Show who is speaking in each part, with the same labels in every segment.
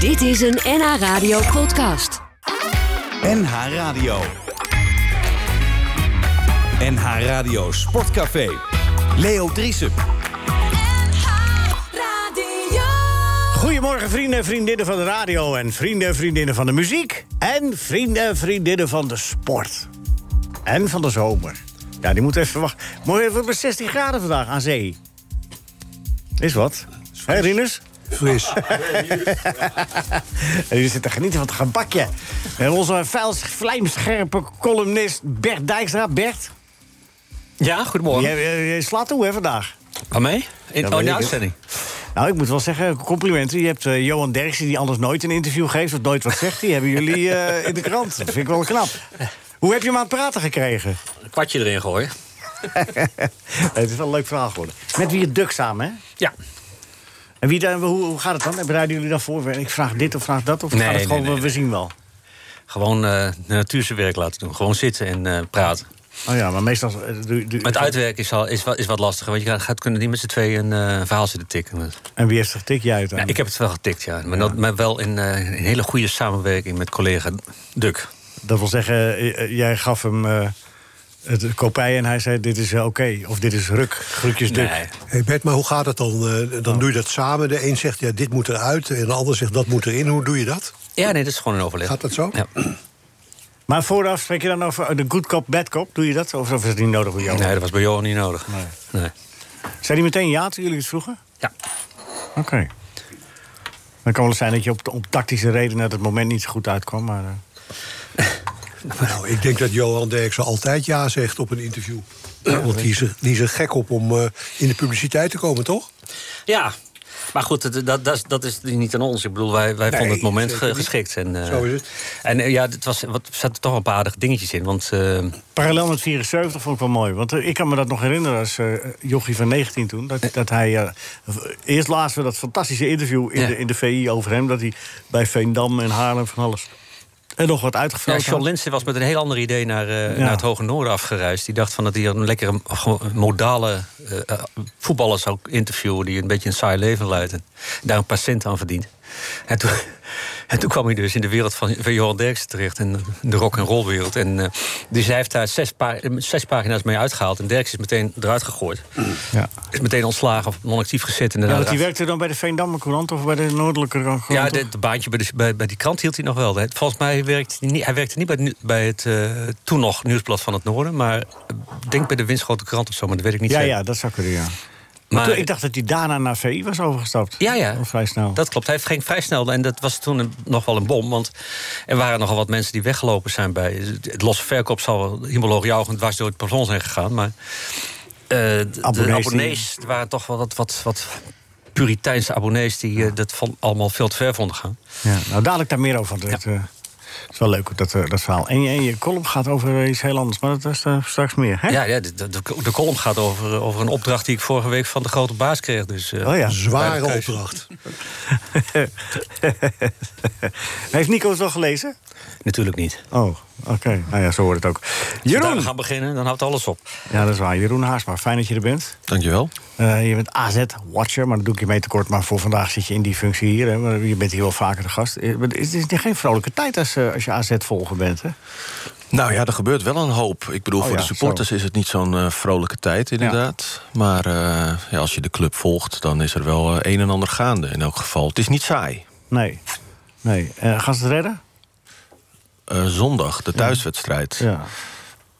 Speaker 1: Dit is een NH Radio podcast.
Speaker 2: NH Radio. NH Radio Sportcafé. Leo Driessen.
Speaker 3: Goedemorgen vrienden en vriendinnen van de radio... en vrienden en vriendinnen van de muziek... en vrienden en vriendinnen van de sport. En van de zomer. Ja, die moet even wachten. Moet even met 16 graden vandaag aan zee. Is wat. Hé, Rinus?
Speaker 4: Fris.
Speaker 3: En jullie zitten te genieten van het gebakje. En onze vuil, vlijmscherpe columnist Bert Dijkstra. Bert,
Speaker 4: Ja, goedemorgen.
Speaker 3: jij, eh, jij- jij slaat toe hè, vandaag.
Speaker 4: Aan mij? In,
Speaker 3: Ja,
Speaker 4: oh,
Speaker 3: weet
Speaker 4: in
Speaker 3: ik
Speaker 4: de
Speaker 3: het.
Speaker 4: uitzending.
Speaker 3: Nou, ik moet wel zeggen, complimenten. Je hebt eh, Johan Derksen, die anders nooit een interview geeft... of nooit wat zegt, die hebben jullie eh, in de krant. Dat vind ik wel knap. Hoe heb je hem aan het praten gekregen?
Speaker 4: Een kwartje erin gooien.
Speaker 3: het is wel een leuk verhaal geworden. Met wie het duk samen, hè?
Speaker 4: Ja.
Speaker 3: En wie dan, hoe, hoe gaat het dan? En Bereiden jullie dan voor? Ik vraag dit of vraag dat? Of
Speaker 4: Nee,
Speaker 3: gaat het
Speaker 4: nee,
Speaker 3: gewoon, eh,
Speaker 4: nee,
Speaker 3: we- we zien wel?
Speaker 4: Gewoon eh, de natuur zijn werk laten doen. Gewoon zitten en eh, praten.
Speaker 3: Oh ja, maar meestal... eh, doe- doe-
Speaker 4: Maar het uitwerken is, al, is, wat, is wat lastiger. Want je gaat, gaat kunnen niet met z'n tweeën een eh, verhaal zitten tikken.
Speaker 3: En wie heeft zich tik jij uit?
Speaker 4: Nou, ik heb het wel getikt, ja. Maar, dat, maar wel in, eh, in hele goede samenwerking met collega Duk.
Speaker 3: Dat wil zeggen, eh, eh, jij gaf hem eh, het kopij en hij zei... dit is eh, oké, of dit is ruk, groetjes duk.
Speaker 4: Nee.
Speaker 5: Hey Bert, maar hoe gaat het dan? Eh,
Speaker 3: Oh.
Speaker 5: Dan doe je dat samen. De een zegt ja, dit moet eruit en de ander zegt dat moet erin. Hoe doe je dat?
Speaker 4: Ja, nee, dat is gewoon een overleg.
Speaker 5: Gaat dat zo?
Speaker 4: Ja.
Speaker 3: Maar vooraf spreek je dan over de good cop, bad cop? Doe je dat? Of is dat niet nodig voor jou?
Speaker 4: Nee, dat was bij Johan niet nodig. Nee.
Speaker 3: Zijn die meteen ja toen jullie het vroegen?
Speaker 4: Ja.
Speaker 3: Oké. Dan kan wel zijn dat je op, op tactische redenen... dat het moment niet zo goed uitkwam, maar... eh,
Speaker 5: Nou, ik denk dat Johan Derksen altijd ja zegt op een interview. Want die is, er, die is er gek op om eh, in de publiciteit te komen, toch?
Speaker 4: Ja, maar goed, dat, dat, dat, is- dat is niet aan ons. Ik bedoel, wij, wij
Speaker 5: Nee,
Speaker 4: vonden het moment
Speaker 5: zeker
Speaker 4: ge-
Speaker 5: niet.
Speaker 4: geschikt. En, eh,
Speaker 5: Zo is het.
Speaker 4: En eh, ja, het was, wat, er zaten toch wel een paar aardige dingetjes in. Want eh,
Speaker 3: Parallel met 74 vond ik wel mooi. Want eh, ik kan me dat nog herinneren als eh jochie van 19 toen. Dat, dat hij, eh, eerst lazen we dat fantastische interview in,
Speaker 4: Ja.
Speaker 3: de, in de VI over hem. Dat hij bij Veendam en Haarlem van alles... en nog wat
Speaker 4: ja,
Speaker 3: uitgevraagd
Speaker 4: John Linsen was met een heel ander idee naar, eh,
Speaker 3: Ja.
Speaker 4: naar het Hoge Noorden afgereisd. Die dacht van dat hij een lekkere gewoon modale eh, eh, voetballer zou interviewen... die een beetje een saai leven leidt en daar een paar cent aan verdient. En toen, en toen kwam hij dus in de wereld van, van Johan Derksen terecht... en de rock and roll wereld. En eh, dus hij heeft daar zes, pa- eh, zes pagina's mee uitgehaald... en Derksen is meteen eruit gegooid.
Speaker 3: Ja.
Speaker 4: Is meteen ontslagen of non-actief gezet. En daarna
Speaker 3: Ja, want die
Speaker 4: eraf-
Speaker 3: werkte dan bij de Veendammer Courant of bij de Noordelijke Courant?
Speaker 4: ja,
Speaker 3: toch?
Speaker 4: het baantje bij, de, bij, bij die krant hield hij nog wel. Hè. Volgens mij werkte hij niet, hij werkte niet bij het, nu- bij het eh, toen nog Nieuwsblad van het Noorden. Maar eh, denk bij de winstgrote krant of zo, maar dat weet ik niet
Speaker 3: ja,
Speaker 4: zeker.
Speaker 3: ja, dat zou kunnen, ja. Maar
Speaker 4: Maar-
Speaker 3: toen- ik dacht dat hij daarna naar VI was overgestapt.
Speaker 4: Ja, ja.
Speaker 3: Al vrij snel.
Speaker 4: Dat klopt. Hij ging vrij snel. En dat was toen een- nog wel een bom. Want er waren nogal wat mensen die weggelopen zijn bij. Het losse verkoop zal wel hemoloog juichend dwars door het plafond zijn gegaan. Maar eh, de-
Speaker 3: Abonnees
Speaker 4: de
Speaker 3: die-
Speaker 4: abonnees er waren toch wel wat, wat, wat Puriteinse abonnees die eh, dat van, allemaal veel te ver vonden gaan.
Speaker 3: Ja, nou, dadelijk daar meer over. Dat eh, is wel leuk, dat, eh, dat verhaal. En je, en je column gaat over iets heel anders, maar dat is eh, straks meer. Hè?
Speaker 4: Ja, ja de, de, de column gaat over, eh, over een opdracht die ik vorige week van de grote baas kreeg. Dus, eh,
Speaker 3: Oh ja.
Speaker 4: Bij de
Speaker 5: Zware
Speaker 4: keuze.
Speaker 5: opdracht.
Speaker 3: Heeft Nico het wel gelezen?
Speaker 4: Natuurlijk niet.
Speaker 3: Oh, oké. Nou ja, zo hoort het ook.
Speaker 4: Als we
Speaker 3: Jeroen!
Speaker 4: gaan beginnen, dan houdt alles op.
Speaker 3: Ja, dat is waar. Jeroen Haarsma, fijn dat je er bent.
Speaker 6: Dankjewel.
Speaker 3: Eh, je bent AZ-watcher, maar dat doe ik je mee tekort. Maar voor vandaag zit je in die functie hier. Hè. Maar Je bent hier wel vaker de gast. Eh, maar Het is, het is geen vrolijke tijd als, eh, als je AZ-volger bent, hè?
Speaker 6: Nou ja, er gebeurt wel een hoop. Ik bedoel,
Speaker 3: Oh
Speaker 6: voor
Speaker 3: ja,
Speaker 6: de supporters is het niet zo'n eh, vrolijke tijd, inderdaad. Maar eh, ja, als je de club volgt, dan is er wel eh, een en ander gaande in elk geval. Het is niet saai.
Speaker 3: Nee. Nee. Eh, gaan ze het redden?
Speaker 6: Eh, zondag, de thuiswedstrijd.
Speaker 3: Ja.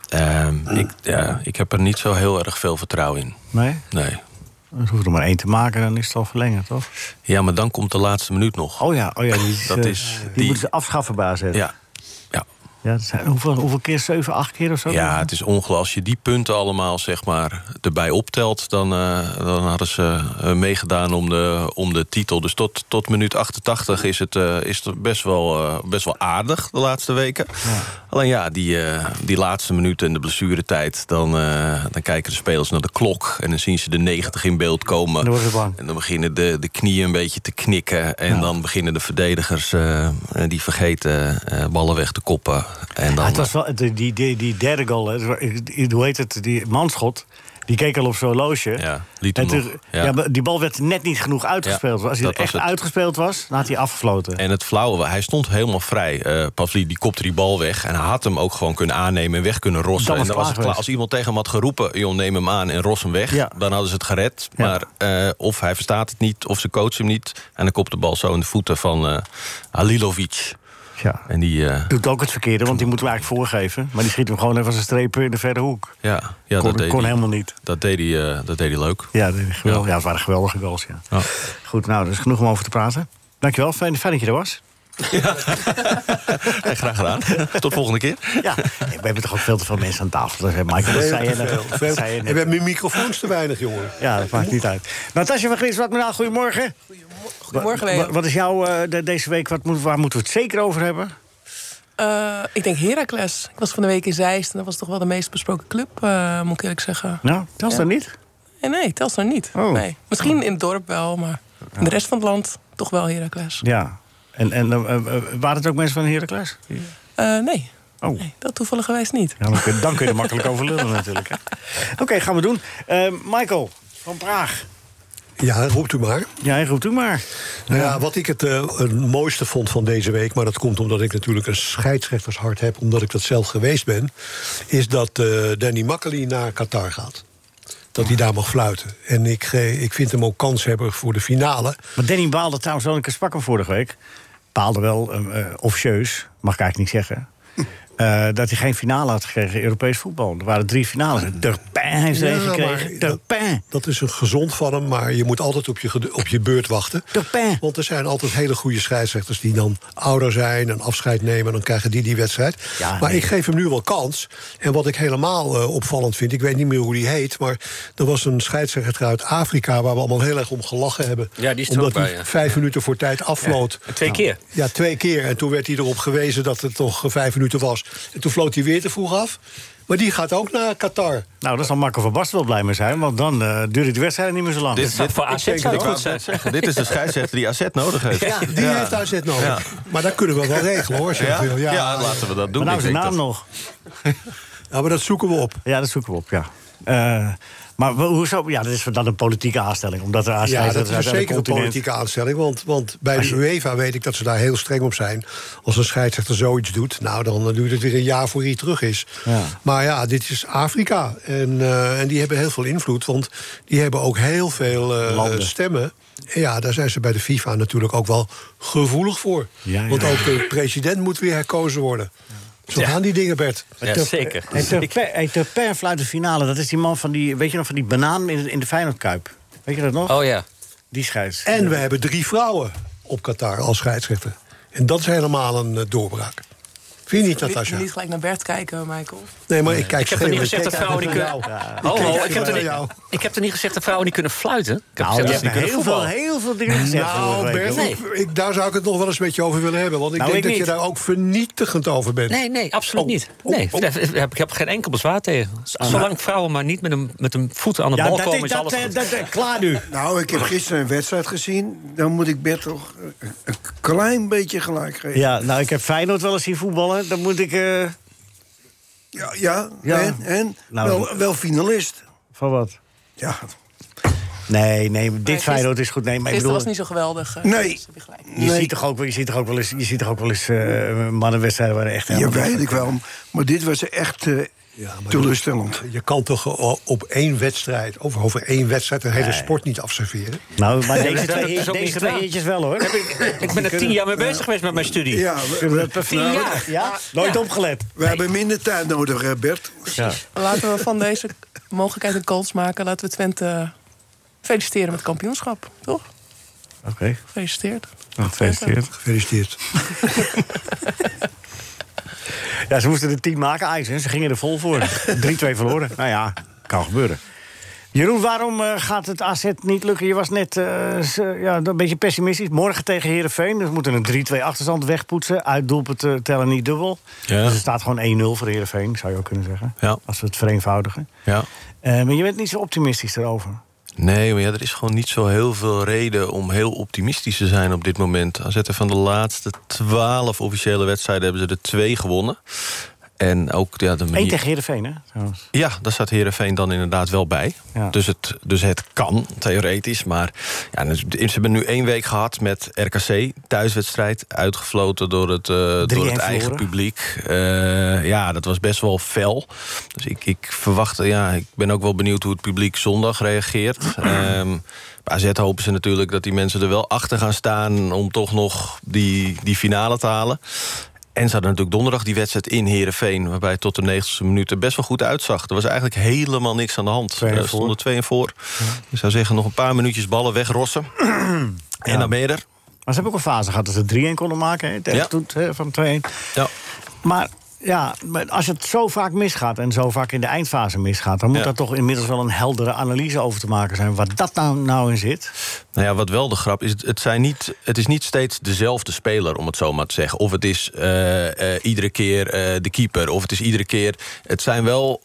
Speaker 6: Ehm, ik, ja, ik heb er niet zo heel erg veel vertrouwen in.
Speaker 3: Nee?
Speaker 6: Nee.
Speaker 3: Er hoeft er maar één te maken, dan is het al verlengd, toch?
Speaker 6: Ja, maar dan komt de laatste minuut nog.
Speaker 3: Oh ja, oh ja die, is,
Speaker 6: Dat
Speaker 3: eh,
Speaker 6: is
Speaker 3: die,
Speaker 6: die-
Speaker 3: moeten ze afschaffen bij AZ. Ja.
Speaker 6: Ja. Ja.
Speaker 3: dat zijn, hoeveel, hoeveel keer? Zeven, acht keer of zo?
Speaker 6: ja, het is ongelooflijk. Als je die punten allemaal zeg maar, erbij optelt... dan, eh, dan hadden ze eh, meegedaan om de, om de titel. Dus tot, tot minuut 88 is het, eh, is het best, wel, eh, best wel aardig de laatste weken. Alleen ja, die, eh, die laatste minuten en de blessuretijd... Dan, eh, dan kijken de spelers naar de klok en dan zien ze de 90 in beeld komen.
Speaker 3: Dan worden ze bang.
Speaker 6: En dan beginnen de, de knieën een beetje te knikken. En dan beginnen de verdedigers, eh, eh, die vergeten eh, ballen weg te koppen. En dan,
Speaker 3: Ah, Ja, het was wel, die, die, die derde goal, hè, het wa- ik- hoe heet het, die manschot. Die keek al op zo'n loosje.
Speaker 6: Ja, liet
Speaker 3: en
Speaker 6: hem
Speaker 3: toen-
Speaker 6: nog,
Speaker 3: ja.
Speaker 6: ja.
Speaker 3: maar die bal werd net niet genoeg uitgespeeld.
Speaker 6: Ja,
Speaker 3: Als hij
Speaker 6: dat was
Speaker 3: echt
Speaker 6: het.
Speaker 3: uitgespeeld was, dan had hij afgefloten.
Speaker 6: En het flauwe, hij stond helemaal vrij. Eh Pavli die kopte die bal weg. En hij had hem ook gewoon kunnen aannemen en weg kunnen rossen.
Speaker 3: Dan was
Speaker 6: en
Speaker 3: het
Speaker 6: was
Speaker 3: klaar
Speaker 6: het klaar.
Speaker 3: geweest.
Speaker 6: Als iemand tegen hem had geroepen, joh, neem hem aan en ros hem weg.
Speaker 3: Ja.
Speaker 6: Dan hadden ze het gered.
Speaker 3: Ja.
Speaker 6: Maar eh, of hij verstaat het niet, of ze coacht hem niet. En dan kopt de bal zo in de voeten van eh Halilovic.
Speaker 3: Ja.
Speaker 6: En die, eh,
Speaker 3: Doet ook het verkeerde, want die moeten we eigenlijk voorgeven. Maar die schiet hem gewoon even als een streep in de verre hoek.
Speaker 6: ja, ja
Speaker 3: kon
Speaker 6: dat, deed
Speaker 3: kon
Speaker 6: hij,
Speaker 3: helemaal niet.
Speaker 6: dat, deed hij, eh, dat deed hij leuk.
Speaker 3: Ja, dat is geweldig.
Speaker 6: Ja.
Speaker 3: Ja. het waren geweldige goals, ja.
Speaker 6: Ja.
Speaker 3: Goed, nou, dus genoeg om over te praten. Dankjewel, fijn, fijn dat je er was.
Speaker 6: Eh, graag gedaan. Tot volgende keer.
Speaker 3: Ja, we hebben toch ook veel te veel mensen aan tafel. Dat zei Michael, dat
Speaker 5: Veel
Speaker 3: zei je
Speaker 5: te
Speaker 3: net.
Speaker 5: veel.
Speaker 3: Dat
Speaker 5: Veel-
Speaker 3: zei je
Speaker 5: En
Speaker 3: net.
Speaker 5: we hebben mijn microfoons te weinig, jongen.
Speaker 3: Ja, dat maakt niet uit. Natasja van Grins, wat nou? Goedemorgen.
Speaker 7: Goedemorgen,
Speaker 3: Wa-
Speaker 7: Leo.
Speaker 3: wa- Wat is jouw eh, de- deze week? Wat moet, waar moeten we het zeker over hebben?
Speaker 7: Eh, ik denk Heracles. Ik was van de week in Zeist en dat was toch wel de meest besproken club, eh, moet ik eerlijk zeggen.
Speaker 3: Nou, dat is
Speaker 7: Ja.
Speaker 3: dan niet.
Speaker 7: En nee, Telstar niet.
Speaker 3: Oh.
Speaker 7: Nee. Misschien in het dorp wel, maar in de rest van het land toch wel Heracles.
Speaker 3: Ja. En, en eh, eh, eh, waren het ook mensen van Heracles?
Speaker 7: Eh, nee.
Speaker 3: Oh.
Speaker 7: nee, dat toevallig geweest niet.
Speaker 3: Ja, dan kun, dan kun je er makkelijk over lullen natuurlijk. hè. Oké, gaan we doen. Eh, Michael van Praag.
Speaker 5: Ja, roept u maar.
Speaker 3: Jij roept u maar.
Speaker 5: Nou ja, wat ik het, eh, het mooiste vond van deze week, maar dat komt omdat ik natuurlijk een scheidsrechtershart heb, omdat ik dat zelf geweest ben, is dat eh, Danny Makkely naar Qatar gaat. Dat hij daar mag fluiten. En ik, eh, ik vind hem ook kanshebber voor de finale.
Speaker 3: Maar Danny baalde trouwens wel een keer sprak hem vorige week. Baalde wel eh, eh, officieus, mag ik eigenlijk niet zeggen. eh, dat hij geen finale had gekregen in Europees voetbal. Er waren drie finales. Turpin heeft er
Speaker 5: Ja,
Speaker 3: één
Speaker 5: maar
Speaker 3: gekregen.
Speaker 5: dat-
Speaker 3: Turpin.
Speaker 5: Dat is een gezond van hem, maar je moet altijd op je, ged- op je beurt wachten.
Speaker 3: Turpin.
Speaker 5: Want er zijn altijd hele goede scheidsrechters die dan ouder zijn en afscheid nemen. En dan krijgen die die wedstrijd.
Speaker 4: Ah,
Speaker 3: Ja,
Speaker 5: maar
Speaker 3: nee.
Speaker 5: ik geef hem nu wel kans. En wat ik helemaal eh, opvallend vind, ik weet niet meer hoe die heet. Maar er was een scheidsrechter uit Afrika waar we allemaal heel erg om gelachen hebben.
Speaker 4: Ja, die is er
Speaker 5: Omdat
Speaker 4: ook bij,
Speaker 5: hij
Speaker 4: ja.
Speaker 5: vijf minuten voor tijd afvloot. Nou,
Speaker 4: Twee keer.
Speaker 5: Ja, twee keer. En toen werd hij erop gewezen dat het nog eh, vijf minuten was. En toen floot hij weer te vroeg af. Maar die gaat ook naar Qatar.
Speaker 3: Nou, daar zal Marco van Basten wel blij mee zijn. Want dan eh duurde die wedstrijd niet meer zo lang.
Speaker 6: Dit-
Speaker 4: Zou- Voor AZ zou het
Speaker 6: wou
Speaker 4: goed zijn.
Speaker 6: net zeggen, dit is de scheidsrechter die AZ nodig heeft.
Speaker 5: Ja, die heeft AZ nodig.
Speaker 6: Ja.
Speaker 5: Maar dat kunnen we wel regelen hoor. als je dat
Speaker 6: Ja?
Speaker 5: wil. Ja,
Speaker 6: Ja, laten we dat doen.
Speaker 3: maar
Speaker 6: Ik
Speaker 3: nou is de
Speaker 6: denk
Speaker 3: naam
Speaker 6: dat-
Speaker 3: nog.
Speaker 5: Ja, maar dat zoeken we op.
Speaker 3: Ja, dat zoeken we op, ja. Eh, maar wa- hoezo? Ja, dat is dan een politieke aanstelling. Omdat er
Speaker 5: Ja, dat is
Speaker 3: een
Speaker 5: zeker een politieke aanstelling. Want, want bij de UEFA weet ik dat ze daar heel streng op zijn. Als een scheidsrechter zoiets doet, nou dan duurt het weer een jaar voor hij terug is.
Speaker 3: Ja.
Speaker 5: Maar ja, dit is Afrika. En, eh, en die hebben heel veel invloed. Want die hebben ook heel veel eh,
Speaker 3: Landen.
Speaker 5: stemmen. En ja, daar zijn ze bij de FIFA natuurlijk ook wel gevoelig voor.
Speaker 3: Ja, ja.
Speaker 5: Want ook de president moet weer herkozen worden. Zo gaan die dingen, Bert.
Speaker 4: Ja, zeker.
Speaker 3: En Turpin, hey, Turpin fluit de finale. Dat is die man van die, weet je nog, van die banaan in, in de Feyenoordkuip. Weet je dat nog?
Speaker 4: Oh ja.
Speaker 3: Die scheids.
Speaker 5: En we hebben drie vrouwen op Qatar als scheidsrechter. En dat is helemaal een eh, doorbraak. Vind je niet,
Speaker 7: Niet,
Speaker 5: Natasja?
Speaker 7: niet gelijk naar Bert kijken, Michael.
Speaker 5: Nee, maar ik kijk
Speaker 4: Ik heb er
Speaker 5: schreeuwen.
Speaker 4: niet gezegd dat
Speaker 5: Ik kijk
Speaker 4: vrouwen niet
Speaker 5: naar
Speaker 4: kunnen...
Speaker 5: jou.
Speaker 4: Ho,
Speaker 5: kijk
Speaker 4: ho,
Speaker 5: even
Speaker 4: oh, ik heb er
Speaker 5: naar
Speaker 4: niet-
Speaker 5: jou.
Speaker 4: Ik heb er niet gezegd dat vrouwen niet kunnen fluiten. Ik heb
Speaker 3: nou,
Speaker 4: gezegd
Speaker 3: je
Speaker 4: dat ze
Speaker 3: hebt
Speaker 4: niet kunnen
Speaker 3: heel veel,
Speaker 4: voetballen.
Speaker 3: heel veel dingen gezegd. vorige
Speaker 5: Nou,
Speaker 3: week,
Speaker 5: Bert,
Speaker 3: hoor.
Speaker 5: ik- ik, daar zou ik het nog wel eens met je over willen hebben. Want ik
Speaker 3: Nou,
Speaker 5: denk
Speaker 3: ik
Speaker 5: dat
Speaker 3: niet.
Speaker 5: je daar ook vernietigend over bent. Oh.
Speaker 4: Nee, nee, absoluut niet. Nee, daar heb- Ik heb geen enkel bezwaar tegen. Z- Zolang vrouwen maar niet met een, met een voet aan de
Speaker 3: Ja,
Speaker 4: bal
Speaker 3: dat,
Speaker 4: komen,
Speaker 3: dat,
Speaker 4: is eh, alles
Speaker 3: dat,
Speaker 4: goed.
Speaker 3: dat- dat- klaar nu.
Speaker 8: Nou, ik heb gisteren een wedstrijd gezien. Dan moet ik Bert toch eh, een klein beetje gelijk geven.
Speaker 3: Ja, nou, ik heb Feyenoord wel eens zien voetballen. Dan moet ik... eh,
Speaker 8: Ja, ja,
Speaker 3: Ja.
Speaker 8: en? en?
Speaker 3: Nou,
Speaker 8: wel, wel finalist.
Speaker 3: van wat?
Speaker 8: Ja.
Speaker 3: Nee, nee, dit
Speaker 7: gisteren-
Speaker 3: Feyenoord is goed. Nee, maar ik
Speaker 7: Gisteren
Speaker 3: bedoel...
Speaker 7: was niet zo geweldig. eh,
Speaker 8: Nee.
Speaker 7: dus heb je gelijk.
Speaker 3: Je, ziet toch ook, wel- je ziet toch ook wel eens, je ziet toch ook wel eens eh, mannenwedstrijden waar er echt
Speaker 8: Ja,
Speaker 3: helemaal niks
Speaker 8: weet
Speaker 3: van
Speaker 8: ik wel. Maar dit was echt eh, teleurstellend.
Speaker 5: Je kan toch
Speaker 4: eh,
Speaker 5: o- op één wedstrijd, over, over één wedstrijd, een hele sport niet afserveren?
Speaker 3: kan. Nou, maar deze
Speaker 4: dat
Speaker 3: twee,
Speaker 4: is
Speaker 3: deze
Speaker 4: ook niet
Speaker 3: twee
Speaker 4: gedaan.
Speaker 3: eertjes wel, hoor.
Speaker 4: Ik ben er tien jaar mee bezig geweest met mijn studie.
Speaker 8: Ja, we,
Speaker 3: Kunnen we dat perfect-
Speaker 4: Tien jaar.
Speaker 3: eh, Ja? Nooit opgelet.
Speaker 8: we hebben minder tijd nodig, eh, Bert.
Speaker 7: Laten we van deze mogelijkheid een kans maken. Laten we Twente feliciteren met het kampioenschap, toch?
Speaker 3: Oké. nou,
Speaker 7: Gefeliciteerd.
Speaker 3: Gefeliciteerd.
Speaker 5: Gefeliciteerd.
Speaker 3: Ja, ze moesten er tien maken, Ajax. hè. Ze gingen er vol voor. 3-2 verloren. Nou ja, kan gebeuren. Jeroen, waarom eh, gaat het AZ niet lukken? Je was net eh, z- ja, een beetje pessimistisch. Morgen tegen Herenveen. Dus we moeten een 3-2 achterstand wegpoetsen. Uit doelpunten tellen niet dubbel.
Speaker 6: Ja.
Speaker 3: Dus het staat gewoon 1-0 voor Herenveen, zou je ook kunnen zeggen.
Speaker 6: Ja.
Speaker 3: Als we het vereenvoudigen.
Speaker 6: Ja.
Speaker 3: Eh, maar je bent niet zo optimistisch erover.
Speaker 6: Nee, maar ja, er is gewoon niet zo heel veel reden om heel optimistisch te zijn op dit moment. AZ heeft van de laatste twaalf officiële wedstrijden hebben ze er twee gewonnen. En ook ja, de
Speaker 3: Eén
Speaker 6: manier...
Speaker 3: tegen Heerenveen, hè? trouwens.
Speaker 6: Ja, daar staat Herenveen dan inderdaad wel bij.
Speaker 3: Ja.
Speaker 6: Dus, het, dus het kan, theoretisch. Maar ja, dus ze hebben nu één week gehad met RKC. Thuiswedstrijd, uitgefloten door het, eh, door het eigen
Speaker 3: verloren.
Speaker 6: publiek. Eh, ja, dat was best wel fel. Dus ik, ik verwacht, ja, ik ben ook wel benieuwd hoe het publiek zondag reageert. Ehm bij AZ hopen ze natuurlijk dat die mensen er wel achter gaan staan... om toch nog die, die finale te halen. En ze hadden natuurlijk donderdag die wedstrijd in Heerenveen... waarbij het tot de 90ste minuut er best wel goed uitzag. Er was eigenlijk helemaal niks aan de hand.
Speaker 3: Twee en
Speaker 6: Er
Speaker 3: voor.
Speaker 6: stonden twee en voor. Ik zou zeggen, nog een paar minuutjes ballen wegrossen. En dan ben je er.
Speaker 3: Maar ze hebben ook een fase gehad dat ze 3-1 konden maken. Hè? Tegen
Speaker 6: Ja.
Speaker 3: Toet, hè, van 2-1.
Speaker 6: Ja.
Speaker 3: Maar ja, maar als het zo vaak misgaat en zo vaak in de eindfase misgaat... dan moet
Speaker 6: Ja.
Speaker 3: daar toch inmiddels wel een heldere analyse over te maken zijn... waar dat nou, nou in zit.
Speaker 6: Nou ja, wat wel de grap is, het, zijn niet, het is niet steeds dezelfde speler, om het zo maar te zeggen. Of het is eh, eh, iedere keer eh, de keeper, of het is iedere keer... Het zijn wel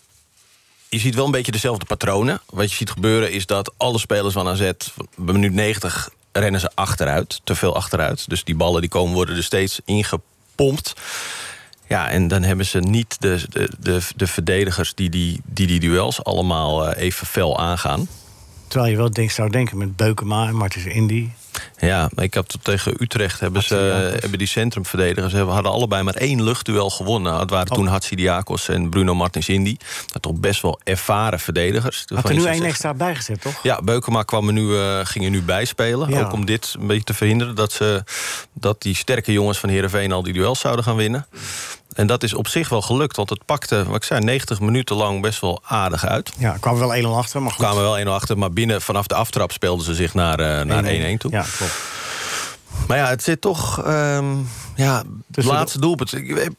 Speaker 6: je ziet wel een beetje dezelfde patronen. Wat je ziet gebeuren is dat alle spelers van AZ... bij minuut 90 rennen ze achteruit, te veel achteruit. Dus die ballen die komen worden er steeds ingepompt. Ja, en dan hebben ze niet de, de, de, de verdedigers... die die, die die duels allemaal eh, even fel aangaan.
Speaker 3: Terwijl je wel denk, zou denken met Beukema en Martens Indy.
Speaker 6: Ja, maar ik heb tot tegen Utrecht hebben, ze, hebben die centrumverdedigers hebben, hadden allebei maar één luchtduel gewonnen. Het waren
Speaker 3: Oh.
Speaker 6: toen Hatsidiakos en Bruno Martins Indy. Dat toch best wel ervaren verdedigers.
Speaker 3: Had
Speaker 6: Waarvan
Speaker 3: er
Speaker 6: je
Speaker 3: nu
Speaker 6: zou
Speaker 3: één
Speaker 6: zeggen-
Speaker 3: extra bijgezet, toch?
Speaker 6: Ja, Beukema kwam er nu, eh, ging er nu bij spelen.
Speaker 3: Ja.
Speaker 6: Ook om dit een beetje te verhinderen. Dat, ze, dat die sterke jongens van Heerenveen al die duels zouden gaan winnen. En dat is op zich wel gelukt. Want het pakte, wat ik zei, 90 minuten lang best wel aardig uit.
Speaker 3: Ja, kwam er wel 1-0 achter, maar goed.
Speaker 6: Kwamen wel 1-0 achter, maar binnen vanaf de aftrap speelden ze zich naar, eh, naar 1-1 toe.
Speaker 3: Ja, klopt.
Speaker 6: Maar ja, het zit toch. ehm, ja, het
Speaker 3: Tussen de-
Speaker 6: laatste doelpunt. Ik weet-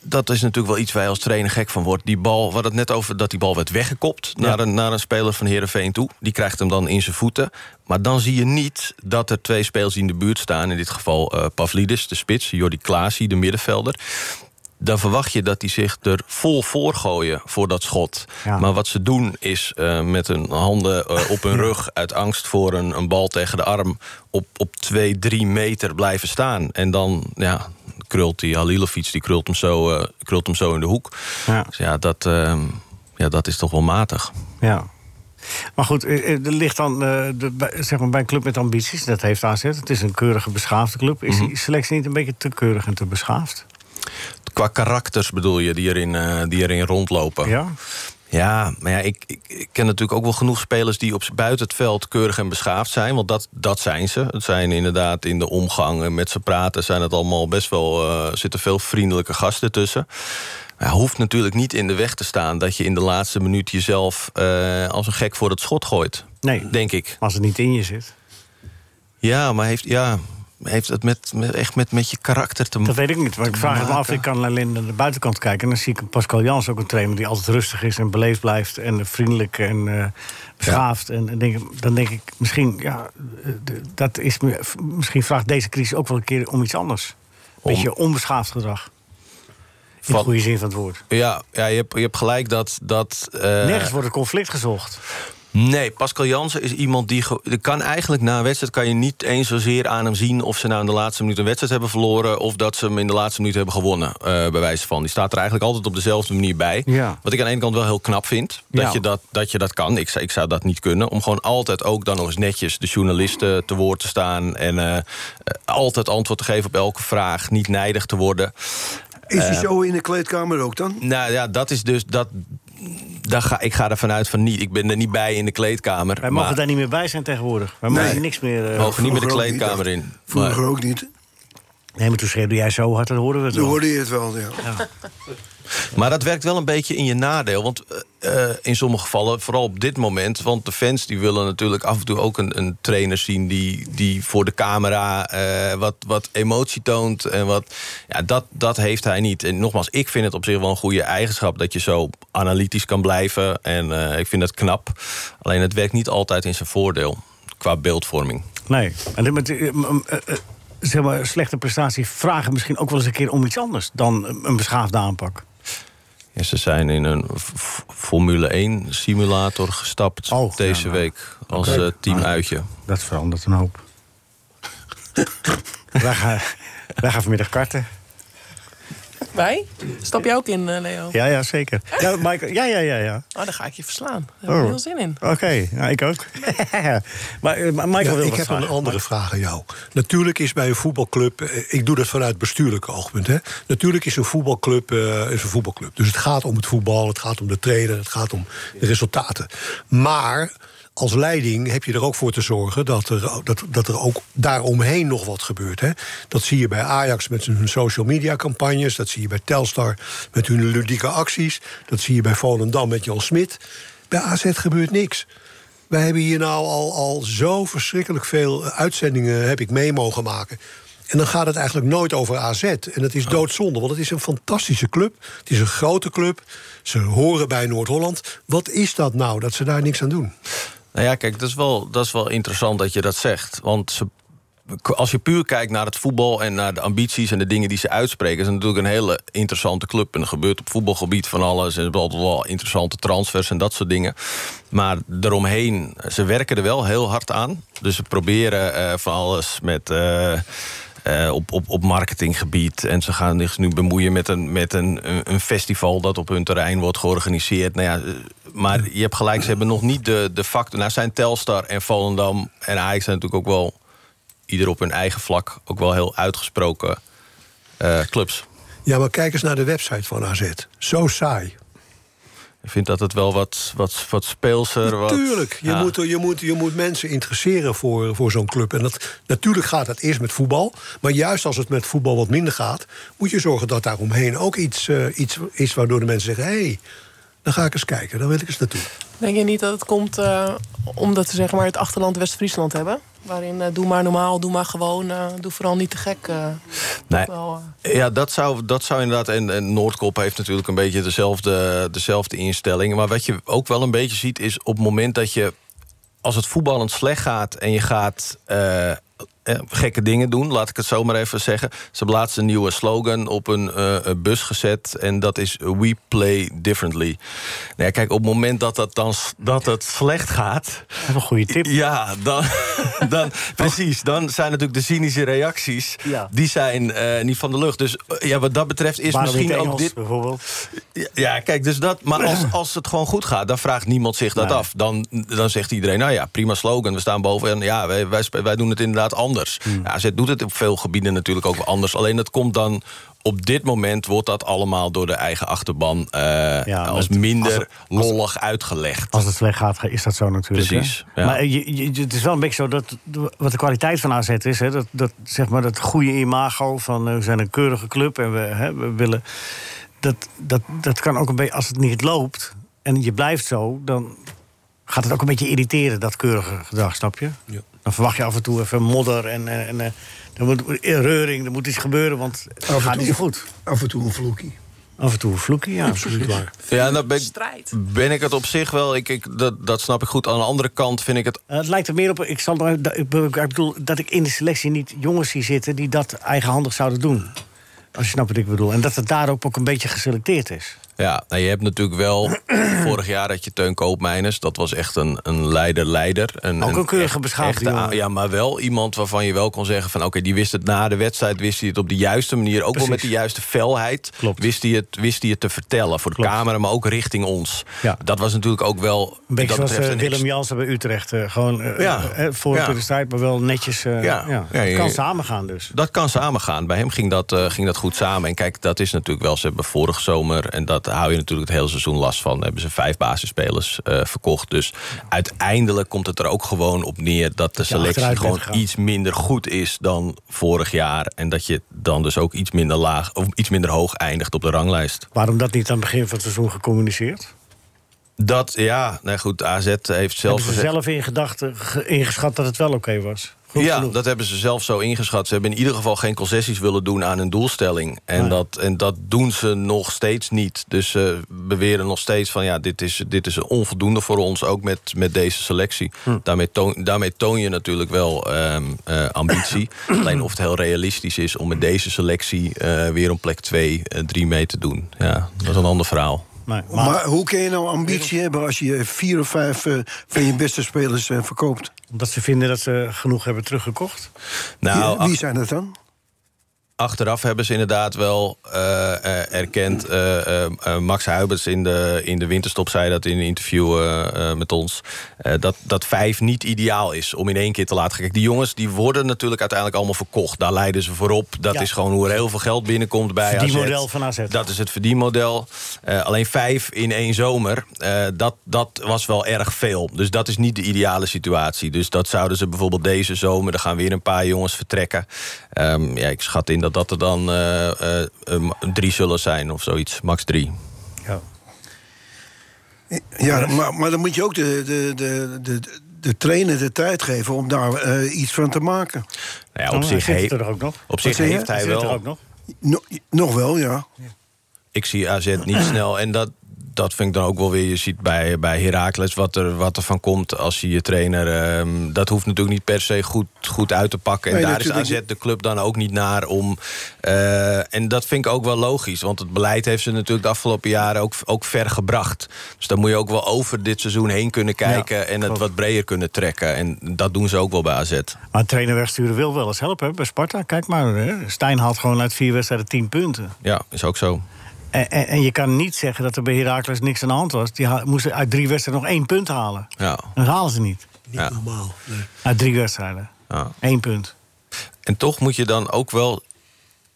Speaker 6: Dat is natuurlijk wel iets waar je als trainer gek van wordt. Die bal, we hadden het net over dat die bal werd weggekopt naar, een, naar een speler van Herenveen toe. Die krijgt hem dan in zijn voeten. Maar dan zie je niet dat er twee spelers die in de buurt staan. In dit geval eh, Pavlidis, de spits, Jordi Klaasie, de middenvelder. Dan verwacht je dat die zich er vol voor gooien voor dat schot.
Speaker 3: Ja.
Speaker 6: Maar wat ze doen is eh, met hun handen eh, op hun rug... uit angst voor een, een bal tegen de arm... op, op twee, drie meter blijven staan. En dan ja, krult die Halilovic die krult hem, zo, eh, krult hem zo in de hoek.
Speaker 3: Ja.
Speaker 6: Dus ja, dat, eh, ja, dat is toch wel matig.
Speaker 3: Ja. Maar goed, eh, eh, er ligt dan eh, de, bij- zeg maar bij een club met ambities. Dat heeft AZ. Het is een keurige, beschaafde club.
Speaker 6: Mhm.
Speaker 3: Is die selectie niet een beetje te keurig en te beschaafd?
Speaker 6: Qua karakters bedoel je, die erin, eh, die erin rondlopen.
Speaker 3: Ja.
Speaker 6: Ja, maar ja, ik, ik, ik ken natuurlijk ook wel genoeg spelers die op buiten het veld keurig en beschaafd zijn. Want dat, dat zijn ze. Het zijn inderdaad in de omgang en met ze praten zijn het allemaal best wel. eh, zitten veel vriendelijke gasten tussen. Maar ja, hoeft natuurlijk niet in de weg te staan dat je in de laatste minuut jezelf eh, als een gek voor het schot gooit.
Speaker 3: Nee.
Speaker 6: Denk ik.
Speaker 3: Als het niet in je zit.
Speaker 6: Ja, maar heeft, ja, heeft het met, met, echt met, met je karakter te
Speaker 3: Dat
Speaker 6: maken?
Speaker 3: weet ik niet. Maar ik vraag het me af. Ik kan alleen naar de buitenkant kijken. En dan zie ik Pascal Jans ook een trainer die altijd rustig is en beleefd blijft. En vriendelijk en eh, beschaafd. En, en denk, ik- dan denk ik misschien, ja, eh, d- dat is, me- f- misschien vraagt deze crisis ook wel een keer om iets anders. Een
Speaker 6: Om-
Speaker 3: beetje onbeschaafd gedrag. In de
Speaker 6: Van-
Speaker 3: goede zin van het woord.
Speaker 6: Ja, ja je, hebt, je hebt gelijk dat. dat eh,
Speaker 3: Nergens wordt een conflict gezocht.
Speaker 6: Nee, Pascal Jansen is iemand die... ge- die kan eigenlijk na een wedstrijd kan je niet eens zozeer aan hem zien... of ze nou in de laatste minuut een wedstrijd hebben verloren... of dat ze hem in de laatste minuut hebben gewonnen, eh, bij wijze van. Die staat er eigenlijk altijd op dezelfde manier bij.
Speaker 3: Ja.
Speaker 6: Wat ik aan de ene kant wel heel knap vind, dat,
Speaker 3: Ja.
Speaker 6: je, dat, dat je dat kan. Ik, zou- ik zou dat niet kunnen. Om gewoon altijd ook dan nog eens netjes de journalisten te woord te staan... en eh, eh, altijd antwoord te geven op elke vraag, niet nijdig te worden. Eh,
Speaker 8: Is
Speaker 3: dus Eh.
Speaker 8: hij zo in de kleedkamer ook dan?
Speaker 6: Nou ja, dat is dus... Dat, daar ga, ik ga ervan uit van niet. Ik ben er niet bij in de kleedkamer.
Speaker 3: Wij mogen
Speaker 6: maar-
Speaker 3: daar niet meer bij zijn tegenwoordig. Wij
Speaker 8: Nee.
Speaker 3: mogen niks meer. eh,
Speaker 6: We mogen niet meer de
Speaker 8: Vroeger ook
Speaker 6: kleedkamer
Speaker 8: niet,
Speaker 6: in.
Speaker 8: Vroeger
Speaker 6: Maar-
Speaker 8: ook niet.
Speaker 3: Nee, maar toen schreeuwde jij zo hard, dat hoorden we het
Speaker 8: Dan
Speaker 3: wel.
Speaker 8: hoorde je het wel, ja.
Speaker 6: Maar dat werkt wel een beetje in je nadeel. Want eh, eh, in sommige gevallen, vooral op dit moment... want de fans die willen natuurlijk af en toe ook een, een trainer zien... die, die voor de camera eh, wat, wat emotie toont. En wat, ja, dat, dat heeft hij niet. En nogmaals, ik vind het op zich wel een goede eigenschap... dat je zo analytisch kan blijven. En eh, ik vind dat knap. Alleen het werkt niet altijd in zijn voordeel qua beeldvorming.
Speaker 3: Nee. En dit met, eh, m- m- eh, eh, zeg maar, slechte prestaties vragen misschien ook wel eens een keer om iets anders dan een een beschaafde aanpak.
Speaker 6: Ja, ze zijn in een f- f- Formule 1 simulator gestapt
Speaker 3: Oh,
Speaker 6: deze
Speaker 3: ja, nou.
Speaker 6: week als
Speaker 3: Oké. Ah.
Speaker 6: eh, teamuitje.
Speaker 3: Dat verandert een hoop. wij, gaan, wij gaan vanmiddag karten.
Speaker 7: Wij? Stap jij ook in, eh, Leo?
Speaker 3: Ja, ja, zeker. Ja, Michael, ja, ja, ja. ja.
Speaker 7: Oh, daar ga ik je verslaan. Daar heb ik
Speaker 3: Oh.
Speaker 7: heel zin in.
Speaker 3: Oké, nou, ik ook. maar, eh, maar Michael
Speaker 5: Ja,
Speaker 3: wil
Speaker 5: ik
Speaker 3: wat
Speaker 5: heb
Speaker 3: vragen.
Speaker 5: een andere vraag aan jou. Natuurlijk is bij een voetbalclub, eh, ik doe dat vanuit bestuurlijk oogpunt. Hè? Natuurlijk is een voetbalclub eh, is een voetbalclub. Dus het gaat om het voetbal, het gaat om de trainer, het gaat om de resultaten. Maar als leiding heb je er ook voor te zorgen dat er, dat, dat er ook daaromheen nog wat gebeurt. Hè? Dat zie je bij Ajax met hun social media campagnes, dat zie je bij Telstar met hun ludieke acties, dat zie je bij Volendam met Jan Smit. Bij AZ gebeurt niks. Wij hebben hier nou al, al zo verschrikkelijk veel eh, uitzendingen heb ik mee mogen maken. En dan gaat het eigenlijk nooit over AZ. En dat is doodzonde, want het is een fantastische club. Het is een grote club. Ze horen bij Noord-Holland. Wat is dat nou, dat ze daar niks aan doen?
Speaker 6: Nou ja, kijk, dat is wel, dat is wel interessant dat je dat zegt. Want ze, als je puur kijkt naar het voetbal en naar de ambities en de dingen die ze uitspreken, is het natuurlijk een hele interessante club. En er gebeurt op voetbalgebied van alles. En er zijn altijd wel interessante transfers en dat soort dingen. Maar eromheen, ze werken er wel heel hard aan. Dus ze proberen eh, van alles met. eh, eh, op, op, op marketinggebied. En ze gaan zich nu bemoeien met, een, met een, een- een festival dat op hun terrein wordt georganiseerd. Nou ja, eh, maar je hebt gelijk, ze hebben nog niet de, de factor. Nou zijn Telstar en Volendam en Ajax zijn natuurlijk ook wel, ieder op hun eigen vlak, ook wel heel uitgesproken eh, clubs.
Speaker 5: Ja, maar kijk eens naar de website van AZ. Zo saai.
Speaker 6: Ik vind dat het wel wat, wat, wat speelser. Wat,
Speaker 5: Natuurlijk, je,
Speaker 6: Ja.
Speaker 5: moet, je, moet, je moet mensen interesseren voor, voor zo'n club. En dat, natuurlijk gaat dat eerst met voetbal. Maar juist als het met voetbal wat minder gaat, moet je zorgen dat daaromheen ook iets, eh, iets is waardoor de mensen zeggen: hé, hey, dan ga ik eens kijken, dan wil ik eens naartoe.
Speaker 7: Denk je niet dat het komt eh, omdat ze zeg maar, het achterland West-Friesland hebben? Waarin eh, doe maar normaal, doe maar gewoon, eh, doe vooral niet te gek. eh.
Speaker 6: Nee.
Speaker 7: Wel, eh,
Speaker 6: Ja, dat zou, dat zou inderdaad. En, en Noordkop heeft natuurlijk een beetje dezelfde, dezelfde instelling. Maar wat je ook wel een beetje ziet, is op het moment dat je. Als het voetballend slecht gaat en je gaat. eh, eh, gekke dingen doen, laat ik het zo maar even zeggen. Ze hebben laatst een nieuwe slogan op een eh, een bus gezet. En dat is We play differently. Nou ja, kijk, op het moment dat, dat, dan, s- dat het slecht gaat.
Speaker 3: Dat is een goede tip.
Speaker 6: Ja, dan, dan, precies. Dan zijn natuurlijk de cynische reacties.
Speaker 3: Ja.
Speaker 6: Die zijn eh, niet van de lucht. Dus eh, ja, wat dat betreft is
Speaker 3: Waarom niet
Speaker 6: misschien ook
Speaker 3: Engels,
Speaker 6: dit.
Speaker 3: bijvoorbeeld?
Speaker 6: Ja, kijk, dus dat. Maar als, als het gewoon goed gaat, dan vraagt niemand zich dat
Speaker 3: Nee.
Speaker 6: af. Dan, dan zegt iedereen: nou ja, prima slogan. We staan boven. En ja, wij, wij, spe- wij doen het inderdaad anders.
Speaker 3: Hmm.
Speaker 6: Ja, AZ doet het op veel gebieden natuurlijk ook wel anders. Alleen dat komt dan. Op dit moment wordt dat allemaal door de eigen achterban eh,
Speaker 3: Ja,
Speaker 6: als
Speaker 3: want
Speaker 6: minder lollig uitgelegd.
Speaker 3: Als het slecht gaat, is dat zo natuurlijk. hè?
Speaker 6: Precies, ja.
Speaker 3: Maar eh, je, je- het is wel een beetje zo dat de- wat de kwaliteit van AZ is. Hè, dat, dat, zeg maar dat goede imago van eh, we zijn een keurige club en we, hè, we willen. Dat, dat, dat kan ook een beetje, als het niet loopt en je blijft zo, dan gaat het ook een beetje irriteren, dat keurige gedrag, snap je?
Speaker 5: Ja.
Speaker 3: Dan verwacht je af en toe even modder en, eh, en eh, er moet eh, reuring, er moet iets gebeuren, want het
Speaker 8: en
Speaker 3: gaat
Speaker 8: toe.
Speaker 3: niet zo goed.
Speaker 8: Af en toe een vloekie.
Speaker 3: Af en toe vloeken, ja.
Speaker 5: Absoluut waar.
Speaker 6: Ja, daar ben, ik-
Speaker 7: Strijd.
Speaker 6: ben ik het op zich wel. Ik, ik, dat, dat snap ik goed. Aan de andere kant vind ik het.
Speaker 3: Eh, het lijkt er meer op. Ik, zal, er- dat- ik be- ik bedoel dat ik in de selectie niet jongens zie zitten die dat eigenhandig zouden doen. Als je snapt wat ik bedoel. En dat het daarop ook een beetje geselecteerd is.
Speaker 6: Ja, nou, je hebt natuurlijk wel. vorig jaar had je Teun Koopmeiners. Dat was echt een, een leider-leider. Een,
Speaker 3: Ook een keurige,
Speaker 6: echt- eh,
Speaker 3: beschaafde
Speaker 6: echte
Speaker 3: jongen.
Speaker 6: a- Ja, maar wel iemand waarvan je wel kon zeggen: van oké, die wist het na de wedstrijd. Wist hij het op de juiste manier. Ook wel met de juiste felheid.
Speaker 3: Klopt.
Speaker 6: Wist hij het, wist hij het te vertellen. Voor de
Speaker 3: Klopt.
Speaker 6: camera, maar ook richting ons.
Speaker 3: Ja.
Speaker 6: Dat was natuurlijk ook wel.
Speaker 3: Een beetje
Speaker 6: dat
Speaker 3: zoals
Speaker 6: betreft
Speaker 3: eh,
Speaker 6: een
Speaker 3: Willem
Speaker 6: ex-
Speaker 3: Jansen bij Utrecht. eh, gewoon eh,
Speaker 6: Ja.
Speaker 3: eh, voor
Speaker 6: Ja.
Speaker 3: de strijd, maar wel netjes. eh,
Speaker 6: Ja.
Speaker 3: ja.
Speaker 6: Ja,
Speaker 3: Het
Speaker 6: je-
Speaker 3: kan samengaan dus.
Speaker 6: Dat kan samengaan. Bij hem ging dat, eh, ging dat goed samen. En kijk, dat is natuurlijk wel. Ze hebben vorig zomer. En dat hou je natuurlijk het hele seizoen last van. Hebben ze vijf basisspelers eh, verkocht. Dus uiteindelijk komt het er ook gewoon op neer dat de selectie
Speaker 3: achteruit bent
Speaker 6: gewoon
Speaker 3: gegaan.
Speaker 6: iets minder goed is dan vorig jaar. En dat je dan dus ook iets minder laag of iets minder hoog eindigt op de ranglijst.
Speaker 3: Waarom dat niet aan het begin van het seizoen gecommuniceerd?
Speaker 6: Dat ja, nou goed, AZ heeft zelf
Speaker 3: Hebben ze
Speaker 6: gezegd.
Speaker 3: zelf in gedachten ge- ingeschat dat het wel oké was? Goed
Speaker 6: ja,
Speaker 3: genoeg.
Speaker 6: dat hebben ze zelf zo ingeschat. Ze hebben in ieder geval geen concessies willen doen aan hun doelstelling. En,
Speaker 3: Nee.
Speaker 6: dat, en dat doen ze nog steeds niet. Dus ze beweren nog steeds van ja, dit is, dit is onvoldoende voor ons, ook met, met deze selectie.
Speaker 3: Hm.
Speaker 6: Daarmee, toon, daarmee toon je natuurlijk wel ehm, eh, ambitie. Alleen of het heel realistisch is om met deze selectie eh, weer om plek 2, 3 mee te doen. Ja, dat is een ander verhaal.
Speaker 3: Nee,
Speaker 8: Maar,
Speaker 3: maar,
Speaker 8: hoe kun je nou ambitie hebben als je vier of vijf eh, van je beste spelers eh, verkoopt?
Speaker 3: omdat ze vinden dat ze genoeg hebben teruggekocht.
Speaker 6: Nou,
Speaker 8: Wie- Wie zijn het dan?
Speaker 6: achteraf hebben ze inderdaad wel eh, eh, erkend. eh, eh, eh, Max Huibers in de, in de winterstop zei dat in een interview eh, eh, met ons. eh, dat, dat vijf niet ideaal is om in één keer te laten gaan. Kijk, die jongens die worden natuurlijk uiteindelijk allemaal verkocht. Daar leiden ze voor op. Dat
Speaker 3: Ja.
Speaker 6: is gewoon hoe er heel veel geld binnenkomt bij
Speaker 3: Verdienmodel
Speaker 6: AZ.
Speaker 3: van AZ.
Speaker 6: Dat is het verdienmodel. Eh, alleen vijf in één zomer, eh, dat, dat was wel erg veel. Dus dat is niet de ideale situatie. Dus dat zouden ze bijvoorbeeld deze zomer... er gaan weer een paar jongens vertrekken. Ehm, ja, ik schat in dat dat er dan eh, eh, eh, drie zullen zijn of zoiets. Max drie.
Speaker 8: Ja, maar, maar dan moet je ook de, de, de, de, de trainer de tijd geven om daar eh, iets van te maken.
Speaker 6: Nou ja,
Speaker 3: Oh,
Speaker 6: op
Speaker 3: hij
Speaker 6: zich,
Speaker 3: zit
Speaker 6: he-
Speaker 3: er ook nog.
Speaker 6: op zich
Speaker 8: zei je?
Speaker 6: heeft hij
Speaker 3: Zit er
Speaker 6: wel...
Speaker 3: ook nog.
Speaker 8: No- nog wel, ja.
Speaker 6: ik zie AZ niet snel. En dat, dat vind ik dan ook wel weer. Je ziet bij, bij Heracles wat er, wat er van komt als je je trainer. ehm, dat hoeft natuurlijk niet per se goed, goed uit te pakken. En
Speaker 8: Nee,
Speaker 6: daar is
Speaker 8: natuurlijk
Speaker 6: AZ de club dan ook niet naar om. eh, en dat vind ik ook wel logisch. Want het beleid heeft ze natuurlijk de afgelopen jaren ook, ook ver gebracht. Dus dan moet je ook wel over dit seizoen heen kunnen kijken. en het wat breder kunnen trekken. En dat doen ze ook wel bij AZ.
Speaker 3: Maar een trainer wegsturen wil wel eens helpen hè, bij Sparta. Kijk maar, hè. Stijn haalt gewoon uit vier wedstrijden tien punten.
Speaker 6: Ja, is ook zo.
Speaker 3: En, en, en je kan niet zeggen dat er bij Heracles niks aan de hand was. Die ha- moesten uit drie wedstrijden nog één punt halen.
Speaker 6: Ja.
Speaker 3: Dat halen ze niet.
Speaker 5: Niet
Speaker 6: Ja.
Speaker 5: normaal. Nee.
Speaker 3: Uit drie wedstrijden.
Speaker 6: Ja.
Speaker 3: Eén punt.
Speaker 6: En toch moet je dan ook wel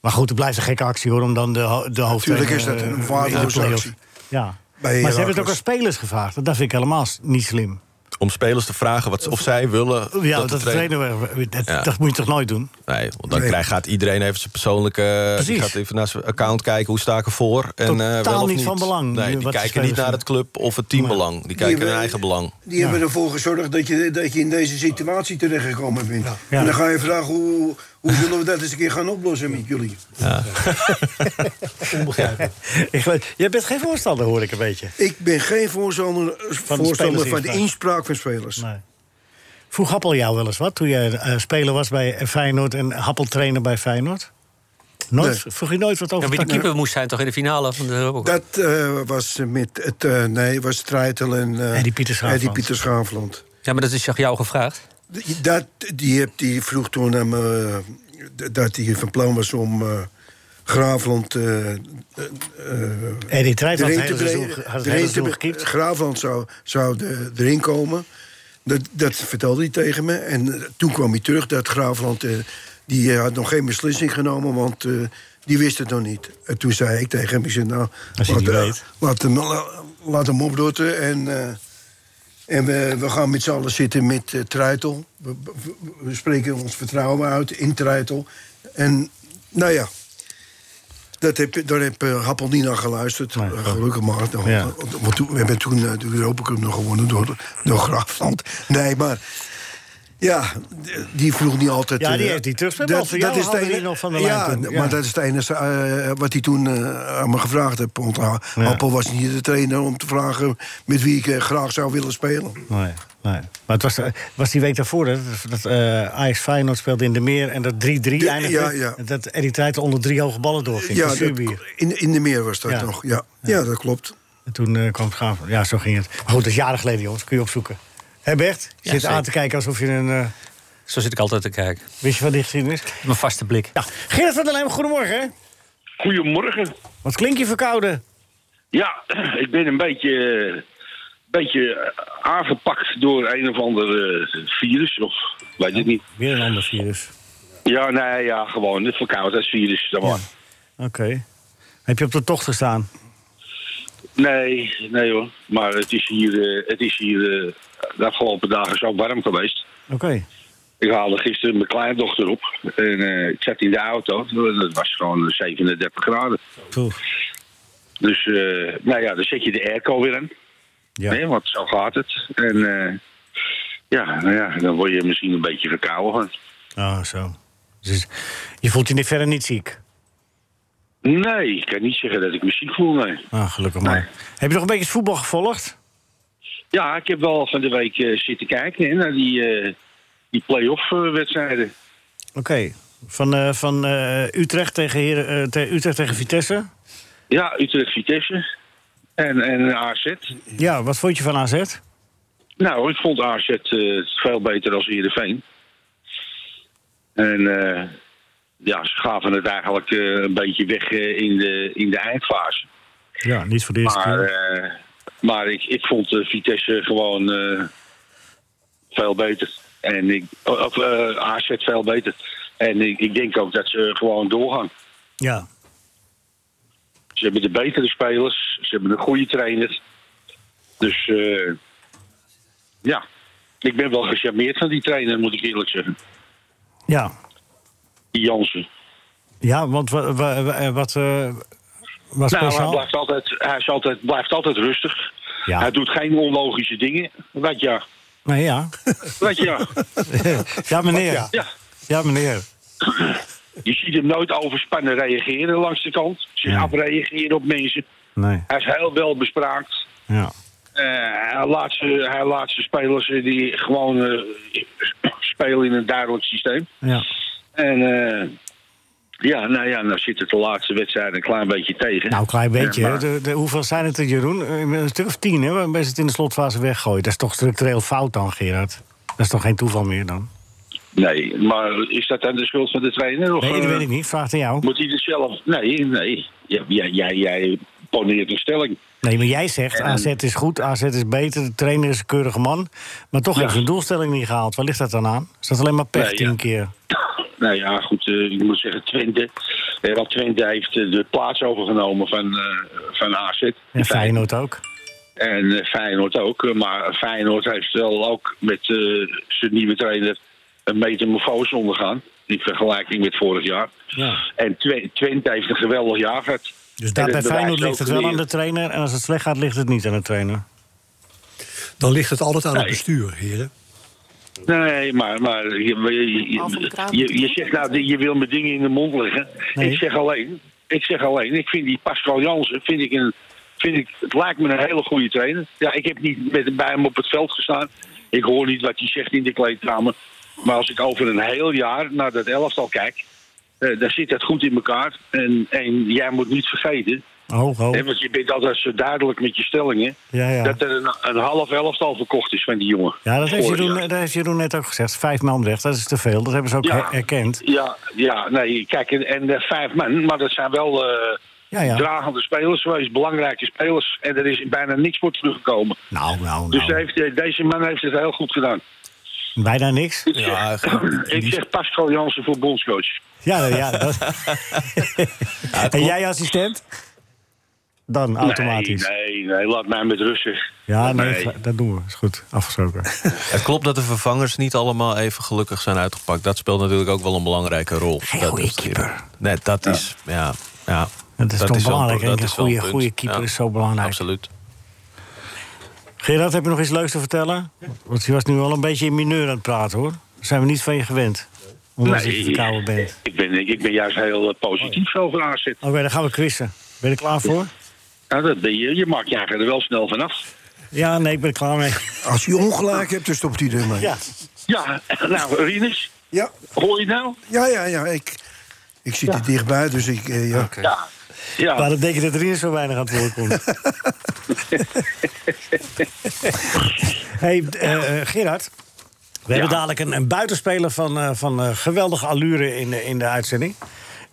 Speaker 3: Maar goed, het blijft een gekke actie hoor, om dan de, ho de hoofd...
Speaker 8: Natuurlijk is dat
Speaker 3: eh,
Speaker 8: een
Speaker 3: eh,
Speaker 8: waardeloze
Speaker 3: in de play-offs.
Speaker 8: actie.
Speaker 3: Ja. Maar ze
Speaker 8: Heracles.
Speaker 3: hebben het ook aan spelers gevraagd. Dat vind ik helemaal s- niet slim.
Speaker 6: om spelers te vragen wat, ze- of zij willen.
Speaker 3: Ja,
Speaker 6: de
Speaker 3: dat,
Speaker 6: trainer-
Speaker 3: trainer, dat,
Speaker 6: Ja.
Speaker 3: dat moet je toch nooit doen?
Speaker 6: Nee, want dan
Speaker 8: Nee.
Speaker 6: krijg, gaat iedereen even zijn persoonlijke...
Speaker 3: Precies.
Speaker 6: Die gaat even naar zijn account kijken, hoe sta ik ervoor. En, eh,
Speaker 3: Totaal
Speaker 6: wel of
Speaker 3: niet van belang,
Speaker 6: Nee,
Speaker 3: eh,
Speaker 6: die
Speaker 3: wat de
Speaker 6: kijken
Speaker 3: spelers
Speaker 6: niet naar
Speaker 3: vinden.
Speaker 6: het club of het teambelang. Die kijken naar
Speaker 8: hebben-
Speaker 6: eigen belang.
Speaker 8: Die hebben ervoor gezorgd dat je, dat je in deze situatie terechtgekomen bent. En dan ga je vragen, hoe, hoe zullen we dat eens een keer gaan oplossen met jullie?
Speaker 5: Onbegrijpelijk.
Speaker 3: Ik geloof- Jij bent geen voorstander, hoor ik een beetje.
Speaker 8: Ik ben geen voorstander van, voorstander van de
Speaker 3: spelersinspraak.
Speaker 8: inspraak van spelers.
Speaker 3: Nee. Vroeg Happel jou wel eens wat toen jij eh, speler was bij Feyenoord en Happel trainer bij Feyenoord? Nooit,
Speaker 8: Nee.
Speaker 3: Vroeg je nooit wat over
Speaker 4: Ja, wie de
Speaker 3: tactiek?
Speaker 4: keeper moest zijn toch in de finale van de Europa Cup?
Speaker 8: Dat eh, was met het, eh, nee, was Strijtel en eh,
Speaker 3: Eddie Pieter Schaafland.
Speaker 8: Eddie Pieter Schaafland.
Speaker 4: Ja, maar dat is toch jou gevraagd?
Speaker 8: Die- Dat, die, heb, die vroeg toen aan me eh, dat hij van plan was om eh, Graafland eh, eh,
Speaker 3: Eddie Trijf had het
Speaker 8: erin
Speaker 3: hele
Speaker 8: te
Speaker 3: seizoen,
Speaker 8: brengen.
Speaker 3: ge- had het hele
Speaker 8: Erin te
Speaker 3: seizoen
Speaker 8: brengen.
Speaker 3: gekiept.
Speaker 8: Graafland zou, zou de- erin komen. Dat, dat vertelde hij tegen me. En eh, toen kwam hij terug dat Graafland... eh, die eh, had nog geen beslissing genomen, want eh, die wist het nog niet. En toen zei ik tegen hem, ik zei, nou, laat,
Speaker 3: Als je het niet
Speaker 8: eh,
Speaker 3: weet.
Speaker 8: laat hem, la- laat hem opdotten en... eh, en we, we gaan met z'n allen zitten met eh, Treitel. We, we- we spreken ons vertrouwen uit in Treitel. En nou ja, dat heb, daar heb eh, Happel niet naar geluisterd.
Speaker 3: Nee.
Speaker 8: Eh, gelukkig maar. Dan-
Speaker 3: Ja.
Speaker 8: Want toen, we hebben toen eh, de Europa Cup nog gewonnen door, door Graafland. Nee, maar... Ja, die vroeg niet altijd...
Speaker 3: Ja, die
Speaker 8: eh,
Speaker 3: heeft die terugspel. Voor jou
Speaker 8: het
Speaker 3: hadden die
Speaker 8: ene-
Speaker 3: nog van de
Speaker 8: ja,
Speaker 3: lijn toen. Ja.
Speaker 8: maar dat is het enige eh, wat hij toen eh, aan me gevraagd heeft. Want eh, Happel was niet de trainer om te vragen... met wie ik eh, graag zou willen spelen.
Speaker 3: Nee, nee. Maar het was, eh, was die week daarvoor dat, dat eh, Ajax Feyenoord speelde in de meer en dat 3-3
Speaker 8: De-
Speaker 3: eindigde.
Speaker 8: ja, ja.
Speaker 3: Dat Eddie Trijf onder drie hoge ballen doorging.
Speaker 8: Ja,
Speaker 3: van
Speaker 8: dat-
Speaker 3: Zuurbier.
Speaker 8: in, in de meer was dat
Speaker 3: Ja.
Speaker 8: nog. Ja. Ja. dat klopt.
Speaker 3: En toen eh, kwam het gaaf. Ja, zo ging het. Maar goed, dat is jaren geleden, jongens. Kun je opzoeken. Hé Bert, je
Speaker 4: Ja,
Speaker 3: zit aan
Speaker 4: zeker.
Speaker 3: te kijken alsof je een... eh,
Speaker 4: Zo zit ik altijd te kijken.
Speaker 3: wist je wat die geschiedenis?
Speaker 4: Mijn vaste blik.
Speaker 3: Ja, Gerrit van der Leem, goedemorgen.
Speaker 9: Goedemorgen.
Speaker 3: Wat klink je verkouden?
Speaker 9: Ja, ik ben een beetje, eh, beetje eh, aangepakt door een of ander eh, virus. Of weet ik niet.
Speaker 3: Weer een ander virus.
Speaker 9: Ja, nee, ja, gewoon het verkoudheidsvirus. Dan maar.
Speaker 3: Oké. Heb je op de tocht gestaan?
Speaker 9: Nee, nee hoor. Maar het is hier, eh, het is hier eh, de afgelopen dagen zo warm geweest.
Speaker 3: Oké.
Speaker 9: Ik haalde gisteren mijn kleindochter op. En eh, ik zat in de auto. Het was gewoon 37 graden.
Speaker 3: Poeh.
Speaker 9: Dus, eh, nou ja, dan zet je de airco weer in.
Speaker 3: Ja.
Speaker 9: Nee, want zo gaat het. En eh, ja, nou ja, dan word je misschien een beetje verkouden. van.
Speaker 3: Oh, zo. Dus je voelt je niet- verder niet ziek?
Speaker 9: Nee, ik kan niet zeggen dat ik me ziek voel. Nee.
Speaker 3: Ah, gelukkig maar.
Speaker 9: Nee.
Speaker 3: Heb je nog een beetje het voetbal gevolgd?
Speaker 9: Ja, ik heb wel van de week eh, zitten kijken hè, naar die, eh, die eh, play-off-wedstrijden.
Speaker 3: Oké. Van, eh, van eh, Utrecht, tegen Heren, eh, te- Utrecht tegen Vitesse?
Speaker 9: Ja, Utrecht-Vitesse en, en AZ.
Speaker 3: Ja, wat vond je van AZ?
Speaker 9: Nou, ik vond AZ eh, veel beter dan Heerenveen. En eh, ja, ze gaven het eigenlijk eh, een beetje weg eh, in, de, in de eindfase.
Speaker 3: Ja, niet voor de eerste
Speaker 9: Maar,
Speaker 3: keer.
Speaker 9: eh, maar ik, ik vond eh, Vitesse gewoon eh, veel beter. En ik, of eh, AZ veel beter. En ik, ik denk ook dat ze gewoon doorgaan.
Speaker 3: Ja,
Speaker 9: Ze hebben de betere spelers. Ze hebben een goede trainer. Dus eh, ja, ik ben wel gecharmeerd van die trainer, moet ik eerlijk zeggen.
Speaker 3: ja.
Speaker 9: Die Jansen.
Speaker 3: ja want wa- wa- wa- eh, wat, eh, wat
Speaker 9: Nou, hij
Speaker 3: speciaal?
Speaker 9: blijft altijd, hij is altijd, blijft altijd rustig.
Speaker 3: Ja.
Speaker 9: Hij doet geen onlogische dingen. Wat ja.
Speaker 3: nee, ja.
Speaker 9: Wat ja.
Speaker 3: ja, meneer.
Speaker 5: Ja.
Speaker 9: ja.
Speaker 3: Ja, meneer.
Speaker 9: Je ziet hem nooit overspannen reageren langs de kant. Zich
Speaker 3: Ja.
Speaker 9: afreageren op mensen.
Speaker 3: Nee,
Speaker 9: Hij is heel wel bespraakt.
Speaker 3: ja.
Speaker 9: Eh, hij, laat ze, hij laat ze spelers eh, die gewoon eh, spelen in een duidelijk systeem.
Speaker 3: Ja,
Speaker 9: En eh, ja, nou ja, nou zit het de laatste wedstrijd een klein beetje tegen.
Speaker 3: nou, een klein beetje.
Speaker 9: Ja,
Speaker 3: hè.
Speaker 9: maar-
Speaker 3: De, de, hoeveel zijn het er, Jeroen? Eh, Een stuk of tien, hè? Waarbij ze het in de slotfase weggooien. Dat is toch structureel fout dan, Gerard? Dat is toch geen toeval meer dan?
Speaker 9: Nee, maar is dat dan de schuld van de trainer? Of,
Speaker 3: Nee, dat
Speaker 9: eh,
Speaker 3: weet ik niet. Vraag het aan jou.
Speaker 9: Moet hij er zelf... Nee, nee. Jij, jij, jij, jij poneert een stelling.
Speaker 3: Nee, maar jij zegt
Speaker 9: En-
Speaker 3: AZ is goed, AZ is beter, de trainer is een keurige man. Maar toch heeft zijn doelstelling niet gehaald. Waar ligt dat dan aan? Is dat alleen maar pech
Speaker 9: Nee, ja.
Speaker 3: tien keer?
Speaker 9: Nou ja, goed, eh, ik moet zeggen Twente. Eh, want Twente heeft eh, de plaats overgenomen van, eh, van AZ.
Speaker 3: En Feyenoord ook. Dus
Speaker 9: En eh, Feyenoord ook. eh, Maar Feyenoord heeft wel ook met eh, zijn nieuwe trainer een metamorfose ondergaan. In vergelijking met vorig jaar.
Speaker 3: Ja.
Speaker 9: En Twe- Twente heeft een geweldig jaar gehad.
Speaker 3: Dus
Speaker 9: En dat
Speaker 3: daar bij
Speaker 9: bewijst
Speaker 3: Feyenoord ligt
Speaker 9: ook
Speaker 3: het wel
Speaker 9: weer-
Speaker 3: aan de trainer. En als het slecht gaat, ligt het niet aan de trainer.
Speaker 5: Dan ligt het altijd aan het
Speaker 9: Nee.
Speaker 5: bestuur, heren.
Speaker 9: Nee, maar, maar je, je,
Speaker 7: Al van de kraan
Speaker 9: je-
Speaker 7: moet je
Speaker 9: je zegt nou, die- je wil me dingen in de mond leggen.
Speaker 3: Nee.
Speaker 9: Ik zeg alleen, ik zeg alleen, ik vind die Pascal Jansen, vind ik een, vind ik, het lijkt me een hele goede trainer. Ja, ik heb niet met, bij hem op het veld gestaan. Ik hoor niet wat hij zegt in de kleedkamer. Maar als ik over een heel jaar naar dat elftal kijk, eh, dan zit dat goed in elkaar. En, en jij moet niet vergeten,
Speaker 3: Oh, oh.
Speaker 9: hè, want je bent altijd zo duidelijk met je stellingen,
Speaker 3: Ja, ja.
Speaker 9: dat er een, een half elftal verkocht is van die jongen.
Speaker 3: Ja, dat heeft,
Speaker 9: Vorig
Speaker 3: Jeroen,
Speaker 9: jaar.
Speaker 3: dat heeft Jeroen net ook gezegd. Vijf man weg, dat is te veel. Dat hebben ze ook
Speaker 9: Ja.
Speaker 3: her- erkend.
Speaker 9: Ja, ja, nee, kijk, en, en eh, vijf man, maar dat zijn wel eh,
Speaker 3: Ja, ja.
Speaker 9: dragende spelers geweest, belangrijke spelers. En er is bijna niks voor teruggekomen.
Speaker 3: Nou, nou,
Speaker 9: Dus
Speaker 3: nou.
Speaker 9: heeft, eh, deze man heeft het heel goed gedaan.
Speaker 3: Bijna niks.
Speaker 9: Ik
Speaker 6: Ja,
Speaker 9: zeg, ik zeg Pascal Jansen voor bondscoach.
Speaker 3: Ja, Oh, ja. Dat... en jij assistent? Dan automatisch.
Speaker 9: Nee, nee, nee, laat mij met rust. zeg.
Speaker 3: Ja,
Speaker 9: Laat
Speaker 3: nee,
Speaker 9: mij-
Speaker 3: dat doen we. Is goed, afgesproken.
Speaker 6: Het klopt dat de vervangers niet allemaal even gelukkig zijn uitgepakt. Dat speelt natuurlijk ook wel een belangrijke rol.
Speaker 3: Geen
Speaker 6: dat
Speaker 3: goeie
Speaker 6: is-
Speaker 3: keeper.
Speaker 6: Nee, dat is... Ja, ja,
Speaker 3: Dat is toch
Speaker 6: wel een
Speaker 3: belangrijk,
Speaker 6: pro- dat
Speaker 3: denk ik. Een
Speaker 6: is wel een
Speaker 3: goede,
Speaker 6: punt.
Speaker 3: goede keeper
Speaker 6: Ja,
Speaker 3: is zo belangrijk.
Speaker 6: Absoluut.
Speaker 3: Gerard, heb je nog iets leuks te vertellen? Want je was nu al een beetje in mineur aan het praten, hoor. Daar zijn we niet van je gewend. Omdat je verkouden bent.
Speaker 9: Ik ben, ik ben juist heel eh, positief over AZ.
Speaker 3: Oké, dan gaan we quizzen. Ben je er klaar voor?
Speaker 9: Nou, dat ben je. Je maakt je er wel snel vanaf.
Speaker 3: Ja, nee, ik ben er klaar mee.
Speaker 8: Als je ongelijk hebt, dan stopt hij ermee.
Speaker 3: Ja.
Speaker 9: Ja, nou, Rinus,
Speaker 8: ja,
Speaker 9: hoor je het nou?
Speaker 8: ja, ja. ja, Ik, ik zit er dichtbij, dus ik... eh, ja.
Speaker 9: Ja. Ja,
Speaker 3: Waarom denk je dat er hier zo weinig aan het woord komt? hey, eh, eh, Gerard. We hebben dadelijk een, een buitenspeler van, eh, van eh, geweldige allure in, de- in de uitzending.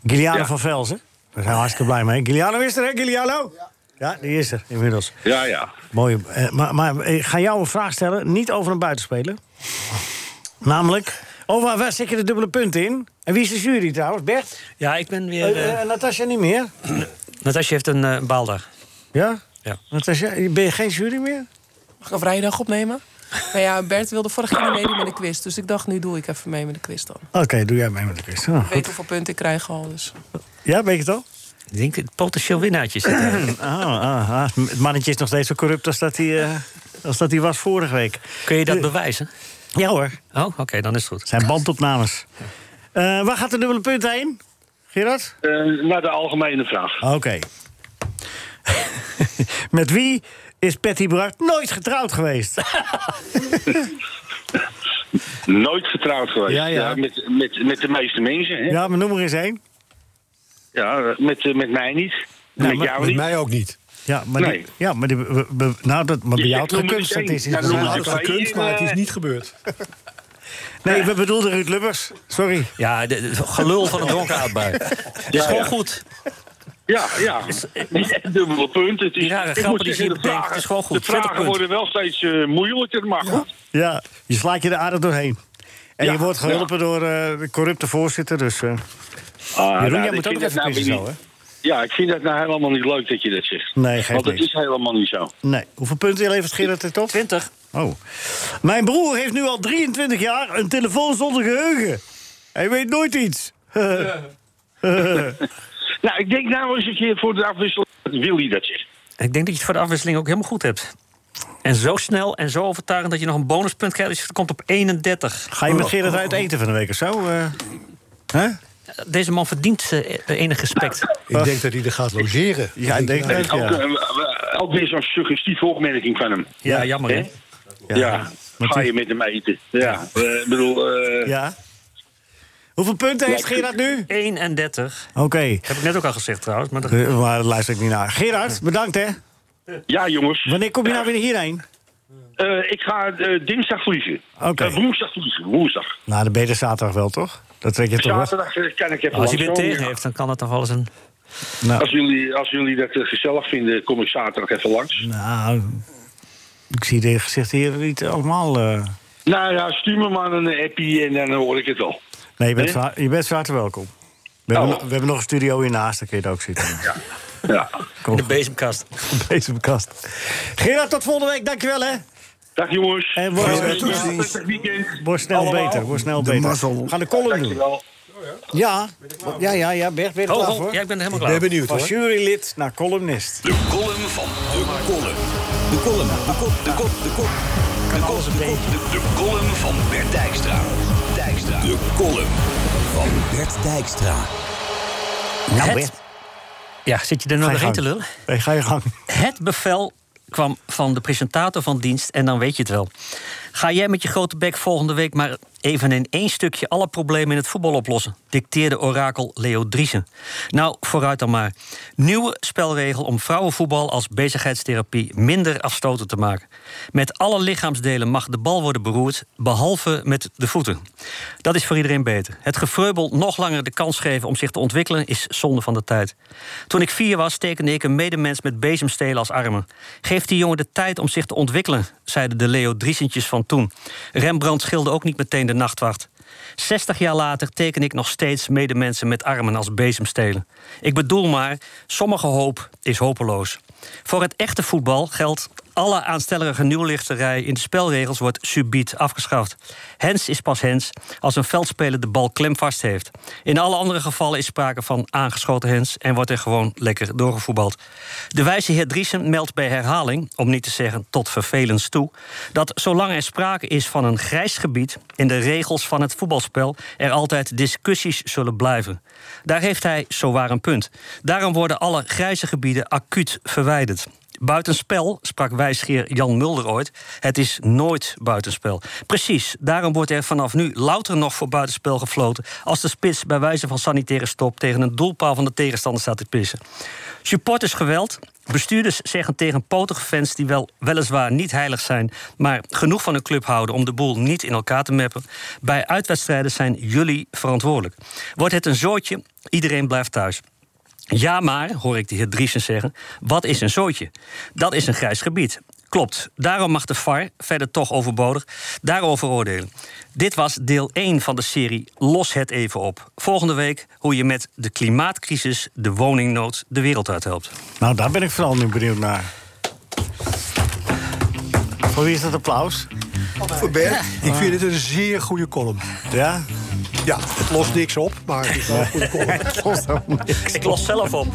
Speaker 3: Giuliano
Speaker 9: Ja.
Speaker 3: van Velzen. Daar zijn we hartstikke blij mee. Giuliano is er, hè? Giuliano? Ja. die is er inmiddels.
Speaker 9: ja, ja.
Speaker 3: Mooi. Eh, maar, maar ik ga jou een vraag stellen, niet over een buitenspeler. Namelijk, oh, waar, waar zit je de dubbele punten in? En wie is de jury trouwens? Bert?
Speaker 10: Ja, ik ben weer...
Speaker 3: Eh,
Speaker 10: eh
Speaker 3: eh, Natasja niet meer?
Speaker 10: Natasja heeft een eh, baaldag.
Speaker 3: Ja?
Speaker 10: Ja.
Speaker 3: Natasja, ben je geen jury meer?
Speaker 7: Mag ik op vrijdag opnemen? Maar ja, Bert wilde vorig jaar niet meedoen met de quiz. Dus ik dacht, nu doe ik even mee met de quiz dan.
Speaker 3: Oké, doe jij mee met de quiz. Nou,
Speaker 7: Ik weet hoeveel punten ik krijg al. Dus.
Speaker 3: Ja, weet je het al?
Speaker 10: Ik denk het potentieel winnaartje zit er.
Speaker 3: Ah, ah, ah. Het mannetje is nog steeds zo corrupt als dat hij, eh, als dat hij was vorige week.
Speaker 10: Kun je dat bewijzen?
Speaker 3: Ja hoor, het
Speaker 10: Oh, oké, dan is het goed.
Speaker 3: zijn bandopnames. Eh, waar gaat de dubbele punt heen? Gerard?
Speaker 9: Eh, naar de algemene vraag.
Speaker 3: Oké. met wie is Patty Bracht nooit getrouwd geweest?
Speaker 9: Nooit getrouwd geweest.
Speaker 3: Ja, ja.
Speaker 9: met, met, met de meeste mensen. Hè? Ja.
Speaker 3: ja, maar noem er eens één.
Speaker 9: met, eh, met mij niet. met jou
Speaker 3: maar-
Speaker 5: Nou, Met
Speaker 9: niet.
Speaker 5: mij ook niet.
Speaker 3: Ja, maar,
Speaker 9: Nee.
Speaker 3: die, ja, maar, die, we- we- nou, dat, maar bij
Speaker 9: Je
Speaker 3: jou
Speaker 9: zegt,
Speaker 3: het
Speaker 9: noem er eens
Speaker 3: gekunst. Dat
Speaker 9: één. eh,
Speaker 3: is,
Speaker 9: Ja,
Speaker 3: dat is
Speaker 9: noem
Speaker 5: Wij
Speaker 9: er
Speaker 3: een
Speaker 9: eens
Speaker 5: hadden
Speaker 9: wij
Speaker 5: gekund,
Speaker 9: in,
Speaker 5: maar het
Speaker 9: eh,
Speaker 5: is niet gebeurd.
Speaker 3: Nee, we bedoelden Ruud Lubbers. Sorry.
Speaker 4: Ja, de, de- gelul van een dronken aardbei. is gewoon
Speaker 9: ja.
Speaker 4: goed.
Speaker 9: Ja, ja. Dubbele punten. Het is,
Speaker 4: rare
Speaker 9: ik
Speaker 4: grappen
Speaker 9: moet
Speaker 4: die
Speaker 9: zeggen,
Speaker 4: je
Speaker 9: de
Speaker 4: bedenkt,
Speaker 9: vragen,
Speaker 4: het is gewoon goed.
Speaker 9: De
Speaker 4: Zet een
Speaker 9: vragen
Speaker 4: punt.
Speaker 9: worden wel steeds eh, moeilijker, maar goed.
Speaker 3: Ja, je slaat je er aardig doorheen. En
Speaker 9: Ja,
Speaker 3: je wordt geholpen door eh, de corrupte voorzitter. Dus, eh.
Speaker 9: Ah,
Speaker 3: Jeroen,
Speaker 9: nou,
Speaker 3: jij
Speaker 9: ik
Speaker 3: moet
Speaker 9: vind
Speaker 3: ook nog even
Speaker 9: dat nou
Speaker 3: kiezen
Speaker 9: weer
Speaker 3: zo, hè?
Speaker 9: niet- Ja, ik vind dat nou helemaal niet leuk dat je dat zegt.
Speaker 3: Nee, geeft
Speaker 9: Want het
Speaker 3: niks.
Speaker 9: is helemaal niet zo.
Speaker 3: Nee. Hoeveel punten levert Gerard het op?
Speaker 4: 20.
Speaker 3: Oh. Mijn broer heeft nu al 23 jaar een telefoon zonder geheugen. Hij weet nooit iets.
Speaker 9: Nou, ik denk nou eens een keer voor de afwisseling dat Willy dat zegt.
Speaker 4: Ik denk dat je het voor de afwisseling ook helemaal goed hebt. En zo snel en zo overtuigend dat je nog een bonuspunt krijgt. Dus het komt op 31.
Speaker 3: Ga je met Gerard uit eten van de week of zo? eh? Hè?
Speaker 4: Deze man verdient eh, enig respect.
Speaker 5: Ik denk dat hij er gaat logeren.
Speaker 3: Ja, ik denk dat.
Speaker 9: Ook,
Speaker 3: Ja.
Speaker 9: eh, eh, ook weer zo'n suggestieve opmerking van hem.
Speaker 4: Ja, jammer hè.
Speaker 9: Hè? Ja, ga je met hem eten. Ja, eh, ik bedoel... eh,
Speaker 3: ja. Hoeveel punten heeft
Speaker 9: Ja, ik-
Speaker 3: Gerard nu?
Speaker 4: 31.
Speaker 3: Oké.
Speaker 4: Heb ik net ook al gezegd trouwens. Maar dat-
Speaker 3: Eh, Maar daar luister ik niet naar. Gerard, bedankt hè.
Speaker 9: ja, jongens.
Speaker 3: Wanneer kom je
Speaker 9: Ja,
Speaker 3: nou weer hierheen?
Speaker 9: eh, ik ga eh, dinsdag vliegen.
Speaker 3: Oké.
Speaker 9: Eh, woensdag vliegen, woensdag.
Speaker 3: Nou, de beter zaterdag wel, toch? Dat weet je toch wel?
Speaker 9: Zaterdag eh, kan ik even
Speaker 4: Als hij weer
Speaker 9: langskomen.
Speaker 4: tegen heeft, dan kan het nog wel eens een...
Speaker 3: Nou.
Speaker 9: Als jullie, als jullie dat eh, gezellig vinden, kom ik zaterdag even langs.
Speaker 3: Nou, ik zie de gezichten hier niet allemaal... eh.
Speaker 9: Nou ja, stuur me maar een appie en dan hoor ik het al.
Speaker 3: Nee, je bent,
Speaker 9: Eh?
Speaker 3: van- je bent van harte welkom. We,
Speaker 9: Oh.
Speaker 3: hebben, nog- we hebben nog een studio hiernaast, daar kun je het ook zitten.
Speaker 9: Ja.
Speaker 4: In de bezemkast.
Speaker 3: Deze kast. Gerard, tot volgende week. Dankjewel, hè.
Speaker 9: Dag jongens.
Speaker 3: En word-
Speaker 9: Eh,
Speaker 3: tot
Speaker 9: ja,
Speaker 11: ziens.
Speaker 9: prettig weekend.
Speaker 3: Word snel
Speaker 9: Allemaal.
Speaker 3: beter, word snel
Speaker 11: De
Speaker 3: beter.
Speaker 11: mazzel.
Speaker 3: We gaan de column doen.
Speaker 9: Dankjewel.
Speaker 3: Ja, ja, ja, ja Bert, ben je er
Speaker 4: Ho,
Speaker 3: klaar
Speaker 4: ho,
Speaker 3: voor?
Speaker 4: Oh, ja, ik ben er helemaal
Speaker 5: Ik ben
Speaker 4: klaar. voor.
Speaker 5: benieuwd
Speaker 3: Van
Speaker 5: hoor.
Speaker 3: jurylid naar columnist.
Speaker 2: De column van de column. De column, de kop, de kop, de kop. De kop, de kop, de- De column van Bert Dijkstra. Dijkstra. De column van Bert Dijkstra.
Speaker 3: Nou,
Speaker 4: Het- Ja, zit je er nou nog heen te lullen?
Speaker 3: Nee, ga je gang.
Speaker 4: Het bevel kwam van de presentator van dienst en dan weet je het wel. Ga jij met je grote bek volgende week maar even in één stukje alle problemen in het voetbal oplossen? Dicteerde orakel Leo Driesen. Nou, vooruit dan maar. Nieuwe spelregel om vrouwenvoetbal als bezigheidstherapie minder afstotend te maken. Met alle lichaamsdelen mag de bal worden beroerd, behalve met de voeten. Dat is voor iedereen beter. Het gevreubel nog langer de kans geven om zich te ontwikkelen is zonde van de tijd. Toen ik vier was, tekende ik een medemens met bezemstelen als armen. Geef die jongen de tijd om zich te ontwikkelen, zeiden de Leo Driesentjes van toen. Rembrandt schilde ook niet meteen de nachtwacht. 60 jaar later teken ik nog steeds medemensen met armen als bezemstelen. Ik bedoel maar, sommige hoop is hopeloos. Voor het echte voetbal geldt... alle aanstellerige nieuwlichterij in de spelregels wordt subiet afgeschaft. Hens is pas hens als een veldspeler de bal klemvast heeft. In alle andere gevallen is sprake van aangeschoten hens... en wordt er gewoon lekker doorgevoetbald. De wijze heer Driesen meldt bij herhaling, om niet te zeggen tot vervelens toe... dat zolang er sprake is van een grijs gebied... in de regels van het voetbalspel er altijd discussies zullen blijven. Daar heeft hij zowaar een punt. Daarom worden alle grijze gebieden acuut verwijderd. Buitenspel, sprak wijsgeer Jan Mulder ooit. Het is nooit buitenspel. Precies, daarom wordt er vanaf nu louter nog voor buitenspel gefloten. als de spits bij wijze van sanitaire stop tegen een doelpaal van de tegenstander staat te pissen. Supporters geweld. Bestuurders zeggen tegen potige fans die wel, weliswaar niet heilig zijn. maar genoeg van hun club houden om de boel niet in elkaar te meppen. Bij uitwedstrijden zijn jullie verantwoordelijk. Wordt het een zootje, iedereen blijft thuis. Ja, maar, hoor ik de heer Driesen zeggen, wat is een zootje? Dat is een grijs gebied. Klopt, daarom mag de VAR, verder toch overbodig, daarover oordelen. Dit was deel 1 van de serie Los het even op. Volgende week hoe je met de klimaatcrisis, de woningnood, de wereld uithelpt.
Speaker 3: Nou, daar ben ik vooral nu benieuwd naar. Voor wie is dat applaus?
Speaker 11: Voor Bert.
Speaker 5: Ik vind dit een zeer goede column.
Speaker 3: Ja?
Speaker 5: Ja, het lost niks op, maar het is wel een goede column.
Speaker 4: Ik los zelf op.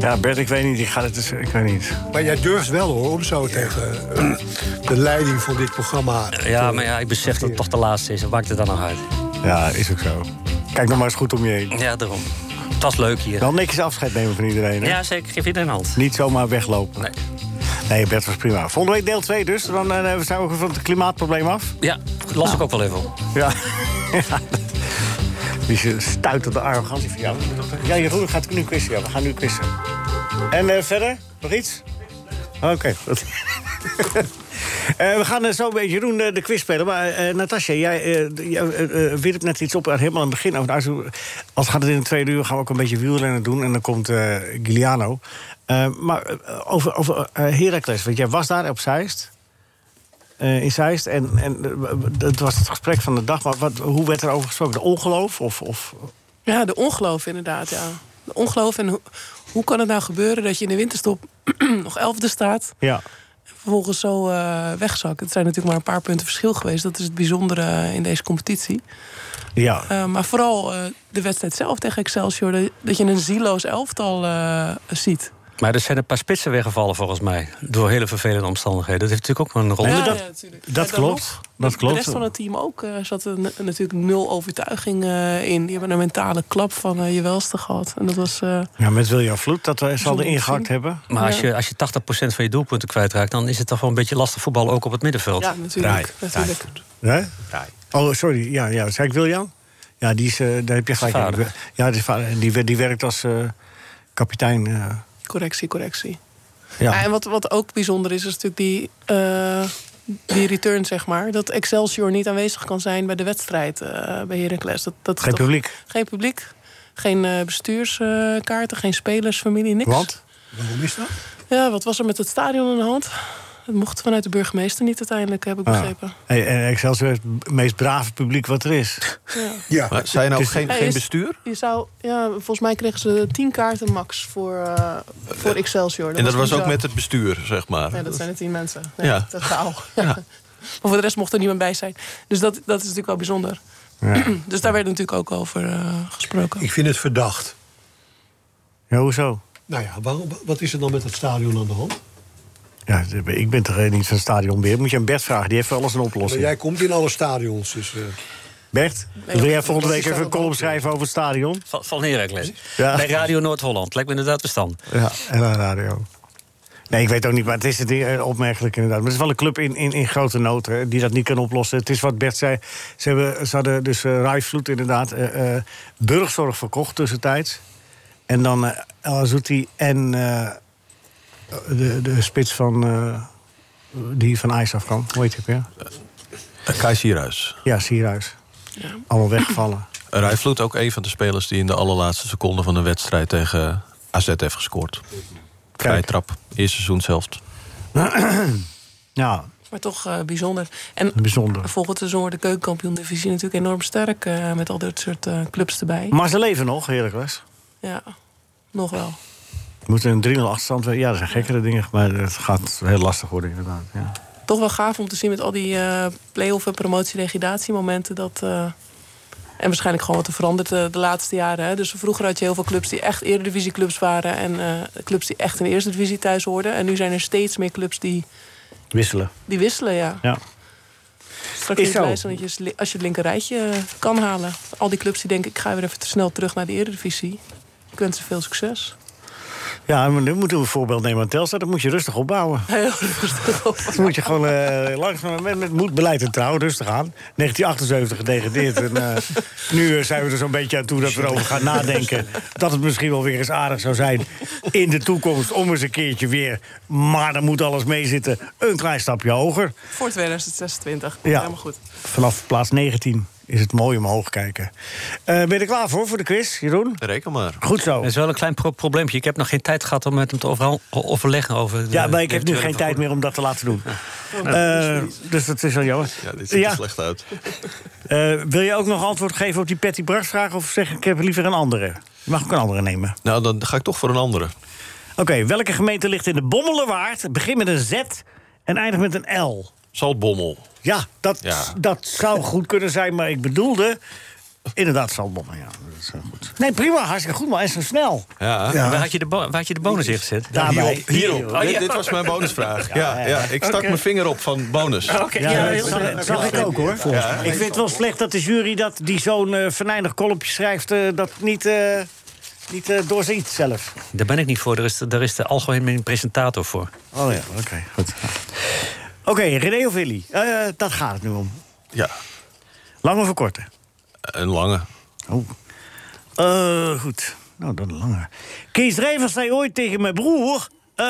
Speaker 3: Ja, Bert, ik weet niet. Ik, ga het dus, ik weet niet.
Speaker 5: Maar jij durft wel hoor, om zo tegen eh, de leiding van dit programma.
Speaker 4: Ja,
Speaker 5: te-
Speaker 4: maar ja, ik besef dat het toch de laatste is. Wat maakt het dan nog uit?
Speaker 3: Ja, is ook zo. Kijk nog maar eens goed om je heen.
Speaker 4: Ja, daarom. Het was leuk hier.
Speaker 3: Wel netjes afscheid nemen van iedereen, hè?
Speaker 4: Ja, zeker. Geef iedereen een hand.
Speaker 3: Niet zomaar weglopen.
Speaker 4: Nee.
Speaker 3: Nee, Bert was prima. Volgende week deel 2 dus. Dan eh, zijn we ook van het klimaatprobleem af.
Speaker 4: Ja, los ik ook wel even op.
Speaker 3: Ja. Ja. Die stuit op de arrogantie van jou. Ja, Jeroen gaat nu quizzen. Ja, we gaan nu quizzen. En eh, verder? Nog iets? Oké. goed. Eh, we gaan eh, zo bij Jeroen eh, de quiz spelen. Maar eh Natasja, jij eh, d- jij, eh, eh, wierp net iets op aan helemaal aan het begin. Over de uitzending. als gaat het in de tweede uur, gaan we ook een beetje wielrennen doen. En dan komt eh Giuliano. Eh, maar eh, over, over eh, Heracles, want jij was daar op Zeist. eh, in Zeist. En, en eh, w- dat was het gesprek van de dag. Maar wat, hoe werd er over gesproken? De ongeloof? Of, of...
Speaker 7: Ja, de ongeloof inderdaad, ja. De ongeloof en hoe, hoe kan het nou gebeuren dat je in de winterstop nog elfde staat...
Speaker 3: Ja.
Speaker 7: en vervolgens zo eh wegzakken. Het zijn natuurlijk maar een paar punten verschil geweest. Dat is het bijzondere eh, in deze competitie.
Speaker 3: Ja.
Speaker 4: Ah.
Speaker 7: Eh, maar vooral eh, de wedstrijd zelf tegen Excelsior... dat, dat je een zieloos elftal eh, ziet.
Speaker 4: Maar er zijn een paar spitsen weggevallen volgens mij. Door hele vervelende omstandigheden. Dat heeft natuurlijk ook een rol.
Speaker 7: Ja, ja, natuurlijk.
Speaker 4: dat
Speaker 7: Ja, dan
Speaker 4: klopt,
Speaker 7: nog.
Speaker 4: dat klopt.
Speaker 7: De rest van het team ook eh, zat er n- natuurlijk nul overtuiging eh, in. Die hebben een mentale klap van eh, je welste gehad. En dat was... eh,
Speaker 3: Ja, met William Vloed, dat we ze
Speaker 7: Zonder
Speaker 3: hadden ingehakt hebben.
Speaker 4: Maar als, je, als je 80% van je doelpunten kwijtraakt, dan is het toch wel een beetje lastig voetballen ook op het middenveld.
Speaker 7: Ja, natuurlijk, Draai, natuurlijk.
Speaker 3: Hè? Oh, sorry. Ja, ja. Zei ik William? Ja, die is, eh, daar heb je gelijk.
Speaker 7: Zijn vader.
Speaker 3: in. Ja, die, is vader. En die, wer- die werkt als eh, kapitein. eh.
Speaker 7: Correctie, correctie.
Speaker 3: Ja.
Speaker 7: Ja. en wat, wat ook bijzonder is, is natuurlijk die, eh, die return, zeg maar. Dat Excelsior niet aanwezig kan zijn bij de wedstrijd eh, bij Heracles. Dat, dat is
Speaker 3: Geen
Speaker 7: toch-
Speaker 3: publiek.
Speaker 7: Geen publiek. Geen eh, bestuurskaarten, geen spelersfamilie, niks.
Speaker 3: Want?
Speaker 5: Waarom is dat?
Speaker 7: Ja, wat was er met het stadion aan de hand? Het mocht vanuit de burgemeester niet uiteindelijk, heb ik
Speaker 3: Ah.
Speaker 7: begrepen.
Speaker 3: Hey, en Excelsior heeft het meest brave publiek wat er is.
Speaker 7: Ja.
Speaker 6: Maar zijn nou geen,
Speaker 7: Ja,
Speaker 6: geen
Speaker 7: is-
Speaker 6: bestuur?
Speaker 7: Je zou, ja, volgens mij kregen ze tien kaarten max voor, eh, voor Excelsior.
Speaker 6: en dat was ook
Speaker 7: bizar.
Speaker 6: met het bestuur, zeg maar.
Speaker 7: Ja, dat zijn de tien mensen.
Speaker 6: Ja.
Speaker 7: ja. Totaal. maar voor de rest mocht er niemand bij zijn. Dus dat, dat is natuurlijk wel bijzonder. dus daar werd natuurlijk ook over eh, gesproken.
Speaker 5: Ik vind het verdacht.
Speaker 3: Ja, hoezo?
Speaker 5: Nou ja, waarom, wat is er dan met dat stadion aan de hand?
Speaker 3: Ja, ik ben toch eh, niet van stadionbeheer. Moet je aan Bert vragen, die heeft voor alles een
Speaker 5: Maar
Speaker 3: oplossing.
Speaker 5: jij komt in alle stadions, dus... eh,
Speaker 3: Bert,
Speaker 5: Nee,
Speaker 3: wil jij
Speaker 5: dat
Speaker 3: volgende
Speaker 5: is
Speaker 3: week even
Speaker 5: wel
Speaker 3: een column schrijven over het stadion?
Speaker 4: Van, van Heracles.
Speaker 3: Ja.
Speaker 4: Bij Radio Noord-Holland. Lijkt me inderdaad verstand.
Speaker 3: Ja, en aan radio. Nee, ik weet ook niet, maar het is het, eh, opmerkelijk inderdaad. Maar het is wel een club in, in, in grote nood hè, die dat niet kan oplossen. Het is wat Bert zei. Ze, hebben, ze hadden dus eh Rijvloed inderdaad eh, eh, burgzorg verkocht tussentijds. En dan eh El Azouti en eh, de, de spits van, eh, die van IJs afkwam. Hoe heet hij ook weer?
Speaker 6: Kai Sierhuis.
Speaker 3: Ja, Sierhuis. Allemaal weggevallen.
Speaker 6: Rijvloed ook een van de spelers die in de allerlaatste seconde van de wedstrijd tegen AZ heeft gescoord. Vrije trap, eerste seizoen zelf.
Speaker 3: ja,
Speaker 7: Maar toch eh, bijzonder. En
Speaker 3: Bijzonder.
Speaker 7: volgend seizoen wordt de keukenkampioen-divisie natuurlijk enorm sterk... eh, met al dat soort eh, clubs erbij.
Speaker 3: Maar ze leven nog, Heracles.
Speaker 7: Ja, nog wel.
Speaker 3: We moeten een 3-0 achterstand. Ja, dat zijn gekkere dingen, maar het gaat heel lastig worden inderdaad. Ja.
Speaker 7: Toch wel gaaf om te zien met al die eh play-off en promotie-degradatiemomenten... Dat, eh, en waarschijnlijk gewoon wat er verandert eh, de laatste jaren. Hè. Dus vroeger had je heel veel clubs die echt eredivisieclubs waren... en eh, clubs die echt in de eerste divisie thuis hoorden. En nu zijn er steeds meer clubs die,
Speaker 3: Wisselen.
Speaker 7: die wisselen, ja.
Speaker 3: Ja.
Speaker 7: Straks
Speaker 3: Is
Speaker 7: is
Speaker 3: zo.
Speaker 7: blij zijn dat je, als li- als je het linker rijtje eh, kan halen. Al die clubs die denken, ik ga weer even te snel terug naar de Eredivisie. Ik wens ze veel succes.
Speaker 3: Ja, maar nu moeten we een voorbeeld nemen aan Telstar. Dat moet je rustig opbouwen.
Speaker 7: Heel rustig
Speaker 3: Dat moet je gewoon eh langzaam met, met moed, beleid en trouw rustig aan. 1978 gedegradeerd. En, eh, nu eh, zijn we er zo'n beetje aan toe dat we erover gaan nadenken... dat het misschien wel weer eens aardig zou zijn in de toekomst... om eens een keertje weer, maar dan moet alles meezitten... een klein stapje hoger.
Speaker 7: Voor 2026.
Speaker 3: Ja.
Speaker 7: Helemaal goed.
Speaker 3: Vanaf plaats 19 is het mooi omhoog kijken. Eh, ben je er klaar voor, voor de quiz, Jeroen?
Speaker 6: Reken maar.
Speaker 3: Goed zo.
Speaker 4: Dat is wel een klein pro- probleempje. Ik heb nog geen tijd gehad om met hem te overal- overleggen over... de-
Speaker 3: Ja, maar ik heb nu
Speaker 4: eventuele
Speaker 3: geen tijd meer om dat te laten doen. Eh, dus dat is wel jammer.
Speaker 6: Ja, dit ziet
Speaker 3: Ja.
Speaker 6: er slecht uit.
Speaker 3: Eh, wil je ook nog antwoord geven op die Patty Brax vraag? Of zeg ik, ik heb liever een andere? Je mag ook een andere nemen.
Speaker 6: Nou, dan ga ik toch voor een andere.
Speaker 3: Oké, welke gemeente ligt in de Bommelerwaard? Begin met een Z en eindig met een L.
Speaker 6: Zaltbommel.
Speaker 3: Ja, dat,
Speaker 6: Ja.
Speaker 3: dat zou goed kunnen zijn, maar ik bedoelde... Inderdaad, Zaltbommel, ja. Dat is eh, goed. Nee, prima, hartstikke goed, maar en zo snel.
Speaker 6: Ja.
Speaker 4: En Waar, had je de bo- waar had je de bonus in gezet?
Speaker 3: Daarbij.
Speaker 6: Hierop, hierop. dit, dit was mijn bonusvraag. Ja, ja, ik stak mijn vinger op van bonus.
Speaker 3: Ja, dat zag, dat zag ik ook, hoor. Ik vind het wel slecht dat de jury dat, die zo'n eh, venijnig kolopje schrijft... eh, dat niet, eh, niet eh, doorziet zelf.
Speaker 4: Daar ben ik niet voor. Daar is de, daar is de algemeen presentator voor.
Speaker 3: Oh ja, oké, goed. Oké, René of Willy, Eh, dat gaat het nu om.
Speaker 6: Ja,
Speaker 3: Lang of korter?
Speaker 6: een lange.
Speaker 3: Oh. Eh, goed, nou dan langer. Kees Rijvers zei ooit tegen mijn broer... Eh,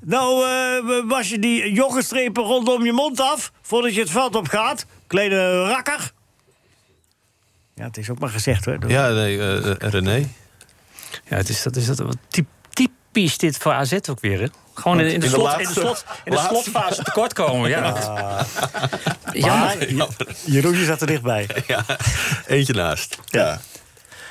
Speaker 3: nou, eh, was je die joggenstrepen rondom je mond af... voordat je het veld op gaat? Kleine rakker. Ja, het is ook maar gezegd, hoor.
Speaker 6: Ja, nee, eh, eh, René.
Speaker 4: Ja, het is, dat is dat, wat typ- typisch dit voor AZ ook weer, hè? Gewoon in, in, de,
Speaker 6: In de
Speaker 4: slot, in, de,
Speaker 6: laatste-
Speaker 4: slot, in de
Speaker 6: laatste-
Speaker 4: slotfase tekortkomen. Ja.
Speaker 3: Maar, Jeroen, je zat er dichtbij.
Speaker 6: Ja, eentje naast.
Speaker 3: Ja.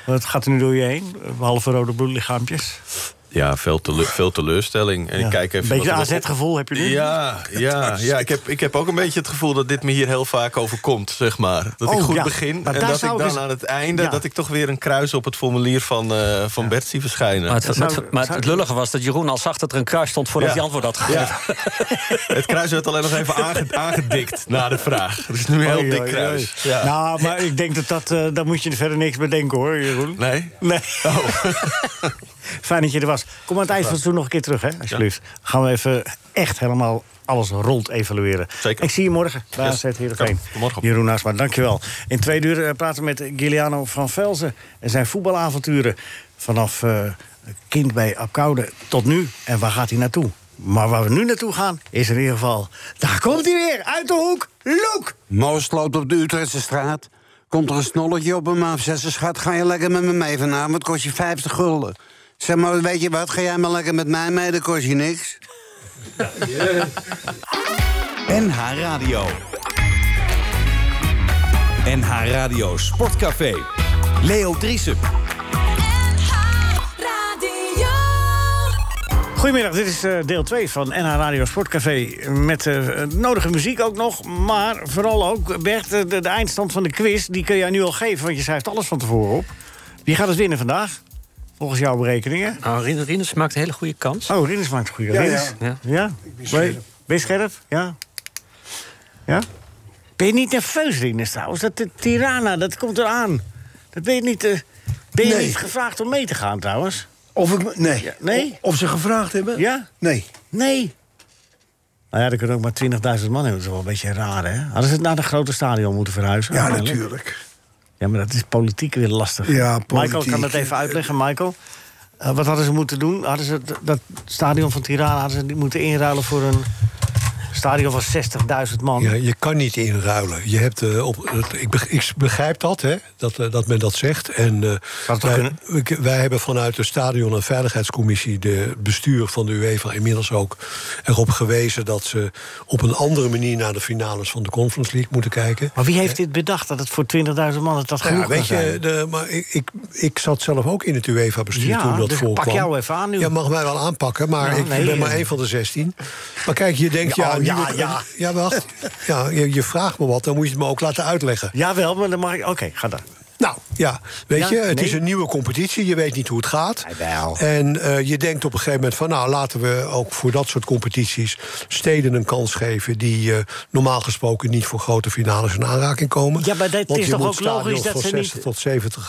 Speaker 3: Wat gaat er nu door je heen? Behalve rode bloedlichaampjes.
Speaker 6: Ja, veel, teleur- veel teleurstelling. En
Speaker 3: Ja.
Speaker 6: ik kijk even
Speaker 3: Beetje
Speaker 6: wat er nog op-
Speaker 3: AZ-gevoel heb je nu?
Speaker 6: Ja, ja, ja ik, heb, ik heb ook een beetje het gevoel dat dit me hier heel vaak overkomt, zeg maar. Dat ik
Speaker 3: Oh,
Speaker 6: goed
Speaker 3: ja.
Speaker 6: begin
Speaker 3: Maar
Speaker 6: en
Speaker 3: daar
Speaker 6: dat ik
Speaker 3: zou
Speaker 6: dan
Speaker 3: ik eens-
Speaker 6: aan het einde...
Speaker 3: Ja.
Speaker 6: dat ik toch weer een kruis op het formulier van, eh van Bert zie verschijnen.
Speaker 4: Maar, het, maar, het-
Speaker 3: zou-
Speaker 4: maar
Speaker 3: zou-
Speaker 4: het lullige was dat Jeroen al zag dat er een kruis stond voordat
Speaker 6: Ja.
Speaker 4: hij antwoord had gegeven.
Speaker 6: Ja. het kruis werd alleen nog even aange- aangedikt na de vraag. Het is nu een heel
Speaker 3: Oei,
Speaker 6: dik
Speaker 3: oei,
Speaker 6: kruis.
Speaker 3: oei.
Speaker 6: Ja.
Speaker 3: Nou, maar ik denk dat dat... eh, daar moet je verder niks bij denken, hoor, Jeroen.
Speaker 6: Nee? Oh.
Speaker 3: Nee. Fijn dat je er was. Kom aan het eind van het seizoen nog een keer terug, hè, alsjeblieft. Gaan we even echt helemaal alles rond evalueren.
Speaker 6: Zeker.
Speaker 3: Ik zie je morgen bij
Speaker 6: Yes.
Speaker 3: AZ Heerenveen.
Speaker 6: Ja, tot morgen.
Speaker 3: Jeroen Naasma, dankjewel. In twee uur eh, praten we met Giuliano van Velzen. En zijn voetbalavonturen vanaf eh, kind bij Apkoude tot nu. En waar gaat hij naartoe? Maar waar we nu naartoe gaan, is in ieder geval... Daar komt hij weer, uit de hoek, Loek!
Speaker 12: Moos loopt op de Utrechtse straat. Komt er een snolletje op hem af. Zegt ze, schat, ga je lekker met me mee vanavond? Kost je 50 gulden. Zeg maar, weet je wat, ga jij maar lekker met mij mee? Dan kost je niks.
Speaker 2: NH Radio. NH Radio Sportcafé. Leo Driesen.
Speaker 3: Goedemiddag, dit is eh, deel 2 van NH Radio Sportcafé. Met eh, nodige muziek ook nog, maar vooral ook... Bert, eh, de, de eindstand van de quiz, die kun jij nu al geven... want je schrijft alles van tevoren op. Wie gaat het winnen vandaag? Volgens jouw berekeningen.
Speaker 4: Nou, Rinus- Rinus maakt een hele goede kans.
Speaker 3: Oh, Rinus maakt het goede.
Speaker 8: Ja,
Speaker 3: Rinus?
Speaker 4: ja.
Speaker 3: ja?
Speaker 8: ben
Speaker 3: Ben
Speaker 8: scherp.
Speaker 3: ben je scherp? Ja? Ja? Ben je niet nerveus, Rinus, trouwens? Dat de Tirana, dat komt eraan. Dat ben je niet... eh, ben je
Speaker 8: Nee.
Speaker 3: niet gevraagd om mee te gaan, trouwens?
Speaker 8: Of ik, me- nee.
Speaker 3: nee?
Speaker 8: O- Of ze gevraagd hebben?
Speaker 3: Ja?
Speaker 8: Nee.
Speaker 3: Nee. Nou ja, er kunnen ook maar 20.000 man hebben. Dat is wel een beetje raar, hè? Hadden ze het naar de grote stadion moeten verhuizen?
Speaker 8: Ja,
Speaker 3: uiteindelijk?
Speaker 8: natuurlijk.
Speaker 3: Ja, maar dat is politiek weer lastig.
Speaker 8: Ja,
Speaker 3: Michael kan
Speaker 8: politiek.
Speaker 3: dat even uitleggen, Michael. Eh, wat hadden ze moeten doen? Hadden ze het- dat stadion van Tirana hadden ze niet moeten inruilen voor een stadion van 60.000 man?
Speaker 5: Ja, je kan niet inruilen. Je hebt, eh, op, het- ik, beg- ik begrijp dat, hè, dat, eh, dat men dat zegt. En, eh,
Speaker 3: toch
Speaker 5: wij,
Speaker 3: kunnen?
Speaker 5: ik- wij hebben vanuit de Stadion- en Veiligheidscommissie... de bestuur van de UEFA inmiddels ook erop gewezen... dat ze op een andere manier naar de finales van de Conference League moeten kijken.
Speaker 3: Maar wie heeft dit bedacht, dat het voor 20.000 man dat, dat
Speaker 5: Nou ja,
Speaker 3: genoeg
Speaker 5: weet
Speaker 3: kan
Speaker 5: je,
Speaker 3: zijn?
Speaker 5: de, maar ik, ik, ik zat zelf ook in het UEFA-bestuur
Speaker 3: Ja,
Speaker 5: toen dat
Speaker 3: dus ik
Speaker 5: voorkwam.
Speaker 3: pak jou even aan nu.
Speaker 5: Ja, mag mij wel aanpakken, maar
Speaker 3: Nou,
Speaker 5: ik
Speaker 3: nee,
Speaker 5: ben maar
Speaker 3: eh.
Speaker 5: één van de 16. Maar kijk, je denkt,
Speaker 3: Ja,
Speaker 5: ja,
Speaker 3: oh,
Speaker 5: nu
Speaker 3: ja,
Speaker 5: wordt-
Speaker 3: ja.
Speaker 5: ja, wacht. Ja, je, je vraagt me wat, dan moet je het me ook laten uitleggen.
Speaker 3: Jawel, maar dan mag ik... Oké, ga dan.
Speaker 5: Nou, ja, weet
Speaker 3: Ja,
Speaker 5: je, het
Speaker 3: nee.
Speaker 5: is een nieuwe competitie. Je weet niet hoe het gaat.
Speaker 3: Ja, wel.
Speaker 5: En eh, je denkt op een gegeven moment van... nou, laten we ook voor dat soort competities steden een kans geven... die eh, normaal gesproken niet voor grote finales in aanraking komen.
Speaker 3: Ja, maar dat
Speaker 5: Want
Speaker 3: is
Speaker 5: je
Speaker 3: toch
Speaker 5: moet
Speaker 3: ook logisch
Speaker 5: stadions
Speaker 3: dat
Speaker 5: van
Speaker 3: ze niet-
Speaker 5: 60 tot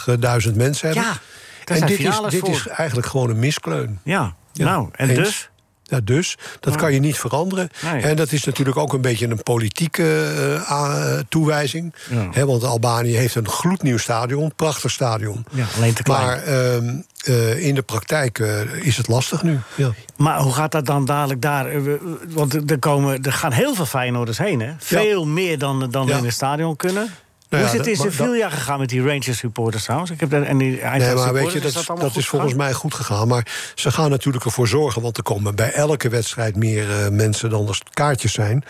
Speaker 5: 70.000 mensen hebben.
Speaker 3: Ja, daar
Speaker 5: en
Speaker 3: zijn
Speaker 5: dit, is,
Speaker 3: finales
Speaker 5: dit
Speaker 3: voor.
Speaker 5: is eigenlijk gewoon een miskleun.
Speaker 3: Ja,
Speaker 5: Ja,
Speaker 3: nou, en
Speaker 5: eens.
Speaker 3: dus? Nou.
Speaker 5: Ja, dus, dat kan je niet veranderen.
Speaker 3: Nee.
Speaker 5: En dat is natuurlijk ook een beetje een politieke eh, a- eh, toewijzing. Hè, want Albanië heeft een gloednieuw stadion, prachtig stadion.
Speaker 3: Ja, alleen te klein.
Speaker 5: Maar ehm, eh, in de praktijk eh, is het lastig nu. Ja.
Speaker 3: Maar hoe gaat dat dan dadelijk daar? Eh, we- Want er, komen, er gaan heel veel Feyenoorders heen, hè? Veel meer dan, dan
Speaker 5: Ja. Nou
Speaker 3: in het stadion kunnen.
Speaker 5: ja,
Speaker 3: Hoe is het in
Speaker 5: dat- maar
Speaker 3: Sevilla gegaan met die Rangers supporters trouwens? Ik heb daar, en die
Speaker 5: Nee,
Speaker 3: Eintracht
Speaker 5: maar weet
Speaker 3: supporters,
Speaker 5: je, dat, dat,
Speaker 3: allemaal
Speaker 5: is
Speaker 3: goed
Speaker 5: volgens
Speaker 3: gegaan?
Speaker 5: mij goed gegaan. Maar ze gaan natuurlijk ervoor zorgen, want er komen bij elke wedstrijd meer eh, mensen dan er kaartjes zijn.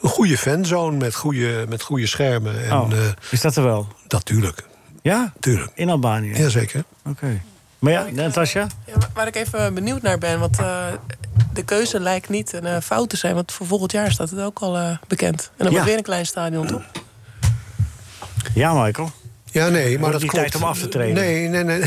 Speaker 5: Een goede fanzone met goede, met goede schermen. En,
Speaker 3: Oh,
Speaker 5: eh,
Speaker 3: is dat er wel?
Speaker 5: dat tuurlijk,
Speaker 3: Ja?
Speaker 5: tuurlijk.
Speaker 3: In Albanië?
Speaker 5: Jazeker.
Speaker 3: Oké. Maar ja, Natasja?
Speaker 7: Ja, waar- waar ik even benieuwd naar ben, want eh, de keuze lijkt niet een eh, fout te zijn. Want voor volgend jaar staat het ook al eh, bekend. En dan
Speaker 3: Ja.
Speaker 7: wordt weer een klein stadion, toch?
Speaker 3: Ja, Michael.
Speaker 5: Ja, nee, maar
Speaker 3: Wordt
Speaker 5: dat
Speaker 3: niet
Speaker 5: klopt.
Speaker 3: tijd om af te treden.
Speaker 5: Nee, nee, nee.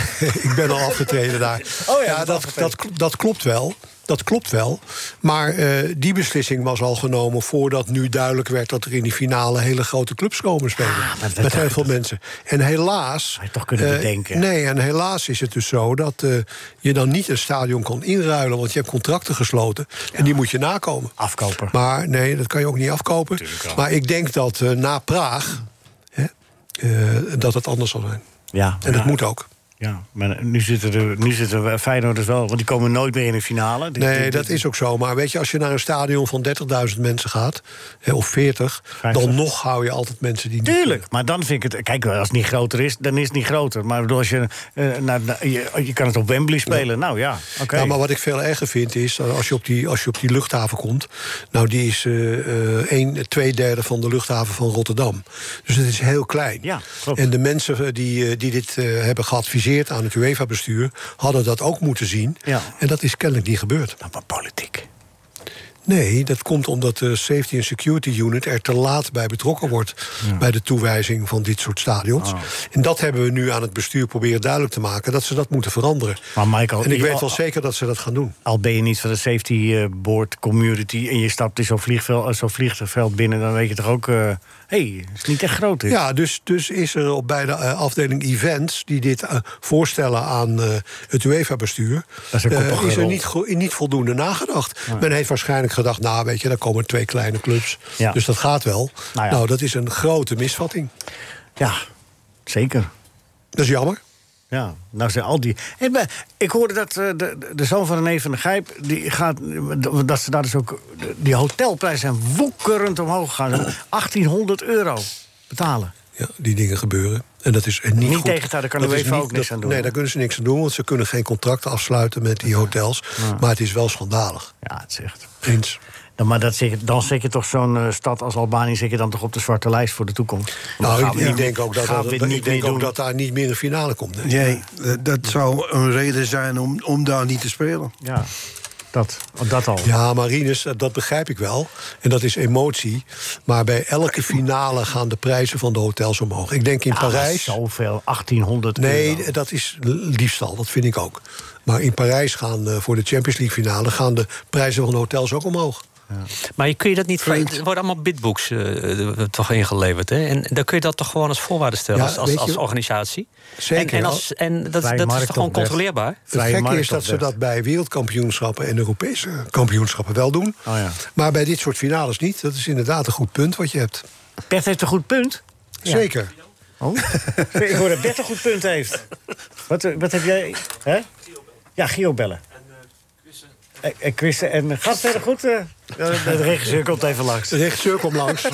Speaker 5: ik ben al afgetreden daar.
Speaker 3: Oh ja, je bent
Speaker 5: dat,
Speaker 3: afgetreden.
Speaker 5: dat, kl- dat klopt wel. Dat klopt wel. Maar eh, die beslissing was al genomen voordat nu duidelijk werd dat er in die finale hele grote clubs komen spelen.
Speaker 3: Ah, maar dat
Speaker 5: met
Speaker 3: dacht
Speaker 5: heel
Speaker 3: ik dus.
Speaker 5: veel mensen. En helaas.
Speaker 3: Had je toch kunnen
Speaker 5: eh,
Speaker 3: bedenken.
Speaker 5: Nee, en helaas is het dus zo dat eh, je dan niet een stadion kan inruilen. Want je hebt contracten gesloten. En die moet je nakomen.
Speaker 3: Afkoper.
Speaker 5: Maar nee, dat kan je ook niet afkopen. Maar ik denk dat eh, na Praag. Hè, eh, dat het anders zal zijn.
Speaker 3: Ja.
Speaker 5: En dat
Speaker 3: ja.
Speaker 5: moet ook.
Speaker 3: Ja, maar nu zitten, er, nu zitten we- Feyenoorders wel, want die komen nooit meer in de finale. Dit-
Speaker 5: Nee,
Speaker 3: dit-
Speaker 5: dat is ook zo. Maar weet je, als je naar een stadion van 30.000 mensen gaat, hè, of 40, dan nog hou je altijd mensen die. niet-
Speaker 3: Tuurlijk, maar dan vind ik het... Kijk, als het niet groter is, dan is het niet groter. Maar ik bedoel, als je, eh, naar- naar- je, je kan het op Wembley spelen. Nou ja, oké.
Speaker 5: Ja, maar wat ik veel erger vind is, eh, als je op die, als je op die luchthaven komt... nou, die is eh eh 1, 2 derde van de luchthaven van Rotterdam. Dus het is heel klein.
Speaker 3: Ja, klopt.
Speaker 5: En de mensen eh, die, eh, die dit eh, hebben geadviseerd aan het UEFA-bestuur... hadden dat ook moeten zien.
Speaker 3: Ja. Nou,
Speaker 5: En dat is kennelijk niet gebeurd.
Speaker 3: maar politiek.
Speaker 5: Nee, dat komt omdat de Safety and Security Unit er te laat bij betrokken wordt. bij de toewijzing van dit soort
Speaker 3: Oh.
Speaker 5: stadions. En dat hebben we nu aan het bestuur proberen duidelijk te maken. dat ze dat moeten veranderen.
Speaker 3: Maar Michael,
Speaker 5: en ik
Speaker 3: je-
Speaker 5: weet wel zeker dat ze dat gaan doen.
Speaker 3: Al ben je niet van de safety eh, board community... en je stapt in zo'n vliegveld, zo'n vliegveld binnen... dan weet je toch ook... Hé, hey, het is niet echt groot. dit.
Speaker 5: Ja, dus, dus is er op bij de eh, afdeling events die dit eh, voorstellen aan eh, het UEFA-bestuur...
Speaker 3: is een
Speaker 5: eh,
Speaker 3: koppige
Speaker 5: is er
Speaker 3: rol.
Speaker 5: niet, go- niet voldoende nagedacht. Men heeft waarschijnlijk gedacht, nou weet je, daar komen twee kleine clubs.
Speaker 3: Ja.
Speaker 5: Dus dat gaat wel.
Speaker 3: Nou
Speaker 5: Nou,
Speaker 3: ja.
Speaker 5: dat is een grote misvatting.
Speaker 3: Ja, zeker.
Speaker 5: Dat is jammer.
Speaker 3: Ja, nou zijn al die... Hey, maar ik hoorde dat eh, de, de- de zoon van René van der Gijp... Die gaat, dat ze daar dus ook... die hotelprijzen zijn woekerend omhoog gegaan. 1800 euro betalen.
Speaker 5: Ja, die dingen gebeuren. En dat is niet,
Speaker 3: Niet
Speaker 5: goed.
Speaker 3: tegen te houden, kan
Speaker 5: Dat
Speaker 3: de
Speaker 5: is
Speaker 3: UEFA
Speaker 5: niet-
Speaker 3: ook niks
Speaker 5: dat-
Speaker 3: aan doen.
Speaker 5: Nee, daar kunnen ze niks aan doen, want ze kunnen geen contracten afsluiten met die hotels. Maar het is wel schandalig.
Speaker 3: Ja, het zegt.
Speaker 5: Eens.
Speaker 3: Dan, maar dat zeg, dan zeg je toch zo'n eh, stad als Albanië... zeg je dan toch op de zwarte lijst voor de toekomst. Want dan
Speaker 5: Nou,
Speaker 3: gaan
Speaker 5: ik,
Speaker 3: we
Speaker 5: ik
Speaker 3: niet-
Speaker 5: denk ook dat,
Speaker 3: gaan
Speaker 5: dat,
Speaker 3: we
Speaker 5: dat-
Speaker 3: niet
Speaker 5: ik denk
Speaker 3: meer
Speaker 5: ook
Speaker 3: doen.
Speaker 5: dat daar niet meer een finale komt. nee.
Speaker 8: Nee, dat- Eh, dat zou een reden zijn om, om daar niet te spelen.
Speaker 3: Ja, dat, dat al.
Speaker 5: Ja, Marinus, dat- dat begrijp ik wel. En dat is emotie. Maar bij elke finale gaan de prijzen van de hotels omhoog. Ik denk in
Speaker 3: Ah,
Speaker 5: Parijs.
Speaker 3: Zoveel, 1800 euro.
Speaker 5: Nee, dat is liefstal, dat vind ik ook. Maar in Parijs gaan eh, voor de Champions League finale gaan de prijzen van de hotels ook omhoog.
Speaker 4: Maar je- kun je dat niet... Er worden allemaal bidbooks eh, eh, toch ingeleverd. Hè? En dan kun je dat toch gewoon als voorwaarde stellen
Speaker 5: Ja,
Speaker 4: als, als,
Speaker 5: weet je-
Speaker 4: als organisatie.
Speaker 5: Zeker.
Speaker 4: En, en, als, en dat,
Speaker 3: Vrije
Speaker 4: dat is
Speaker 3: markt
Speaker 4: toch gewoon
Speaker 3: op weg.
Speaker 4: controleerbaar?
Speaker 5: Het
Speaker 3: Vrije
Speaker 5: gekke
Speaker 3: markt
Speaker 5: is dat ze
Speaker 3: opzet.
Speaker 5: dat bij wereldkampioenschappen en Europese kampioenschappen wel doen.
Speaker 3: Oh ja.
Speaker 5: Maar bij dit soort finales niet. Dat is inderdaad een goed punt wat je hebt.
Speaker 3: Bert heeft een goed punt.
Speaker 5: Zeker.
Speaker 3: Oh. ik hoor dat Bert een goed punt heeft. Wat, eh, wat heb jij? Hè? Ja, Gio bellen. En eh, Christen. En gaat het verder goed? eh? Eh, de regisseur komt even langs.
Speaker 5: De regisseur kwam langs.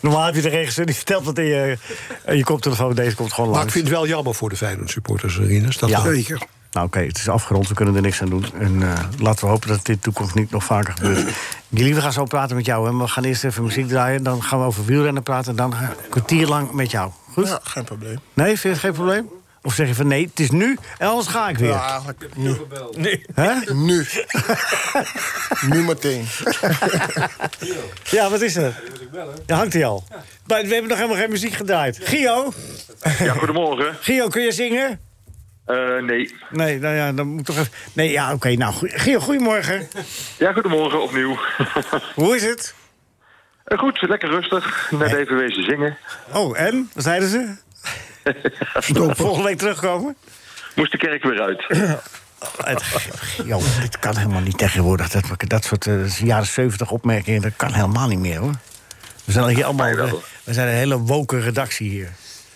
Speaker 3: Normaal heb je de regisseur die vertelt wat in je, in je koptelefoon. Deze komt gewoon
Speaker 5: maar ik
Speaker 3: langs.
Speaker 5: vind het wel jammer voor de Feyenoord supporters, Rinus. Dat
Speaker 3: Ja.
Speaker 5: er-
Speaker 8: Zeker.
Speaker 3: Nou oké, het is afgerond, we kunnen er niks aan doen. En eh, laten we hopen dat dit in de toekomst niet nog vaker gebeurt. Jullie, we gaan zo praten met jou. Hè? Maar We gaan eerst even muziek draaien, dan gaan we over wielrennen praten... en dan eh, een kwartier lang met jou. Goed?
Speaker 13: Ja, geen probleem.
Speaker 3: Nee, vind je het geen probleem? Of zeg je van nee, het is nu en anders ga ik weer.
Speaker 13: Ja, eigenlijk nu.
Speaker 3: Hè?
Speaker 13: Nu. nu meteen.
Speaker 3: Ja, wat is er? Daar hangt hij al. Maar we hebben nog helemaal geen muziek gedraaid. Gio,
Speaker 9: Ja, goedemorgen.
Speaker 3: Gio, kun je zingen?
Speaker 9: Eh, nee.
Speaker 3: Nee, nou ja, dan moet toch even... Nee, ja, oké, nou, goe- Gio, goedemorgen.
Speaker 9: Ja, goedemorgen opnieuw.
Speaker 3: Hoe is het?
Speaker 9: Eh, Goed, lekker rustig. Net even wezen zingen.
Speaker 3: Oh, en? Wat zeiden ze? Volgende week terugkomen?
Speaker 9: Moest de kerk weer uit.
Speaker 3: Het, Gio, dit kan helemaal niet tegenwoordig. Dat, dat soort eh, jaren 70 opmerkingen, dat kan helemaal niet meer, hoor. We zijn hier allemaal... eh, we zijn een hele woke redactie hier.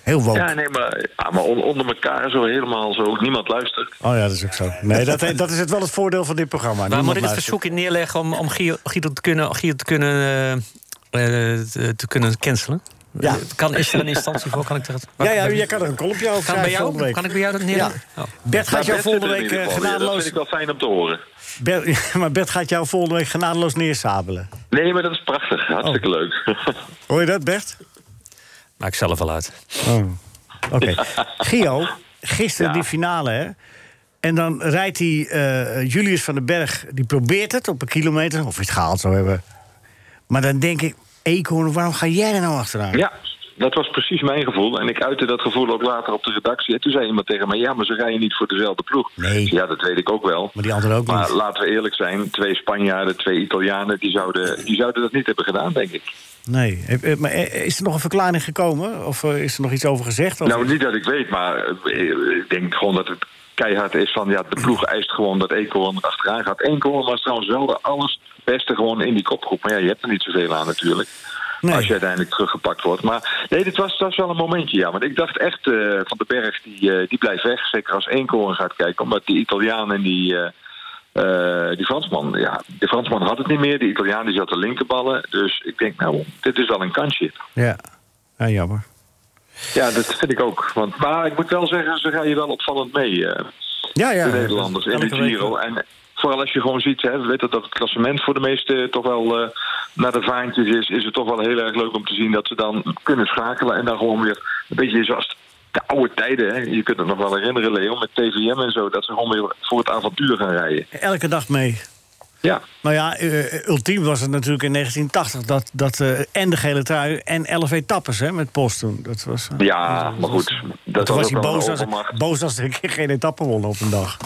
Speaker 3: Heel woke.
Speaker 9: Ja, nee, maar, ah, maar on- onder elkaar zo helemaal zo. Niemand luistert.
Speaker 3: Oh ja, dat is ook zo. Nee, dat, dat is het wel het voordeel van dit programma.
Speaker 4: Waar
Speaker 3: Niemand
Speaker 4: moet ik het
Speaker 3: luistert.
Speaker 4: verzoek in neerleggen om, om Guido, Guido te kunnen, Guido te, kunnen eh, eh, te- te kunnen cancelen?
Speaker 3: Ja.
Speaker 4: Eh, Kan, is er een instantie voor? Kan ik dat?
Speaker 3: Ja, ja, jij kan er een kolopje over
Speaker 4: kan, bij
Speaker 3: schrijven volgende
Speaker 4: jou,
Speaker 3: week.
Speaker 4: kan ik bij jou dat neerleggen?
Speaker 3: Ja.
Speaker 4: Oh.
Speaker 3: Bert
Speaker 9: Maar
Speaker 3: gaat jou
Speaker 9: Bert zit
Speaker 3: volgende
Speaker 9: er in
Speaker 3: week
Speaker 9: ieder
Speaker 3: eh,
Speaker 9: geval weer. Dat
Speaker 3: genadeloos...
Speaker 9: vind ik wel fijn om te horen.
Speaker 3: Bert, maar Bert gaat jou volgende week genadeloos neersabelen.
Speaker 9: Nee, maar dat is prachtig.
Speaker 3: Oh.
Speaker 9: Hartstikke leuk.
Speaker 3: Hoor je dat, Bert?
Speaker 4: Maak zelf wel uit.
Speaker 3: Oh. Oké. Gio, gisteren die finale, hè? En dan rijdt die eh, Julius van den Berg, die probeert het op een kilometer... of hij het gehaald zou hebben. Maar dan denk ik, Eekhoorn, waarom ga jij er nou achteraan?
Speaker 9: Ja, dat was precies mijn gevoel. En ik uitte dat gevoel ook later op de redactie. En toen zei iemand tegen mij, ja, maar ze rijden niet voor dezelfde ploeg.
Speaker 3: Nee.
Speaker 9: Ik zei, Ja, dat weet ik ook wel.
Speaker 3: Maar die andere ook
Speaker 9: Maar
Speaker 3: niet.
Speaker 9: laten we eerlijk zijn, twee Spanjaarden, twee Italianen... die zouden, die zouden dat niet hebben gedaan, denk ik.
Speaker 3: Nee. Eh, eh, Maar eh, is er nog een verklaring gekomen? Of eh, is er nog iets over gezegd? Of-
Speaker 9: Nou, niet dat ik weet, maar eh, ik denk gewoon dat het keihard is van... ja, de ploeg eist gewoon dat Eekhoorn achteraan gaat. Eekhoorn was trouwens wel de allerbeste gewoon in die kopgroep. Maar ja, je hebt er niet zoveel aan natuurlijk.
Speaker 14: Als je uiteindelijk teruggepakt wordt. Maar nee, dit was, het was wel een momentje, ja. Want ik dacht echt, eh, Van den Berg, die, eh, die blijft weg. Zeker als Eenkoorn gaat kijken. Omdat die Italiaan en die, eh, eh, die Fransman... Ja, de Fransman had het niet meer. De Italiaan die zat de linkerballen. Dus ik denk, nou, dit is wel een kansje.
Speaker 8: eh,
Speaker 3: Ja. ja, jammer.
Speaker 14: Ja, dat vind ik ook. Want, maar ik moet wel zeggen, ze gaan je wel opvallend mee. eh,
Speaker 3: Ja, ja.
Speaker 14: de Nederlanders in de
Speaker 3: Elke week
Speaker 14: Giro. En vooral als je gewoon ziet, hè, we weten dat het klassement voor de meesten toch wel eh, naar de vaantjes is. Is het toch wel heel erg leuk om te zien dat ze dan kunnen schakelen. En dan gewoon weer een beetje zoals de oude tijden. Hè. Je kunt het nog wel herinneren, Leo, met TVM en zo. Dat ze gewoon weer voor het avontuur gaan rijden.
Speaker 3: Elke dag mee.
Speaker 14: Ja.
Speaker 3: Nou ja, eh, ultiem was het natuurlijk in 1980 dat, dat eh, en de gele trui en 11 etappes hè, met Post toen. Dat was, eh,
Speaker 14: Ja, maar goed. Dat
Speaker 3: toen was
Speaker 14: was
Speaker 3: hij
Speaker 14: ook wel
Speaker 3: boos
Speaker 14: een
Speaker 3: als,
Speaker 14: overmacht.
Speaker 3: boos als er een keer geen etappe won op een dag.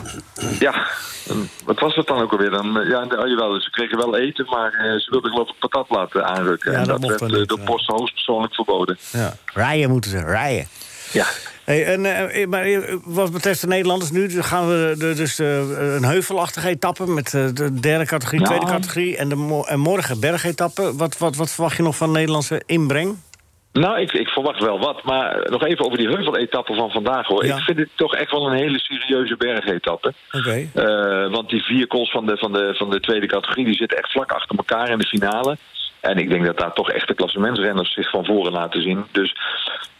Speaker 14: Ja, en wat was dat dan ook alweer? Dan, eh, ja, oh, jawel, ze kregen wel eten, maar eh, ze wilden geloof ik patat laten aanrukken.
Speaker 3: Ja,
Speaker 14: en
Speaker 3: dat
Speaker 14: dat,
Speaker 3: mocht dan
Speaker 14: werd eh,
Speaker 3: niet,
Speaker 14: door Post hoogstpersoonlijk verboden.
Speaker 3: Ja. Rijden moeten ze, rijden.
Speaker 14: Ja.
Speaker 3: Hey, en, eh, maar eh, wat betreft de Nederlanders nu, gaan we de- dus eh, een heuvelachtige etappe met eh, de derde categorie,
Speaker 14: Ja.
Speaker 3: tweede categorie en, de mo- en morgen bergetappe. Wat, wat, wat verwacht je nog van Nederlandse inbreng?
Speaker 14: Nou, ik, ik verwacht wel wat. Maar nog even over die heuveletappe van vandaag hoor.
Speaker 3: Ja.
Speaker 14: Ik vind het toch echt wel een hele serieuze bergetappe.
Speaker 3: Oké.
Speaker 14: Eh, want die vier calls van de, van, de, van de tweede categorie die zitten echt vlak achter elkaar in de finale. En ik denk dat daar toch echt de klassementsrenners zich van voren laten zien. Dus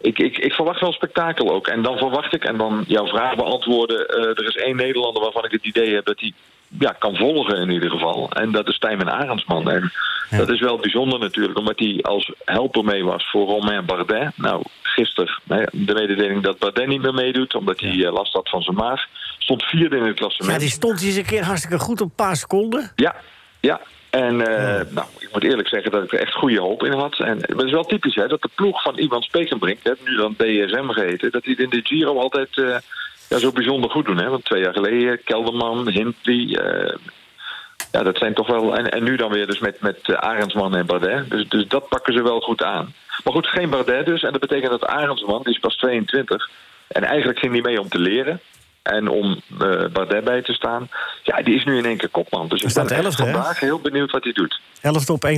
Speaker 14: ik, ik, ik verwacht wel spektakel ook. En dan verwacht ik, en dan jouw vraag beantwoorden... eh, er is één Nederlander waarvan ik het idee heb dat hij ja, kan volgen in ieder geval. En dat is Tijmen Arendsman. En dat is wel bijzonder natuurlijk, omdat hij als helper mee was voor Romain Bardet. Nou, gisteren hè, de mededeling dat Bardet niet meer meedoet... omdat hij eh, last had van zijn maag. Stond vierde in het klassement.
Speaker 3: Ja, die stond eens een keer hartstikke goed op een paar seconden.
Speaker 14: Ja, ja. En eh, nou, ik moet eerlijk zeggen dat ik er echt goede hoop in had. En het is wel typisch hè, dat de ploeg van iemand Spekenbrink, hè, nu dan DSM geheten, dat die het in de Giro altijd eh, ja, zo bijzonder goed doen. Hè? Want twee jaar geleden, Kelderman, Hindley, eh, ja, dat zijn toch wel. En, en nu dan weer dus met, met eh, Arendsman en Bardet. Dus, dus dat pakken ze wel goed aan. Maar goed, geen Bardet dus. En dat betekent dat Arendsman, die is pas 22. En eigenlijk ging hij mee om te leren. En om eh, Bardet bij te staan. Ja, die is nu in één keer kopman. Dus ik
Speaker 3: staat
Speaker 14: ben echt
Speaker 3: elfde, hè?
Speaker 14: vandaag heel benieuwd wat hij doet.
Speaker 3: 11 op 1,27,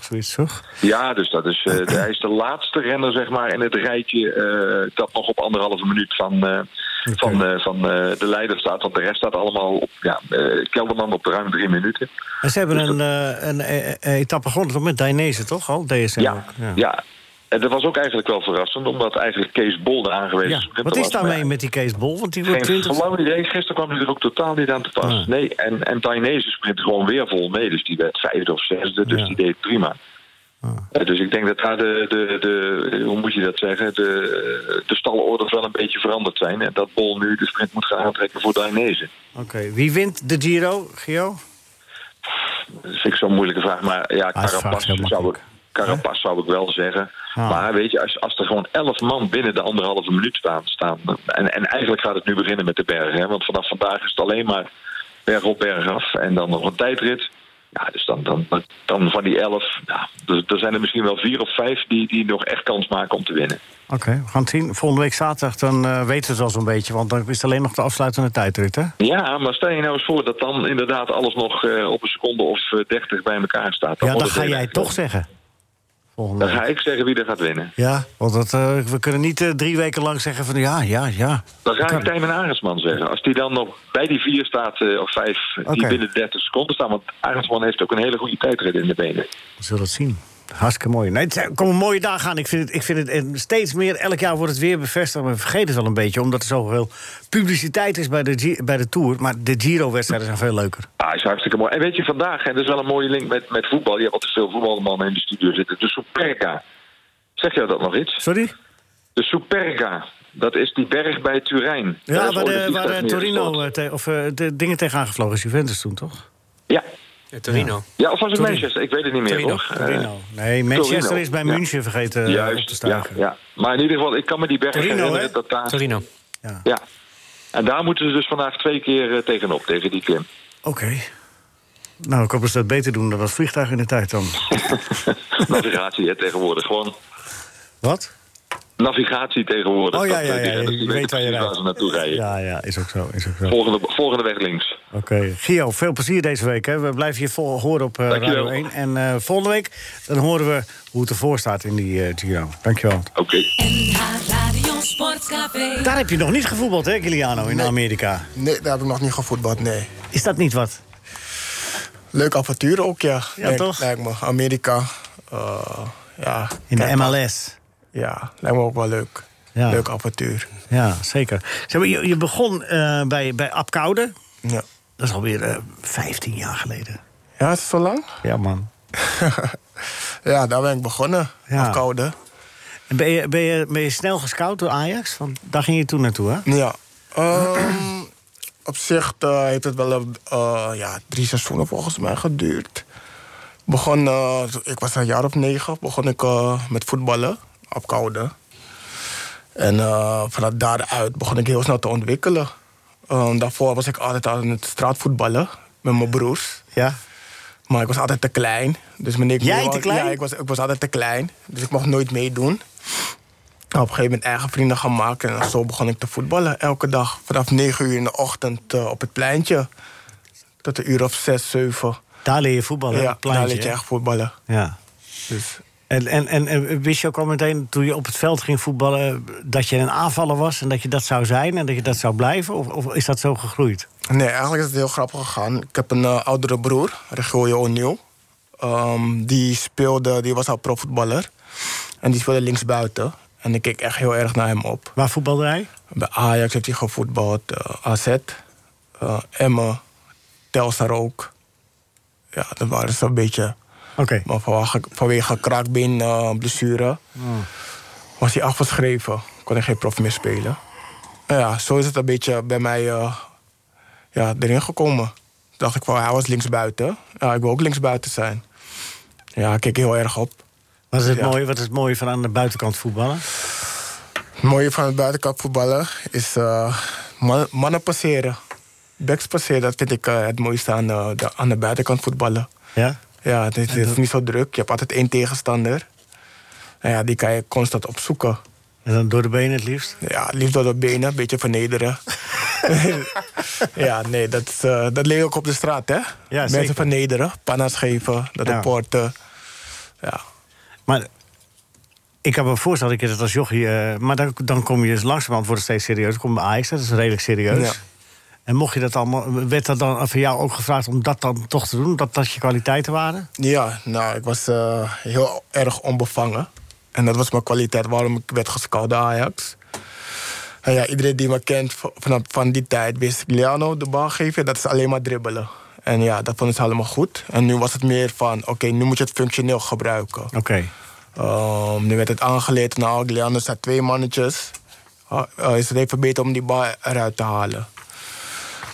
Speaker 3: zoiets toch?
Speaker 14: Ja, dus dat is, eh, de- hij is de laatste renner zeg maar, in het rijtje eh, dat nog op anderhalve minuut van, eh, van, eh, van eh, de leider staat. Want de rest staat allemaal op ja, eh, Kelderman op ruim drie minuten.
Speaker 3: En ze hebben een, eh, een eh, eh, etappe gewonnen toch, met Dainese, toch? Al DSM
Speaker 14: Ja,
Speaker 3: ook.
Speaker 14: ja. En dat was ook eigenlijk wel verrassend, omdat eigenlijk Kees Bol de aangewezen
Speaker 3: Ja,
Speaker 14: sprinter
Speaker 3: Wat is
Speaker 14: was, maar
Speaker 3: daarmee met die Kees Bol? Want die wordt
Speaker 14: Geen
Speaker 3: 20.
Speaker 14: flauw idee. Gisteren kwam hij er ook totaal niet aan te pas. Nee, en, en Dainese sprint gewoon weer vol mee. Dus die werd vijfde of zesde, dus die deed prima. Eh, Dus ik denk dat daar de, de, de, hoe moet je dat zeggen, de, de stalorders wel een beetje veranderd zijn. En dat Bol nu de sprint moet gaan aantrekken voor Dainese.
Speaker 3: Oké, wie wint de Giro, Gio?
Speaker 14: Dat vind ik zo'n moeilijke vraag. Maar ja,
Speaker 3: Ah,
Speaker 14: Carapaz zou ik, Carapaz zou ik wel zeggen.
Speaker 3: Ah.
Speaker 14: Maar weet je, als, als er gewoon elf man binnen de anderhalve minuut staan... staan en, en eigenlijk gaat het nu beginnen met de bergen. Hè, want vanaf vandaag is het alleen maar berg op berg af. En dan nog een tijdrit. Ja, dus dan, dan, dan van die elf... Nou, er, er zijn er misschien wel vier of vijf die, die nog echt kans maken om te winnen.
Speaker 3: Oké, we gaan het zien. Volgende week zaterdag dan eh, weten we het wel zo'n beetje. Want dan is het alleen nog de afsluitende tijdrit, hè?
Speaker 14: Ja, maar stel je nou eens voor dat dan inderdaad alles nog eh, op een seconde of dertig bij elkaar staat.
Speaker 3: Ja,
Speaker 14: wordt
Speaker 3: dat
Speaker 14: het
Speaker 3: ga
Speaker 14: heel
Speaker 3: jij
Speaker 14: erg
Speaker 3: toch
Speaker 14: leuk.
Speaker 3: zeggen.
Speaker 14: Dan ga ik zeggen wie er gaat winnen.
Speaker 3: Ja, want dat, eh, we kunnen niet eh, drie weken lang zeggen van ja, ja, ja.
Speaker 14: Dan ga ik Tijmen Arendsman zeggen. Als die dan nog bij die vier staat, eh, of vijf, die
Speaker 3: Oké.
Speaker 14: binnen 30 seconden staan. Want Arendsman heeft ook een hele goede tijdrit in de benen.
Speaker 3: We zullen het zien. Hartstikke mooi. Nee, het zijn- komen mooie dagen aan. Ik vind het, ik vind het en steeds meer. Elk jaar wordt het weer bevestigd. Maar we vergeten het wel een beetje. Omdat er zoveel publiciteit is bij de, Gi- bij de Tour. Maar de Giro-wedstrijden zijn veel leuker.
Speaker 14: Ah, is hartstikke mooi. En weet je, vandaag, en dat is wel een mooie link met, met voetbal. Je hebt altijd veel voetbalmannen in de studio zitten. De Superga. Zeg jij dat nog iets?
Speaker 3: Sorry?
Speaker 14: De Superga. Dat is die berg bij Turijn. Daar
Speaker 3: Ja,
Speaker 14: is
Speaker 3: waar,
Speaker 14: ooit
Speaker 3: de,
Speaker 14: een
Speaker 3: waar eh,
Speaker 14: vliegtuig neergestort.
Speaker 3: Torino eh, te- of, eh, de dingen tegen aangevlogen is. Juventus toen, toch?
Speaker 14: Ja.
Speaker 3: Torino.
Speaker 14: Ja, of was het
Speaker 3: Torino.
Speaker 14: Manchester? Ik weet het niet meer,
Speaker 3: Torino.
Speaker 14: hoor.
Speaker 3: Torino.
Speaker 14: Eh,
Speaker 3: Nee, Manchester
Speaker 14: Torino.
Speaker 3: is bij
Speaker 14: Ja.
Speaker 3: München vergeten eh, op te
Speaker 14: Juist, ja,
Speaker 3: staken.
Speaker 14: ja. Maar in ieder geval, ik kan me die berg
Speaker 3: Torino,
Speaker 14: herinneren
Speaker 3: hè?
Speaker 14: dat daar...
Speaker 3: Torino.
Speaker 14: Ja. En daar moeten ze dus vandaag twee keer eh, tegenop, tegen die klim.
Speaker 3: Oké. Nou, ik hoop dat ze dat beter doen dan dat vliegtuig in de tijd dan.
Speaker 14: Navigatie, hè, tegenwoordig. Gewoon
Speaker 3: Wat?
Speaker 14: navigatie tegenwoordig.
Speaker 3: Oh, ja, ja,
Speaker 14: eh, die
Speaker 3: ja,
Speaker 14: renners,
Speaker 3: je
Speaker 14: die
Speaker 3: weet
Speaker 14: weten
Speaker 3: waar je
Speaker 14: precies
Speaker 3: rijdt.
Speaker 14: waar ze naartoe rijden.
Speaker 3: Ja, ja, is ook zo. Is ook zo.
Speaker 14: Volgende, volgende weg links.
Speaker 3: Oké, Gio, veel plezier deze week. Hè. We blijven je vol horen op eh,
Speaker 14: Dankjewel.
Speaker 3: Radio 1. En eh, volgende week dan horen we hoe het ervoor staat in die eh, Giro. Dankjewel.
Speaker 14: Oké.
Speaker 1: Radio Sportcafé.
Speaker 3: Daar heb je nog niet gevoetbald, hè, Kiliano, in Amerika?
Speaker 13: Nee, daar heb ik nog niet gevoetbald, nee.
Speaker 3: Is dat niet wat?
Speaker 13: Leuk avontuur ook, ja.
Speaker 3: Ja,
Speaker 13: Lijkt-
Speaker 3: toch?
Speaker 13: Lijkt me. Amerika. eh, ja,
Speaker 3: In de
Speaker 13: kijk maar.
Speaker 3: MLS.
Speaker 13: Ja, lijkt me ook wel leuk.
Speaker 3: Ja.
Speaker 13: Leuk avontuur.
Speaker 3: Ja, zeker. Zeg maar, je, je begon eh, bij, bij Apkoude.
Speaker 13: Ja.
Speaker 3: Dat is alweer eh 15 jaar geleden.
Speaker 13: Ja, is het zo lang?
Speaker 3: Ja, man.
Speaker 13: ja, daar ben ik begonnen.
Speaker 3: Ja.
Speaker 13: Afkouden.
Speaker 3: En ben je, ben, je, ben je snel gescout door Ajax? Want daar ging je toen naartoe, hè?
Speaker 13: Ja. Ehm, op zich eh, heeft het wel een, eh, ja, drie seizoenen volgens mij geduurd. Begon, eh, ik was een jaar of negen, begon ik eh, met voetballen op koude. En eh, vanuit daaruit begon ik heel snel te ontwikkelen. Ehm, daarvoor was ik altijd aan het straatvoetballen met mijn broers.
Speaker 3: Ja.
Speaker 13: Maar ik was altijd te klein. Dus meneer
Speaker 3: Jij
Speaker 13: Nieuwhout-
Speaker 3: te klein?
Speaker 13: Ja, ik was, ik was altijd te klein. Dus ik mocht nooit meedoen Nou, op een gegeven moment eigen vrienden gaan maken. En zo begon ik te voetballen elke dag. Vanaf 9 uur in de ochtend eh, op het pleintje. Tot een uur of 6, 7.
Speaker 3: Daar leer je voetballen, op
Speaker 13: Ja,
Speaker 3: het pleintje,
Speaker 13: daar leer je
Speaker 3: hè?
Speaker 13: echt voetballen.
Speaker 3: Ja.
Speaker 13: Dus.
Speaker 3: En, en, en, en wist je ook al meteen toen je op het veld ging voetballen... dat je een aanvaller was en dat je dat zou zijn en dat je dat zou blijven? Of, of is dat zo gegroeid?
Speaker 13: Nee, eigenlijk is het heel grappig gegaan. Ik heb een eh, oudere broer, Regilio O'Neill. Ehm, die speelde, die was al profvoetballer. En die speelde linksbuiten. En ik keek echt heel erg naar hem op.
Speaker 3: Waar voetbalde hij?
Speaker 13: Bij Ajax heeft hij gevoetbald. eh, AZ, eh Emmen, Telstar ook. Ja, dat waren zo'n beetje...
Speaker 3: Oké.
Speaker 13: Maar vanwege, vanwege kraakbeen eh, blessure
Speaker 3: Oh.
Speaker 13: was hij afgeschreven. Kon hij geen prof meer spelen. Nou ja, zo is het een beetje bij mij eh, ja, erin gekomen. Toen dacht ik van, hij was linksbuiten. Ja, ik wil ook linksbuiten zijn. Ja, ik keek heel erg op.
Speaker 3: Wat is het,
Speaker 13: Ja.
Speaker 3: mooie, wat is het mooie van aan de buitenkant voetballen?
Speaker 13: Het mooie van het buitenkant voetballen is eh, man- mannen passeren. Backs passeren, dat vind ik eh, het mooiste aan, eh, de, aan de buitenkant voetballen.
Speaker 3: Ja?
Speaker 13: Ja, het is, het is niet zo druk. Je hebt altijd één tegenstander. Nou ja, die kan je constant opzoeken.
Speaker 3: En dan door de benen het liefst?
Speaker 13: Ja, liefst door de benen, een beetje vernederen. ja, nee, dat, is, eh, dat leer je ook op de straat, hè?
Speaker 3: zeker.
Speaker 13: Mensen vernederen, panna's geven, dat
Speaker 3: Ja.
Speaker 13: de poorten. Ja.
Speaker 3: Maar ik kan me voorstellen dat ik het als jochie... eh, maar dan, dan kom je dus langzamerhand wordt het steeds serieus. Dan kom je bij Ajax, dat is redelijk serieus.
Speaker 13: Ja.
Speaker 3: En mocht je dat allemaal... Werd dat dan van jou ook gevraagd om dat dan toch te doen? Dat dat je kwaliteiten waren?
Speaker 13: Ja, nou, ik was eh, heel erg onbevangen. En dat was mijn kwaliteit waarom ik werd gescout door Ajax. En ja, iedereen die me kent v- vanaf van die tijd wist... Liano, de bal geven, dat is alleen maar dribbelen. En ja, dat vonden ze allemaal goed. En nu was het meer van, oké, nu moet je het functioneel gebruiken.
Speaker 3: Oké.
Speaker 13: Ehm, nu werd het aangeleerd, nou, Leander staat twee mannetjes. Ah, eh, is het even beter om die bal eruit te halen?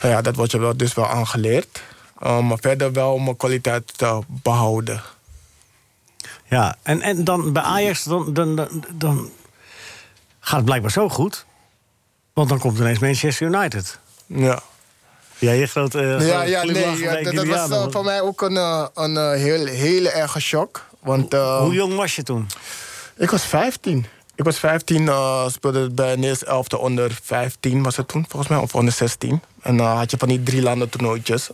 Speaker 13: Nou ja, dat wordt je wel, dus wel aangeleerd. Ehm, maar verder wel mijn kwaliteit eh, behouden.
Speaker 3: Ja, en, en dan bij Ajax, dan, dan, dan, dan gaat het blijkbaar zo goed. Want dan komt ineens Manchester United.
Speaker 13: Ja.
Speaker 3: Ja, je groot, eh,
Speaker 13: ja,
Speaker 3: groot
Speaker 13: ja,
Speaker 3: glimlach
Speaker 13: nee, ja,
Speaker 3: bij
Speaker 13: dat, dat was
Speaker 3: Giuliano.
Speaker 13: eh, voor mij ook een, eh, een eh, heel, hele erge shock. Want, eh,
Speaker 3: Hoe jong was je toen?
Speaker 13: Ik was 15. Ik was 15, eh, speelde bij Neers 11 onder 15 was het toen, volgens mij, of onder 16. En dan had je van die drie landen toernooitjes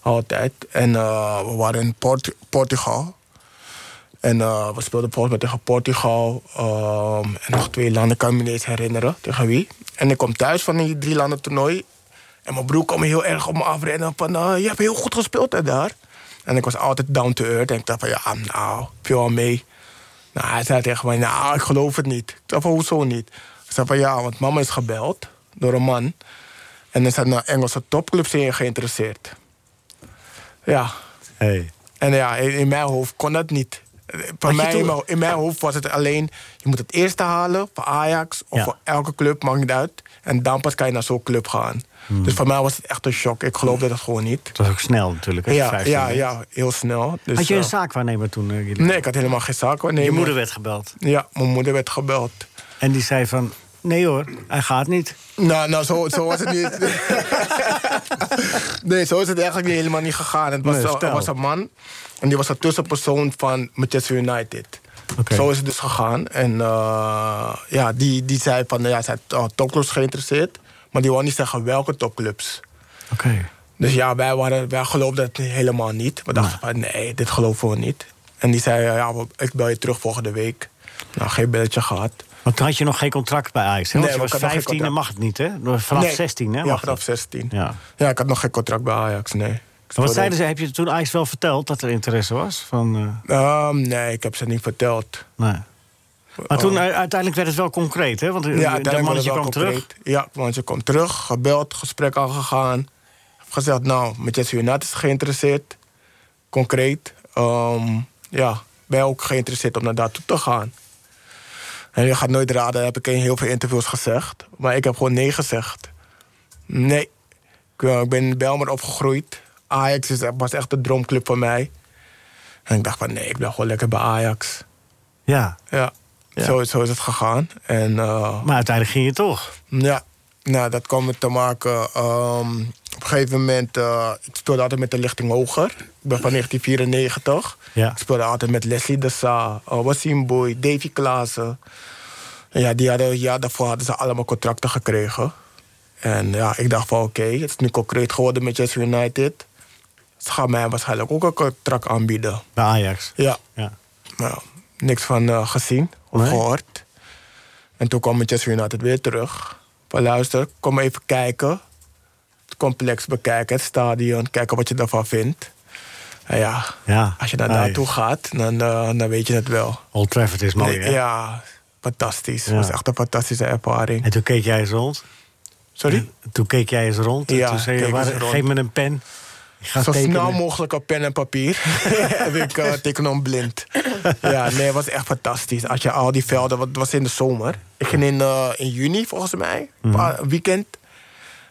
Speaker 13: altijd. En eh, we waren in Port- Portugal. En eh, we speelden volgens mij tegen Portugal ehm, en nog twee landen, ik kan me niet eens herinneren tegen wie. En ik kom thuis van die drie landen toernooi. En mijn broer kwam heel erg op me afrennen van, eh, je hebt heel goed gespeeld hè, daar. En ik was altijd down to earth en ik dacht van, ja, nou, veel al mee. Nou, hij zei tegen mij, nou, ik geloof het niet. Ik dacht van, hoezo niet? Hij zei van, ja, want mama is gebeld door een man. En er zijn eh, Engelse topclubs in je geïnteresseerd. Ja.
Speaker 3: Hey.
Speaker 13: En ja, in, in mijn hoofd kon dat niet. Eh, Voor
Speaker 3: je
Speaker 13: mij,
Speaker 3: toen-
Speaker 13: in, mijn, in mijn hoofd was het alleen, je moet het eerste halen voor Ajax of
Speaker 3: Ja.
Speaker 13: voor elke club, maakt niet uit. En dan pas kan je naar zo'n club gaan. Dus voor mij was het echt een shock. Ik geloof dat het gewoon niet.
Speaker 3: Hmm. Het was ook snel natuurlijk. hè,
Speaker 13: Ja,
Speaker 3: 15
Speaker 13: ja,
Speaker 3: jaar.
Speaker 13: ja, heel snel. Dus,
Speaker 3: Had je een
Speaker 13: eh,
Speaker 3: zaakwaarnemer toen? eh, Giuliano?
Speaker 13: Nee, ik had helemaal geen zaak.
Speaker 3: je moeder werd gebeld.
Speaker 13: Ja, mijn moeder werd gebeld.
Speaker 3: En die zei van, nee hoor, hij gaat niet.
Speaker 13: Nou, nou zo, zo was het niet. nee, zo is het eigenlijk niet helemaal niet gegaan. Het was,
Speaker 3: Nee,
Speaker 13: zo- er
Speaker 3: vertel.
Speaker 13: was een man en die was een tussenpersoon van Manchester United. Zo is het dus gegaan. En eh, ja, die, die zei van, ja, zijn eh, topclubs geïnteresseerd. Maar die wou niet zeggen welke topclubs.
Speaker 15: Oké.
Speaker 13: Dus ja, wij, waren, wij geloofden het helemaal niet. We dachten van, nee, dit geloven we niet. En die zei, eh, ja, we- ik bel je terug volgende week. Nou, geen belletje gehad.
Speaker 3: Want toen had je nog geen contract bij Ajax. Hè? Want
Speaker 13: Nee,
Speaker 3: je
Speaker 13: want
Speaker 3: was
Speaker 13: ik had nog geen
Speaker 3: 15 en
Speaker 13: contract.
Speaker 3: mag het niet, hè? Vanaf
Speaker 13: Nee.
Speaker 3: 16, hè?
Speaker 13: Ja,
Speaker 3: mag
Speaker 13: vanaf
Speaker 3: het.
Speaker 13: 16.
Speaker 3: Ja.
Speaker 13: Ja, ik had nog geen contract bij Ajax, nee.
Speaker 3: Maar wat zeiden ze? Heb je toen Ajax wel verteld dat er interesse was? Van, eh,
Speaker 13: Ehm, nee, ik heb ze niet verteld.
Speaker 3: Nee. Maar toen u- uiteindelijk werd het wel concreet, hè? Want eh, dat
Speaker 13: Oh. uiteindelijk
Speaker 3: mannetje
Speaker 13: werd
Speaker 3: kwam
Speaker 13: het wel
Speaker 3: terug.
Speaker 13: concreet. Ja, het mannetje kwam terug, gebeld, gesprek aangegaan. Heb gezegd, nou, Manchester United is geïnteresseerd. Concreet. Ehm, ja, ben ook geïnteresseerd om naar daartoe te gaan. En je gaat nooit raden, dat heb ik in heel veel interviews gezegd. Maar ik heb gewoon nee gezegd. Nee. Ik, eh, ik ben in Belmer opgegroeid. Ajax is, was echt de droomclub voor mij. En ik dacht van, nee, ik blijf gewoon lekker bij Ajax.
Speaker 3: Ja.
Speaker 13: Ja,
Speaker 3: Ja.
Speaker 13: Zo, zo is het gegaan. En, eh,
Speaker 3: maar uiteindelijk ging je toch?
Speaker 13: Ja, nou, dat kwam me te maken. ehm, op een gegeven moment, eh, ik speelde altijd met de lichting hoger. Ik ben van 1994.
Speaker 3: Ja.
Speaker 13: Ik speelde altijd met Leslie de Sa, uh, Wassim Boy, Davy Klaassen. En Ja, die hadden, ja, daarvoor hadden ze allemaal contracten gekregen. En ja, ik dacht van oké, het is nu concreet geworden met Manchester United. Ze gaan mij waarschijnlijk ook een contract aanbieden.
Speaker 3: Bij Ajax?
Speaker 13: Ja.
Speaker 3: Ja.
Speaker 13: Nou, niks van eh, gezien of
Speaker 3: Nee.
Speaker 13: gehoord. En toen kwam Manchester United weer terug. Van luister, kom even kijken. Het complex bekijken, het stadion, kijken wat je daarvan vindt. En ja,
Speaker 3: Ja.
Speaker 13: als je daar
Speaker 3: Nee.
Speaker 13: naartoe gaat, dan, eh, dan weet je het wel.
Speaker 3: Old Trafford is mooi,
Speaker 13: Nee,
Speaker 3: hè?
Speaker 13: Ja, fantastisch.
Speaker 3: Ja.
Speaker 13: Het was echt een fantastische ervaring.
Speaker 3: En toen keek jij eens rond?
Speaker 13: Sorry?
Speaker 3: Toen keek jij eens rond. en
Speaker 13: Ja,
Speaker 3: toen zei je,
Speaker 13: keek
Speaker 3: waar-
Speaker 13: eens rond.
Speaker 3: geef me een pen. Ik ga
Speaker 13: Zo
Speaker 3: tekenen.
Speaker 13: snel mogelijk een pen en papier. heb ik eh, tekenen blind. ja, nee, het was echt fantastisch. Als je al die velden, want het was in de zomer. Ik ging in, eh, in juni volgens mij, een
Speaker 3: Mhm.
Speaker 13: paar- een weekend.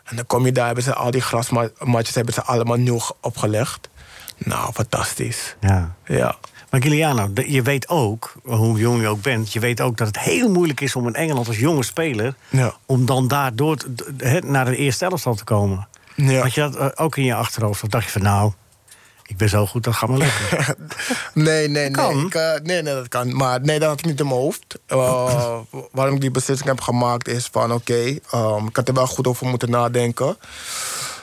Speaker 13: En dan kom je daar, hebben ze al die grasmatjes hebben ze allemaal nieuw ge- opgelegd. Nou, fantastisch.
Speaker 3: Ja.
Speaker 13: ja.
Speaker 3: Maar Giuliano, de- je weet ook, hoe jong je ook bent... je weet ook dat het heel moeilijk is om in Engeland als jonge speler...
Speaker 13: Ja.
Speaker 3: om dan daardoor t- d- hè, naar de eerste elftal te komen. Had je dat eh, ook in je achterhoofd? Of dacht je van, nou, ik ben zo goed, dat gaat me lukken.
Speaker 13: Nee, nee, nee. Ik, eh, nee, nee, dat kan. Maar nee, dat had ik niet in mijn hoofd. Eh, waarom ik die beslissing heb gemaakt is van... oké, ehm, ik had er wel goed over moeten nadenken.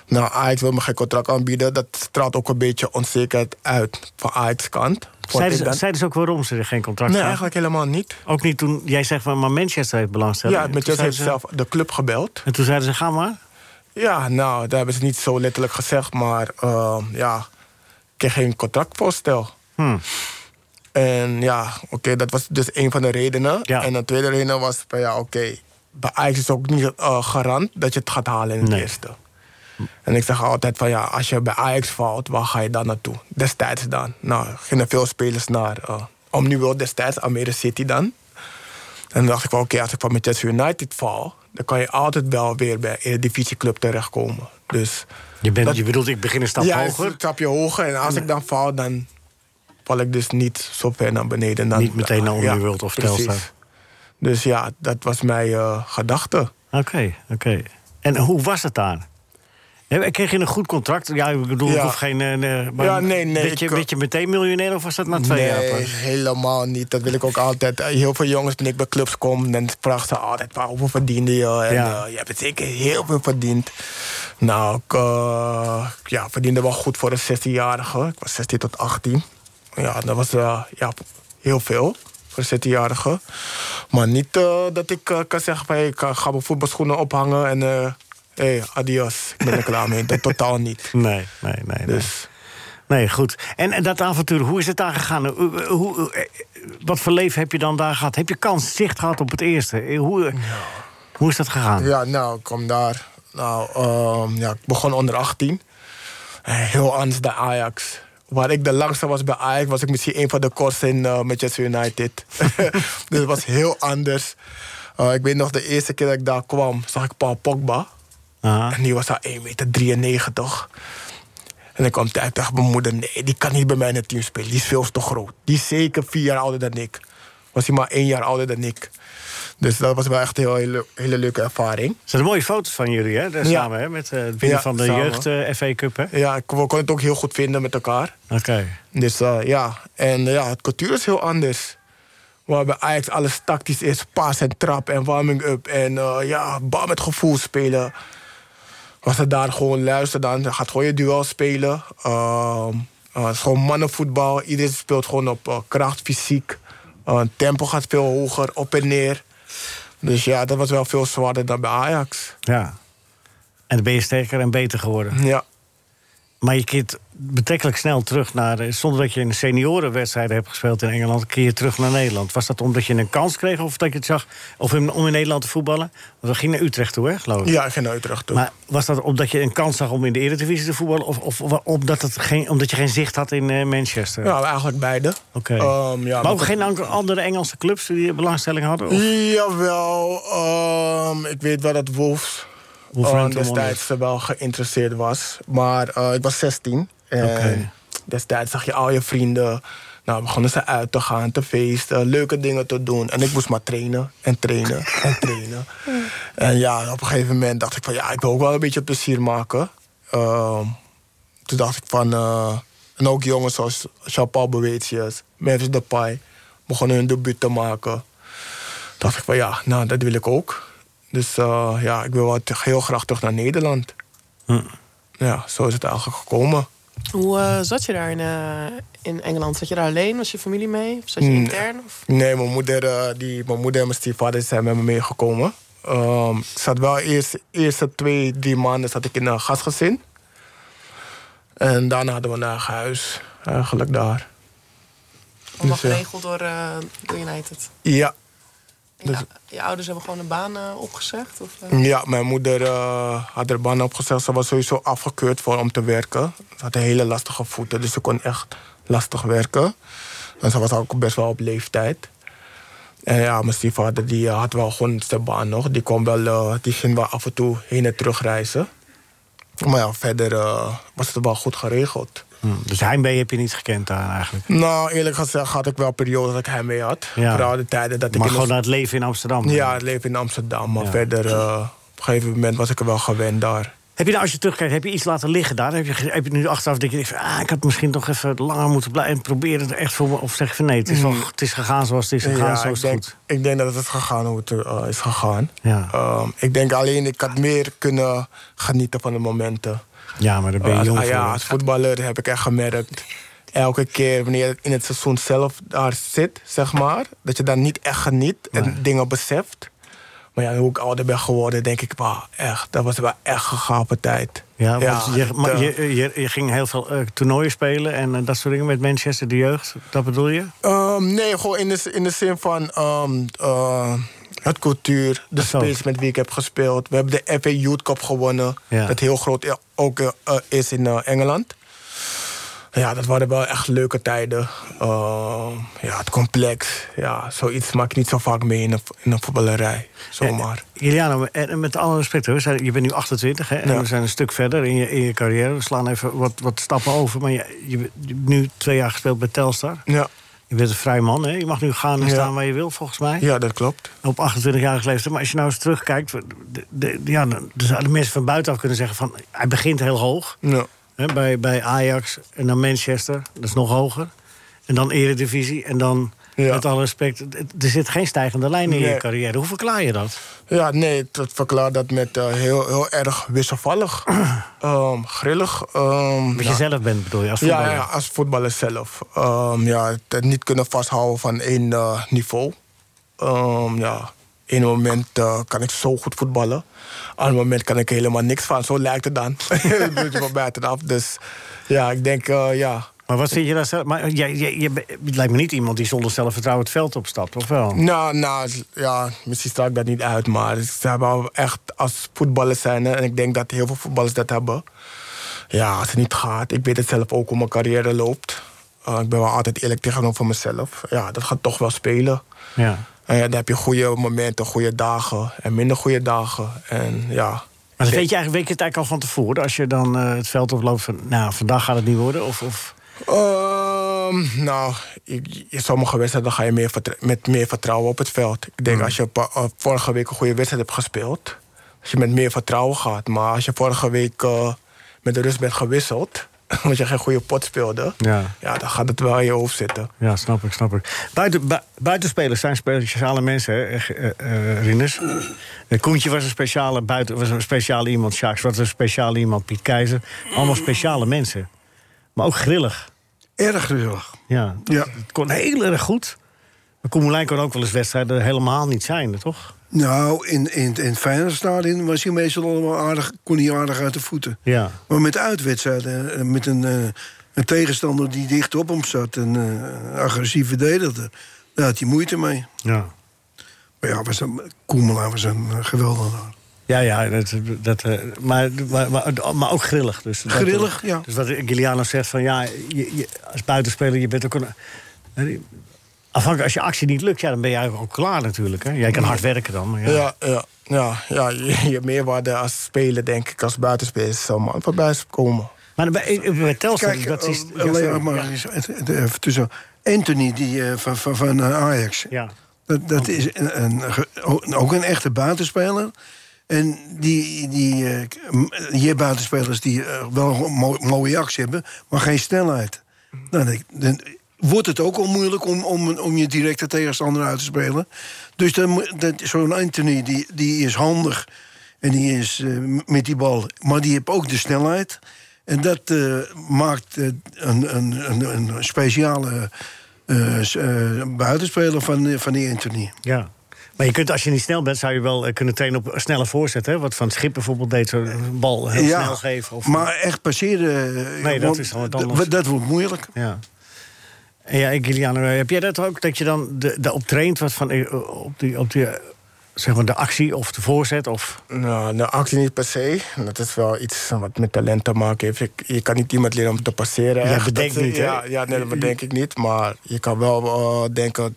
Speaker 13: Nou, Ajax wil me geen contract aanbieden. Dat straalt ook een beetje onzekerheid uit van Ajax kant. Want
Speaker 3: Zeiden
Speaker 13: ik
Speaker 3: ze,
Speaker 13: ben-
Speaker 3: zeiden ze ook waarom ze er geen contract
Speaker 13: Nee,
Speaker 3: hadden?
Speaker 13: eigenlijk helemaal niet.
Speaker 3: Ook niet toen jij zegt, van, maar Manchester heeft belangstelling.
Speaker 13: Ja,
Speaker 3: En
Speaker 13: met
Speaker 3: toen
Speaker 13: heeft
Speaker 3: zeiden
Speaker 13: zelf
Speaker 3: ze-
Speaker 13: de club gebeld.
Speaker 3: En toen zeiden ze, ga maar.
Speaker 13: Ja, nou, dat hebben ze niet zo letterlijk gezegd. Maar ehm, ja, ik kreeg geen contractvoorstel.
Speaker 3: Hmm.
Speaker 13: En ja, oké, dat was dus een van de redenen. En de tweede reden was van ja, oké, bij Ajax is ook niet eh, garant dat je het gaat halen in het eerste. En ik zeg altijd van ja, als je bij Ajax valt, waar ga je dan naartoe? Destijds dan. Nou, gingen veel spelers naar eh Omniworld destijds, Almere City dan. En dan dacht ik wel, oké, als ik van Manchester United val... dan kan je altijd wel weer bij een divisieclub terechtkomen. Dus
Speaker 3: Je, bent,
Speaker 13: Dat-
Speaker 3: je bedoelt, ik begin een stap
Speaker 13: ja,
Speaker 3: hoger.
Speaker 13: een stapje hoger. En als ik dan val, dan val ik dus niet zo ver naar beneden. Dan,
Speaker 3: Niet meteen naar Omniworld of
Speaker 13: precies.
Speaker 3: Telstar.
Speaker 13: Dus ja, dat was mijn eh, gedachte.
Speaker 3: Oké, oké. En hoe was het daar? Heb- Kreeg je een goed contract? Ja, ik bedoel, ik
Speaker 13: Ja.
Speaker 3: hoef geen... eh, eh, maar
Speaker 13: Ja, nee, nee,
Speaker 3: Werd je,
Speaker 13: ik-
Speaker 3: werd je meteen miljonair of was dat na twee
Speaker 13: nee,
Speaker 3: jaar pas?
Speaker 13: helemaal niet. Dat wil ik ook altijd. Eh, Heel veel jongens, toen ik bij clubs kom, dan vragen ze altijd... "Waar, hoeveel verdiende je? En,
Speaker 3: Ja.
Speaker 13: eh, je hebt zeker heel veel verdiend. Nou, ik eh, ja, verdiende wel goed voor een 16-jarige. Ik was 16 tot 18. Ja, dat was eh, ja, heel veel voor een 16-jarige. Maar niet eh, dat ik eh, kan zeggen van... Hey, ik eh, ga mijn voetbalschoenen ophangen en... eh hey, adios, ik ben er klaar mee. Dat totaal niet.
Speaker 3: Nee, nee, nee.
Speaker 13: Dus...
Speaker 3: Nee, goed. En, en dat avontuur, hoe is het daar gegaan? Eh, eh, Hoe, eh, wat voor leven heb je dan daar gehad? Heb je kans, zicht gehad op het eerste? Eh, Hoe,
Speaker 13: Nou.
Speaker 3: eh, hoe is dat gegaan?
Speaker 13: Ja, nou, ik kwam daar. Nou, ehm, ja, ik begon onder 18. Eh, Heel anders dan Ajax. Waar ik de langste was bij Ajax, was ik misschien een van de kortste in eh, Manchester United. dus het was heel anders. Eh, ik weet nog, de eerste keer dat ik daar kwam, zag ik Paul Pogba.
Speaker 3: Ah.
Speaker 13: En die was daar 1,93 meter. En dan kwam hij uit tegen mijn moeder: nee, die kan niet bij mij in het team spelen. Die is veel te groot. Die is zeker vier jaar ouder dan ik. Was hij maar één jaar ouder dan ik. Dus dat was wel echt een heel- hele, hele leuke ervaring.
Speaker 3: Er zijn mooie foto's van jullie, hè? Daar
Speaker 13: Ja.
Speaker 3: Samen, hè? Met eh, het winnen
Speaker 13: Ja,
Speaker 3: van de
Speaker 13: samen.
Speaker 3: jeugd eh, FA Cup, hè?
Speaker 13: Ja, ik- we konden het ook heel goed vinden met elkaar.
Speaker 3: Oké.
Speaker 13: Dus eh, ja, en eh, ja, het cultuur is heel anders. Waarbij Ajax alles tactisch is. Pas en trap en warming-up. En eh, ja, bal met gevoel spelen. Was het daar gewoon luisteren dan. Gaat gewoon je duel spelen. Ehm, eh, het is gewoon mannenvoetbal. Iedereen speelt gewoon op eh, kracht, fysiek. Eh, tempo gaat veel hoger, op en neer. Dus ja, dat was wel veel zwaarder dan bij Ajax.
Speaker 3: Ja. En dan ben je sterker en beter geworden.
Speaker 13: Ja.
Speaker 3: Maar je keert betrekkelijk snel terug naar... eh, zonder dat je een seniorenwedstrijd hebt gespeeld in Engeland... keer je terug naar Nederland. Was dat omdat je een kans kreeg of dat je het zag... of in- om in Nederland te voetballen? Want we gingen naar Utrecht toe, hè, geloof ik?
Speaker 13: Ja, ik ging naar Utrecht toe.
Speaker 3: Maar was dat omdat je een kans zag om in de Eredivisie te voetballen... of, of wa- omdat, het geen, omdat je geen zicht had in eh, Manchester?
Speaker 13: Ja, eigenlijk beide.
Speaker 3: Oké.
Speaker 13: Ehm, ja,
Speaker 3: maar ook
Speaker 13: want-
Speaker 3: geen an- andere Engelse clubs die belangstelling hadden? Of?
Speaker 13: Jawel, ehm, ik weet wel dat Wolves
Speaker 3: Wolverhampton
Speaker 13: eh,
Speaker 3: Wanderers.
Speaker 13: destijds wel geïnteresseerd was. Maar eh, ik was 16 en
Speaker 3: Oké.
Speaker 13: destijds zag je al je vrienden. Nou, begonnen ze uit te gaan, te feesten, leuke dingen te doen. En ik moest maar trainen en trainen en trainen. En ja, op een gegeven moment dacht ik van ja, ik wil ook wel een beetje plezier maken. Ehm, toen dacht ik van. eh, en ook jongens zoals Jean-Paul Boetius, Memphis Depay, begonnen hun debuut te maken. Dacht ik van ja, nou dat wil ik ook. Dus eh, ja, ik wil wel te- heel graag terug naar Nederland. Ja, zo is het eigenlijk gekomen.
Speaker 7: Hoe eh, zat je daar in, eh, in Engeland? Zat je daar alleen? Was je familie mee? Of zat je
Speaker 13: Nee.
Speaker 7: intern? Of?
Speaker 13: Mm. Nee, mijn moeder, eh, die, mijn moeder en mijn stiefvader zijn met me meegekomen. Ehm, ik zat wel eerst, eerste twee, drie maanden zat ik in een gastgezin. En daarna hadden we een eigen huis, eigenlijk daar.
Speaker 7: Allemaal
Speaker 13: Dus, eh,
Speaker 7: geregeld door, eh, door United.
Speaker 13: Ja. Dus,
Speaker 7: Je ouders hebben gewoon een baan eh, opgezegd? Of, eh?
Speaker 13: Ja, mijn moeder eh, had er baan op gezegd. Ze was sowieso afgekeurd voor om te werken. Ze had hele lastige voeten, dus ze kon echt lastig werken. En ze was ook best wel op leeftijd. En ja, mijn stiefvader die eh, had wel gewoon zijn baan nog. Die, kon wel, eh, die ging wel af en toe heen en terug reizen. Maar ja, verder eh, was het wel goed geregeld.
Speaker 3: Hm, Dus Heimwee heb je niet gekend daar eigenlijk?
Speaker 13: Nou, eerlijk gezegd had ik wel periodes dat ik hem mee had.
Speaker 3: Ja.
Speaker 13: Vooral de tijden dat ik...
Speaker 3: maar
Speaker 13: in
Speaker 3: gewoon
Speaker 13: een-
Speaker 3: naar het leven in Amsterdam?
Speaker 13: Ja, het leven in Amsterdam. Maar
Speaker 3: Ja.
Speaker 13: verder, eh, op een gegeven moment was ik er wel gewend daar.
Speaker 3: Heb je nou, als je terugkijkt, heb je iets laten liggen daar? Heb je, ge- heb je nu achteraf dat je denkt, van, ah, ik had misschien toch even langer moeten blijven... en proberen het echt voor me, of zeg van nee, het is, wel,
Speaker 13: Mm.
Speaker 3: het is gegaan zoals het is gegaan, zo
Speaker 13: ik
Speaker 3: is het
Speaker 13: denk,
Speaker 3: goed.
Speaker 13: Ik denk dat het is gegaan hoe het eh, is gegaan.
Speaker 3: Ja.
Speaker 13: Ehm, ik denk alleen, ik had meer kunnen genieten van de momenten.
Speaker 3: Ja, maar daar ben je
Speaker 13: Als-
Speaker 3: jong
Speaker 13: ah,
Speaker 3: voor,
Speaker 13: ja,
Speaker 3: hè?
Speaker 13: als voetballer heb ik echt gemerkt... elke keer wanneer je in het seizoen zelf daar zit, zeg maar... dat je daar niet echt geniet en dingen beseft. Maar ja, hoe ik ouder ben geworden, denk ik... wauw, echt, dat was wel echt gegapen tijd.
Speaker 3: Ja, want je, maar
Speaker 13: de-
Speaker 3: je, je, je ging heel veel eh, toernooien spelen en eh, dat soort dingen met Manchester, de jeugd. Dat bedoel je?
Speaker 13: Ehm, nee, gewoon in de, in de zin van ehm, eh, het cultuur, de space met wie ik heb gespeeld. We hebben de FA Youth Cup gewonnen,
Speaker 3: Ja.
Speaker 13: dat heel groot i- ook eh, eh, is in eh, Engeland. Ja, dat waren wel echt leuke tijden. Ehm, ja, het complex. Ja, zoiets maak ik niet zo vaak mee in een, in een voetballerij. Zomaar.
Speaker 3: Eh. Juliano, en- en met alle respect hoor, we zijn- je bent nu 28 hè, en
Speaker 13: Ja.
Speaker 3: we zijn een stuk verder in je, in je carrière. We slaan even wat, wat stappen over, maar je, je bent nu twee jaar gespeeld bij Telstar.
Speaker 13: Ja.
Speaker 3: Je bent een vrij man, hè? je mag nu gaan en
Speaker 13: Ja.
Speaker 3: staan waar je wil volgens mij.
Speaker 13: Ja, dat klopt.
Speaker 3: Op 28-jarige leeftijd. Maar als je nou eens terugkijkt, de, de- ja, dan zouden mensen van buitenaf kunnen zeggen van hij begint heel hoog.
Speaker 13: Ja.
Speaker 3: Hè, bij, bij Ajax en dan Manchester, dat is nog hoger. En dan Eredivisie en dan, met alle respect... het- het- er zit geen stijgende lijn in je
Speaker 13: Nee.
Speaker 3: carrière. Hoe verklaar je dat?
Speaker 13: Ja, nee, dat verklaart dat met eh, heel, heel erg wisselvallig, Ehm, grillig. ehm,
Speaker 3: Wat
Speaker 13: ja.
Speaker 3: je zelf bent, bedoel je, als
Speaker 13: ja,
Speaker 3: voetballer?
Speaker 13: ja, als voetballer zelf. Ehm, ja, het- het niet kunnen vasthouden van één eh, niveau. Ehm ja, één moment eh, kan ik zo goed voetballen. Ander moment kan ik er helemaal niks van. Zo lijkt het dan. Het doet je van buitenaf. Dus ja, ik denk, eh, ja.
Speaker 3: Maar wat vind je daar zelf... Maar jij, jij, jij bent- het lijkt me niet iemand die zonder zelfvertrouwen het veld opstapt, of wel?
Speaker 13: Nou, nou, ja, misschien straal ik dat niet uit, maar ze hebben wel echt als voetballers zijn, hè, en ik denk dat heel veel voetballers dat hebben. Ja, als het niet gaat, ik weet het zelf ook hoe mijn carrière loopt. Eh, ik ben wel altijd eerlijk tegenover mezelf. Ja, dat gaat toch wel spelen.
Speaker 3: Ja.
Speaker 13: En ja, dan heb je goede momenten, goede dagen en minder goede dagen. En ja.
Speaker 3: Maar dan weet je, eigenlijk, weet je het eigenlijk al van tevoren... als je dan eh, het veld oploopt van, nou, vandaag gaat het niet worden? Of, of...
Speaker 13: Ehm, nou, ik- in sommige wedstrijden ga je meer vertr- met meer vertrouwen op het veld. Ik denk als je een paar- eh, vorige week een goede wedstrijd hebt gespeeld, als je met meer vertrouwen gaat. Maar als je vorige week eh, met de rust bent gewisseld. omdat je geen goede pot speelde.
Speaker 3: Ja.
Speaker 13: Ja, dan gaat het wel in je hoofd zitten.
Speaker 3: Ja, snap ik, snap ik. Buiten, bu- buitenspelers zijn speciale mensen, hè, eh, eh, eh, Rinus? Eh, Koentje was een speciale, buiten, was een speciale iemand. Sjaaks was een speciale iemand. Piet Keizer. Allemaal speciale mensen. Maar ook grillig.
Speaker 8: Erg grillig.
Speaker 3: Ja, ja. het kon heel erg goed. Maar Koemelijn kon ook wel eens wedstrijden helemaal niet zijn, toch?
Speaker 8: Nou, in, in, in het Feyenoordstadion was hij meestal allemaal aardig, kon hij aardig uit de voeten.
Speaker 3: Ja.
Speaker 8: Maar met uitwedstrijden, eh, met een, eh, een tegenstander die dicht op hem zat... en eh, agressief verdedigde, daar had hij moeite mee.
Speaker 3: Ja.
Speaker 8: Maar ja, was een, Koemelaar was een eh, geweldenaar.
Speaker 3: Ja, ja, dat, dat, eh, maar, maar, maar, maar ook grillig. Dus dat-
Speaker 8: Grillig, ja.
Speaker 3: Dus wat Giuliano zegt van ja, je, je- als buitenspeler, je bent ook een. eh, Afhankelijk, als je actie niet lukt, ja, dan ben je eigenlijk ook klaar natuurlijk. Hè? Jij kan hard werken dan. Maar ja.
Speaker 13: Ja, ja, ja, ja je, je meerwaarde als speler, denk ik, als buitenspeler, zou man voorbij komen.
Speaker 3: Maar bij, bij Telstar,
Speaker 8: Kijk,
Speaker 3: dat is...
Speaker 8: eh, alleen maar- maar
Speaker 3: ja.
Speaker 8: eens, het- het- even tussen. Anthony die, eh, van, van, van eh, Ajax.
Speaker 3: Ja.
Speaker 8: Dat, dat is een, een ge- o- ook een echte buitenspeler. En die, die, eh, k- m- je hebt buitenspelers die eh, wel een mooi- mooie actie hebben, maar geen snelheid. Nou, dan, dan wordt het ook al moeilijk om, om, om je directe tegenstander uit te spelen. Dus dan moet- dat- zo'n Anthony die, die is handig en die is eh, m- met die bal, maar die heeft ook de snelheid. En dat eh, maakt eh, een, een, een, een speciale eh, s- eh, buitenspeler van, eh, van die Anthony.
Speaker 3: ja. Maar je kunt, als je niet snel bent, zou je wel eh, kunnen trainen op snelle voorzet. Hè? Wat Van Schip bijvoorbeeld deed, zo'n bal heel snel geven. Of,
Speaker 8: Maar echt passeren. eh,
Speaker 3: Nee, dat
Speaker 8: want
Speaker 3: is dan wat
Speaker 8: dat-
Speaker 3: anders.
Speaker 8: Dat wordt moeilijk.
Speaker 3: Ja. En ja, ik, Giuliano, heb jij dat ook? Dat je dan de, de op traint wat van eh, op die, op die eh, zeg maar de actie of de voorzet? Of...
Speaker 13: Nou, de actie niet per se. Dat is wel iets wat met talent te maken heeft. Je, je kan niet iemand leren om te passeren.
Speaker 3: Jij
Speaker 13: echt.
Speaker 3: bedenkt
Speaker 13: Dat-
Speaker 3: niet, hè?
Speaker 13: Ja, ja nee, dat bedenk ik niet. Maar je kan wel eh, denken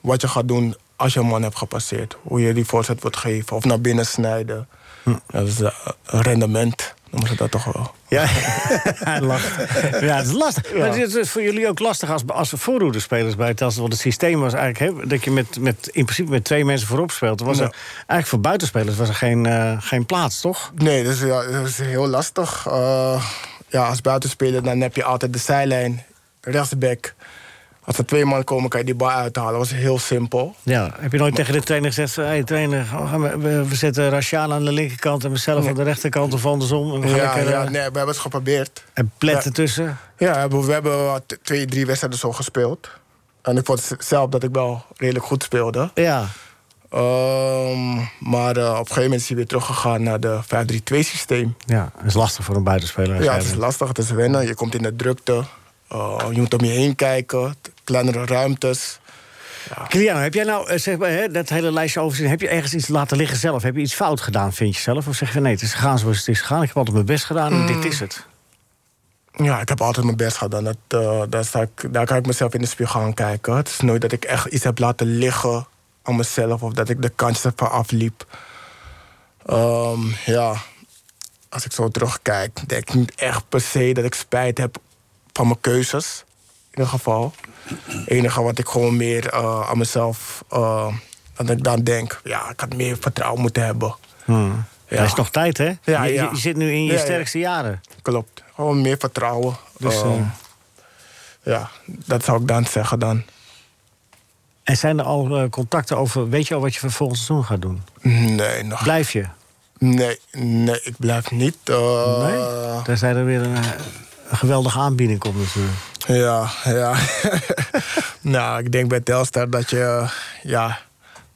Speaker 13: wat je gaat doen als je een man hebt gepasseerd. Hoe je die voorzet wordt geven. Of naar binnen snijden.
Speaker 3: Hm.
Speaker 13: Dat is eh, een rendement. Noemen ze dat toch wel.
Speaker 3: Ja, hij lacht. Ja, het is lastig. Maar het is voor jullie ook lastig als, als voorroederspelers bij Telstar. Want het systeem was eigenlijk hè, dat je met, met, in principe met twee mensen voorop speelt. Er Was
Speaker 13: Ja.
Speaker 3: er, eigenlijk voor buitenspelers was er geen, eh, geen plaats, toch?
Speaker 13: Nee, dat is, ja, dat is heel lastig. Eh, ja, als buitenspeler dan heb je altijd de zijlijn, rechtsback. Als er twee man komen, kan je die bal uithalen. Dat was heel simpel.
Speaker 3: Ja, heb je nooit tegen de trainer gezegd... hé hey, trainer, oh, gaan we, we- we zetten Rashaan aan de linkerkant... en mezelf aan de rechterkant of andersom. En we gaan
Speaker 13: Ja,
Speaker 3: lekker,
Speaker 13: ja,
Speaker 3: eh,
Speaker 13: nee, we hebben het geprobeerd.
Speaker 3: En plet ertussen.
Speaker 13: Ja, we hebben- we hebben wel t- twee, drie wedstrijden zo gespeeld. En ik vond zelf dat ik wel redelijk goed speelde.
Speaker 3: Ja.
Speaker 13: maar eh, op een gegeven moment is hij weer teruggegaan naar de 5-3-2 systeem.
Speaker 3: Ja, dat is lastig voor een buitenspeler.
Speaker 13: Ja, het is lastig, het is wennen. Je komt in de drukte. Eh, je moet om je heen kijken, t- kleinere ruimtes.
Speaker 3: Kiliano, heb jij nou eh, zeg maar, hè, dat hele lijstje overzien... heb je ergens iets laten liggen zelf? Heb je iets fout gedaan, vind je zelf? Of zeg je nee, het is gegaan zoals het is gegaan. Ik heb altijd mijn best gedaan en
Speaker 13: Mm.
Speaker 3: dit is het.
Speaker 13: Ja, ik heb altijd mijn best gedaan. Dat, eh, daar, sta ik, daar kan ik mezelf in de spiegel gaan kijken. Het is nooit dat ik echt iets heb laten liggen aan mezelf of dat ik de kansen ervan afliep. Ehm, ja, als ik zo terugkijk, denk ik niet echt per se dat ik spijt heb van mijn keuzes. In ieder geval. Het enige wat ik gewoon meer eh, aan mezelf, eh dat ik dan denk, ja, ik had meer vertrouwen moeten hebben.
Speaker 3: Hmm.
Speaker 13: Ja.
Speaker 3: Er is nog tijd, hè?
Speaker 13: Ja,
Speaker 3: je, je-
Speaker 13: ja.
Speaker 3: je zit nu in je
Speaker 13: Ja, ja.
Speaker 3: sterkste jaren.
Speaker 13: Klopt. Gewoon meer vertrouwen.
Speaker 3: Dus,
Speaker 13: Ehm,
Speaker 3: eh,
Speaker 13: ja, dat zou ik dan zeggen dan.
Speaker 3: En zijn er al eh, contacten over... weet je al wat je voor volgend seizoen gaat doen?
Speaker 13: Nee, nog
Speaker 3: Blijf je?
Speaker 13: Nee, nee, ik blijf niet. eh,
Speaker 3: Nee? Daar zijn er weer een, eh, een geweldige aanbieding komt natuurlijk.
Speaker 13: Ja, ja. nou, ik denk bij Telstar dat je... eh, Ja,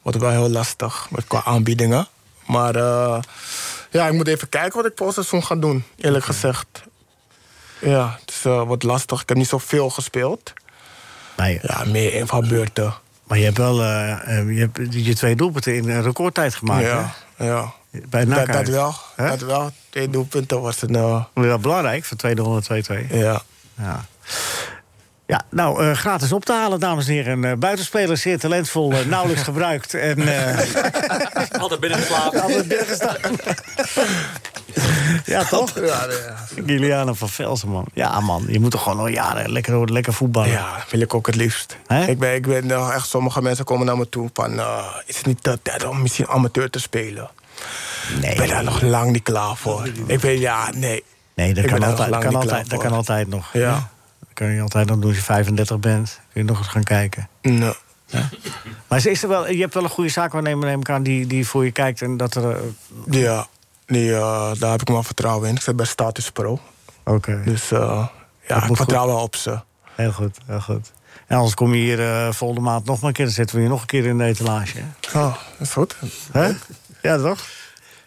Speaker 13: wordt wel heel lastig met qua aanbiedingen. Maar eh, ja, ik moet even kijken wat ik voor seizoen ga doen, eerlijk gezegd. Ja, het is eh, wat lastig. Ik heb niet zoveel gespeeld.
Speaker 3: Nee.
Speaker 13: Ja, meer invalbeurten.
Speaker 3: Maar je hebt wel eh, eh, je, hebt je twee doelpunten in een recordtijd gemaakt,
Speaker 13: Ja,
Speaker 3: hè?
Speaker 13: ja.
Speaker 3: Bij
Speaker 13: dat,
Speaker 3: NAC
Speaker 13: dat
Speaker 3: uit.
Speaker 13: wel,
Speaker 3: Hè?
Speaker 13: dat wel. Twee doelpunten was een... eh,
Speaker 3: Wel belangrijk voor 200 2-2.
Speaker 13: Ja.
Speaker 3: ja. Ja, nou, eh, gratis op te halen, dames en heren. Een buitenspeler, zeer talentvol, eh, nauwelijks gebruikt. En, eh,
Speaker 4: Altijd binnen geslapen.
Speaker 3: Altijd binnen ja, toch?
Speaker 13: Ja, ja.
Speaker 3: Giliana van Velsen, man. Ja, man, je moet toch gewoon al jaren lekker, lekker voetballen.
Speaker 13: Ja, wil ik ook het liefst. Ik ben, ik ben nou echt, sommige mensen komen naar me toe van... eh, is het niet de tijd om misschien amateur te spelen?
Speaker 3: Nee.
Speaker 13: Ik ben daar nog lang niet klaar voor. Ik ben, ja, nee.
Speaker 3: Nee, dat,
Speaker 13: Ik
Speaker 3: kan
Speaker 13: ben er nog
Speaker 3: altijd,
Speaker 13: lang
Speaker 3: kan,
Speaker 13: niet
Speaker 3: altijd,
Speaker 13: klaar
Speaker 3: dat kan
Speaker 13: voor.
Speaker 3: altijd nog.
Speaker 13: Ja.
Speaker 3: Dat kan je altijd nog doen als je 35 bent. Kun je nog eens gaan kijken.
Speaker 13: Nee.
Speaker 3: Maar is er wel, je hebt wel een goede zaakwaarnemer, neem ik aan, die, die voor je kijkt. En dat er, eh,
Speaker 13: Ja, die, eh, daar heb ik wel vertrouwen in. Ik zit bij Status Pro.
Speaker 3: Oké.
Speaker 13: Dus eh, ja, ik
Speaker 3: moet
Speaker 13: vertrouw
Speaker 3: goed.
Speaker 13: wel op ze.
Speaker 3: Heel goed, heel goed. En anders kom je hier eh, volgende maand nog maar een keer. Dan zetten we je nog een keer in de etalage.
Speaker 13: Oh, dat is goed.
Speaker 3: Hè? Ja, toch?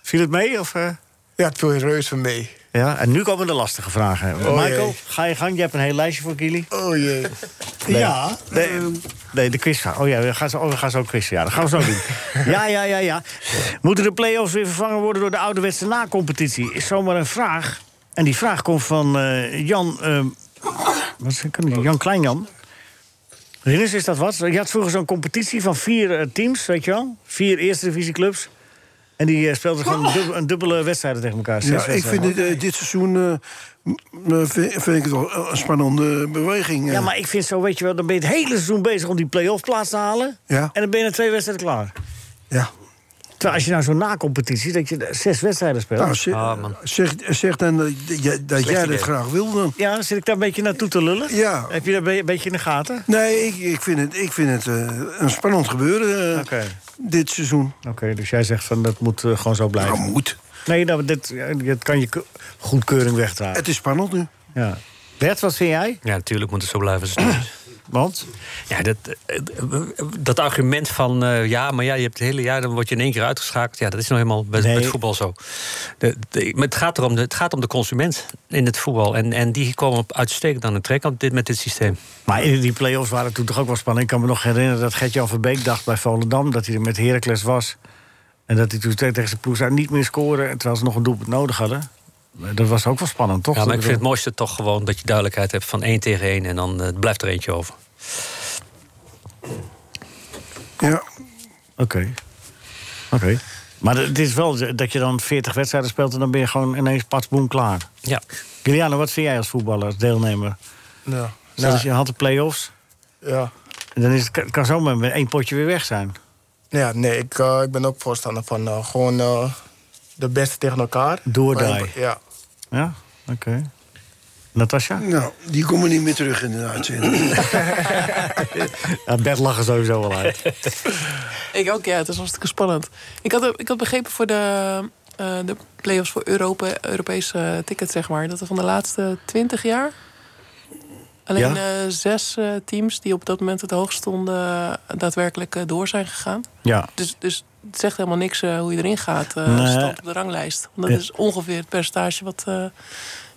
Speaker 3: Viel het mee? Of, eh?
Speaker 13: Ja, het viel reuze mee.
Speaker 3: Ja, en nu komen de lastige vragen.
Speaker 13: Oh,
Speaker 3: Michael,
Speaker 13: jee.
Speaker 3: ga je gang. Je hebt een heel lijstje voor Kili.
Speaker 13: Oh jee. ehm.
Speaker 3: Ja. Nee, nee, de quiz gaat. Oh ja, we gaan zo, oh, we gaan zo quizzen. Ja, dat gaan we zo doen. ja, ja, ja, ja. Moeten de play-offs weer vervangen worden door de ouderwetse na-competitie? Is zomaar een vraag. En die vraag komt van eh, Jan... eh, wat is, kan die? Jan Kleinjan. Rinus, is dat wat? Je had vroeger zo'n competitie van vier eh, teams, weet je wel? Vier eerste divisieclubs. En die eh, speelden gewoon een dubbele, een dubbele wedstrijden tegen elkaar. Zes
Speaker 8: Ja, ik vind
Speaker 3: wedstrijden.
Speaker 8: dit, eh, dit seizoen eh, m- eh, vind, vind ik het wel een spannende beweging. eh.
Speaker 3: Ja, maar ik vind zo, weet je wel, dan ben je het hele seizoen bezig om die play-off plaats te halen.
Speaker 8: Ja.
Speaker 3: En dan ben je na twee wedstrijden klaar.
Speaker 8: Ja.
Speaker 3: Terwijl als je nou zo'n na-competitie, dat je zes wedstrijden speelt.
Speaker 8: Nou, zeg, zeg, zeg dan dat, jij- dat jij
Speaker 3: idee.
Speaker 8: dat graag wil dan.
Speaker 3: Ja, zit ik daar een beetje naartoe te lullen? Ja. Heb je dat een beetje in de gaten?
Speaker 8: Nee, ik, ik vind het, ik vind het eh, een spannend gebeuren eh, dit seizoen.
Speaker 3: Oké, dus jij zegt van dat moet eh, gewoon zo blijven. Dat
Speaker 8: moet.
Speaker 3: Nee, nou, dit, ja, dit kan je ke- goedkeuring wegdragen.
Speaker 8: Het is spannend nu.
Speaker 3: Ja. Bert, wat vind jij?
Speaker 4: Ja, natuurlijk moet het zo blijven. staan.
Speaker 3: Want?
Speaker 4: Ja, dat, eh, eh, dat argument van eh, ja, maar ja, je hebt het hele jaar, dan word je in één keer uitgeschakeld. Ja, dat is nou helemaal bij bij het voetbal zo. De, de- maar het gaat, erom, de- het gaat om de consument in het voetbal. En, en die komen op uitstekend aan de trek op dit, met dit systeem.
Speaker 3: Maar in die play-offs waren toen toch ook wel spannend. Ik kan me nog herinneren dat Gert-Jan Verbeek dacht bij Volendam... dat hij er met Heracles was. En dat hij toen tegen zijn ploeg zei niet meer scoren... terwijl ze nog een doelpunt nodig hadden. Dat was ook wel spannend, toch?
Speaker 4: ja, maar ik vind het mooiste toch gewoon dat je duidelijkheid hebt van één tegen één. En dan eh, blijft er eentje over.
Speaker 8: Ja.
Speaker 3: Oké. Oké. Maar het is wel z- dat je dan 40 wedstrijden speelt... en dan ben je gewoon ineens patsboom klaar.
Speaker 4: Ja.
Speaker 3: Juliano, wat vind jij als voetballer, als deelnemer?
Speaker 13: Ja.
Speaker 3: Stel dat
Speaker 13: Ja.
Speaker 3: je had de play-offs...
Speaker 13: Ja.
Speaker 3: en dan is het, het kan zomaar met één potje weer weg zijn.
Speaker 13: Ja, nee, ik, eh, ik ben ook voorstander van eh, gewoon eh, de beste tegen elkaar.
Speaker 3: Do or
Speaker 13: Maar-
Speaker 3: die.
Speaker 13: Ja.
Speaker 3: Ja? Oké. Natasja?
Speaker 8: Nou, die komen niet meer terug in de uitzending.
Speaker 3: Ja, Bert lachen sowieso wel uit.
Speaker 7: Ik ook, ja. Het is hartstikke spannend. Ik had, ik had begrepen voor de, eh de play-offs voor Europa, Europese tickets, zeg maar... dat er van de laatste twintig jaar... alleen
Speaker 3: Ja.
Speaker 7: eh, zes eh, teams die op dat moment het hoogst stonden... eh, daadwerkelijk eh, door zijn gegaan.
Speaker 3: Ja.
Speaker 7: Dus, dus het zegt helemaal niks eh, hoe je erin gaat, eh
Speaker 3: Nee.
Speaker 7: stand op de ranglijst. Want dat
Speaker 3: Ja.
Speaker 7: is ongeveer het percentage wat, eh,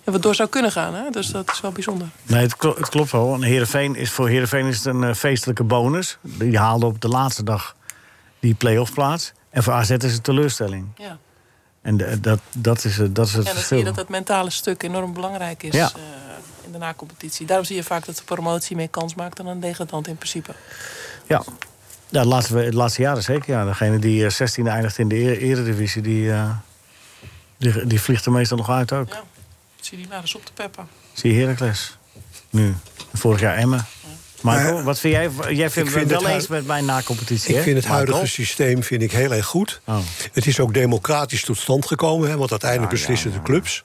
Speaker 7: ja, wat door zou kunnen gaan. Hè? Dus dat is wel bijzonder.
Speaker 3: Nee, het, klo- het klopt wel. En Heerenveen is, voor Heerenveen is het een eh, feestelijke bonus. Die haalde op de laatste dag die play-off plaats. En voor AZ is het teleurstelling.
Speaker 7: Ja.
Speaker 3: En de- dat, dat, is, het- dat is het
Speaker 7: Ja, dan zie
Speaker 3: verschil.
Speaker 7: je dat dat mentale stuk enorm belangrijk is
Speaker 3: Ja.
Speaker 7: eh, in de na-competitie. Daarom zie je vaak dat de promotie meer kans maakt dan een degradant in principe.
Speaker 3: Ja, ja de, laatste, de laatste jaren zeker. Ja. Degene die eh, 16e eindigt in de e- eredivisie... Die, eh, die, die vliegt er meestal nog uit ook.
Speaker 7: Dat zie je die maar eens op te peppen.
Speaker 3: Zie je Heracles. Nu. Vorig jaar Emmen. Michael, wat vind jij? Jij vindt
Speaker 5: Eh, ik
Speaker 3: het
Speaker 5: vind
Speaker 3: wel
Speaker 5: het hui-
Speaker 3: eens met mijn na-competitie,
Speaker 5: Ik
Speaker 3: hè, Oh.
Speaker 5: vind het huidige
Speaker 3: Michael?
Speaker 5: systeem vind ik heel erg goed. Het is ook democratisch tot stand gekomen, hè, want uiteindelijk
Speaker 3: Ah,
Speaker 5: beslissen de clubs.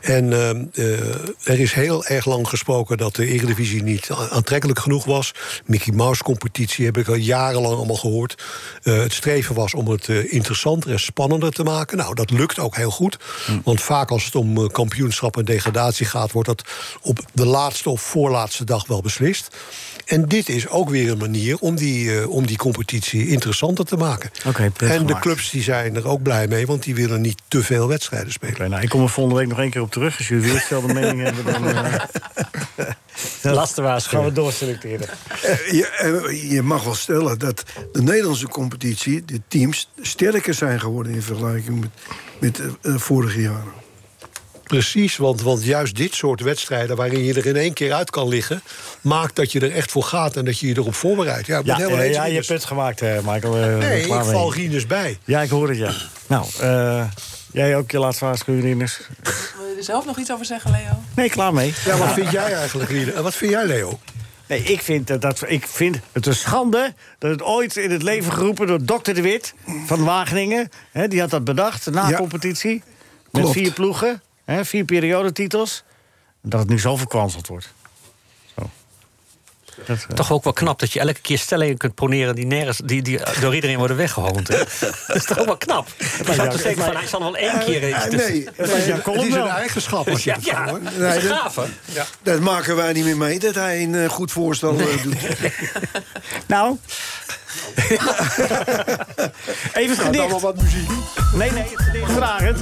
Speaker 5: En ehm, eh, er is heel erg lang gesproken dat de Eredivisie niet a- aantrekkelijk genoeg was. Mickey Mouse-competitie heb ik al jarenlang allemaal gehoord. Eh, het streven was om het eh, interessanter en spannender te maken. Nou, dat lukt ook heel goed.
Speaker 3: Hm.
Speaker 5: Want vaak als het om eh, kampioenschap en degradatie gaat, wordt dat op de laatste of voorlaatste dag wel beslist. En dit is ook weer een manier om die, eh, om die competitie interessanter te maken.
Speaker 3: Oké, punt
Speaker 5: en de
Speaker 3: gemaakt.
Speaker 5: clubs die zijn er ook blij mee, want die willen niet te veel wedstrijden spelen.
Speaker 3: nou, ik kom er volgende week nog één keer op terug. Als jullie weer dezelfde mening hebben, dan... eh,
Speaker 10: Laatste waarschuwing.
Speaker 3: Gaan we doorselecteren.
Speaker 8: Eh, je, eh, je mag wel stellen dat de Nederlandse competitie, de teams, sterker zijn geworden in vergelijking met, met eh, eh, vorige jaren.
Speaker 5: Precies, want, want juist dit soort wedstrijden waarin je er in één keer uit kan liggen, maakt dat je er echt voor gaat en dat je je erop voorbereidt. Ja, ik ben
Speaker 3: Ja,
Speaker 5: helemaal
Speaker 3: eh,
Speaker 5: eens
Speaker 3: ja
Speaker 5: met
Speaker 3: je
Speaker 5: je.
Speaker 3: hebt het gemaakt, eh, Michael. eh, ben
Speaker 5: Nee,
Speaker 3: ik
Speaker 5: ik
Speaker 3: klaar mee.
Speaker 5: val Rienus bij.
Speaker 3: Ja, ik hoor het, ja. Nou, eh, jij ook je laatste waarschuwing, Rinus.
Speaker 7: Wil je er zelf nog iets over zeggen, Leo?
Speaker 3: Nee, klaar mee.
Speaker 5: Ja, wat vind jij eigenlijk, Rienus? En Wat vind jij, Leo?
Speaker 3: Nee, ik vind, dat, dat, ik vind het een schande dat het ooit in het leven geroepen door Dr. de Wit van Wageningen. Hè, die had dat bedacht na
Speaker 8: Ja.
Speaker 3: competitie. Met
Speaker 8: Klopt.
Speaker 3: vier ploegen. Hè, Hè, vier periodetitels. Dat het nu zo verkwanseld wordt. eh,
Speaker 4: Toch ook wel knap dat je elke keer stellingen kunt poneren die, nergens, die, die door iedereen worden weggehoond. hè? dat is toch ook wel knap. Het
Speaker 3: lijkt
Speaker 4: zou
Speaker 3: jou-
Speaker 4: toch zeker
Speaker 3: het
Speaker 4: van,
Speaker 3: lijkt-
Speaker 4: hij zal wel één
Speaker 3: Eh,
Speaker 4: keer
Speaker 3: eh,
Speaker 4: eens.
Speaker 3: nee,
Speaker 4: tussen-
Speaker 3: het lijkt jou column wel.
Speaker 4: Ja, ja. Dat is
Speaker 8: Nee,
Speaker 4: gaaf, hè?
Speaker 8: Dat maken wij niet meer mee, dat hij een eh, goed voorstel eh, doet.
Speaker 3: Nou.
Speaker 8: Nou,
Speaker 3: Even het
Speaker 8: dan
Speaker 3: gedicht.
Speaker 8: wel
Speaker 3: wat muziek. Nee, nee, het gedicht. Vraag het.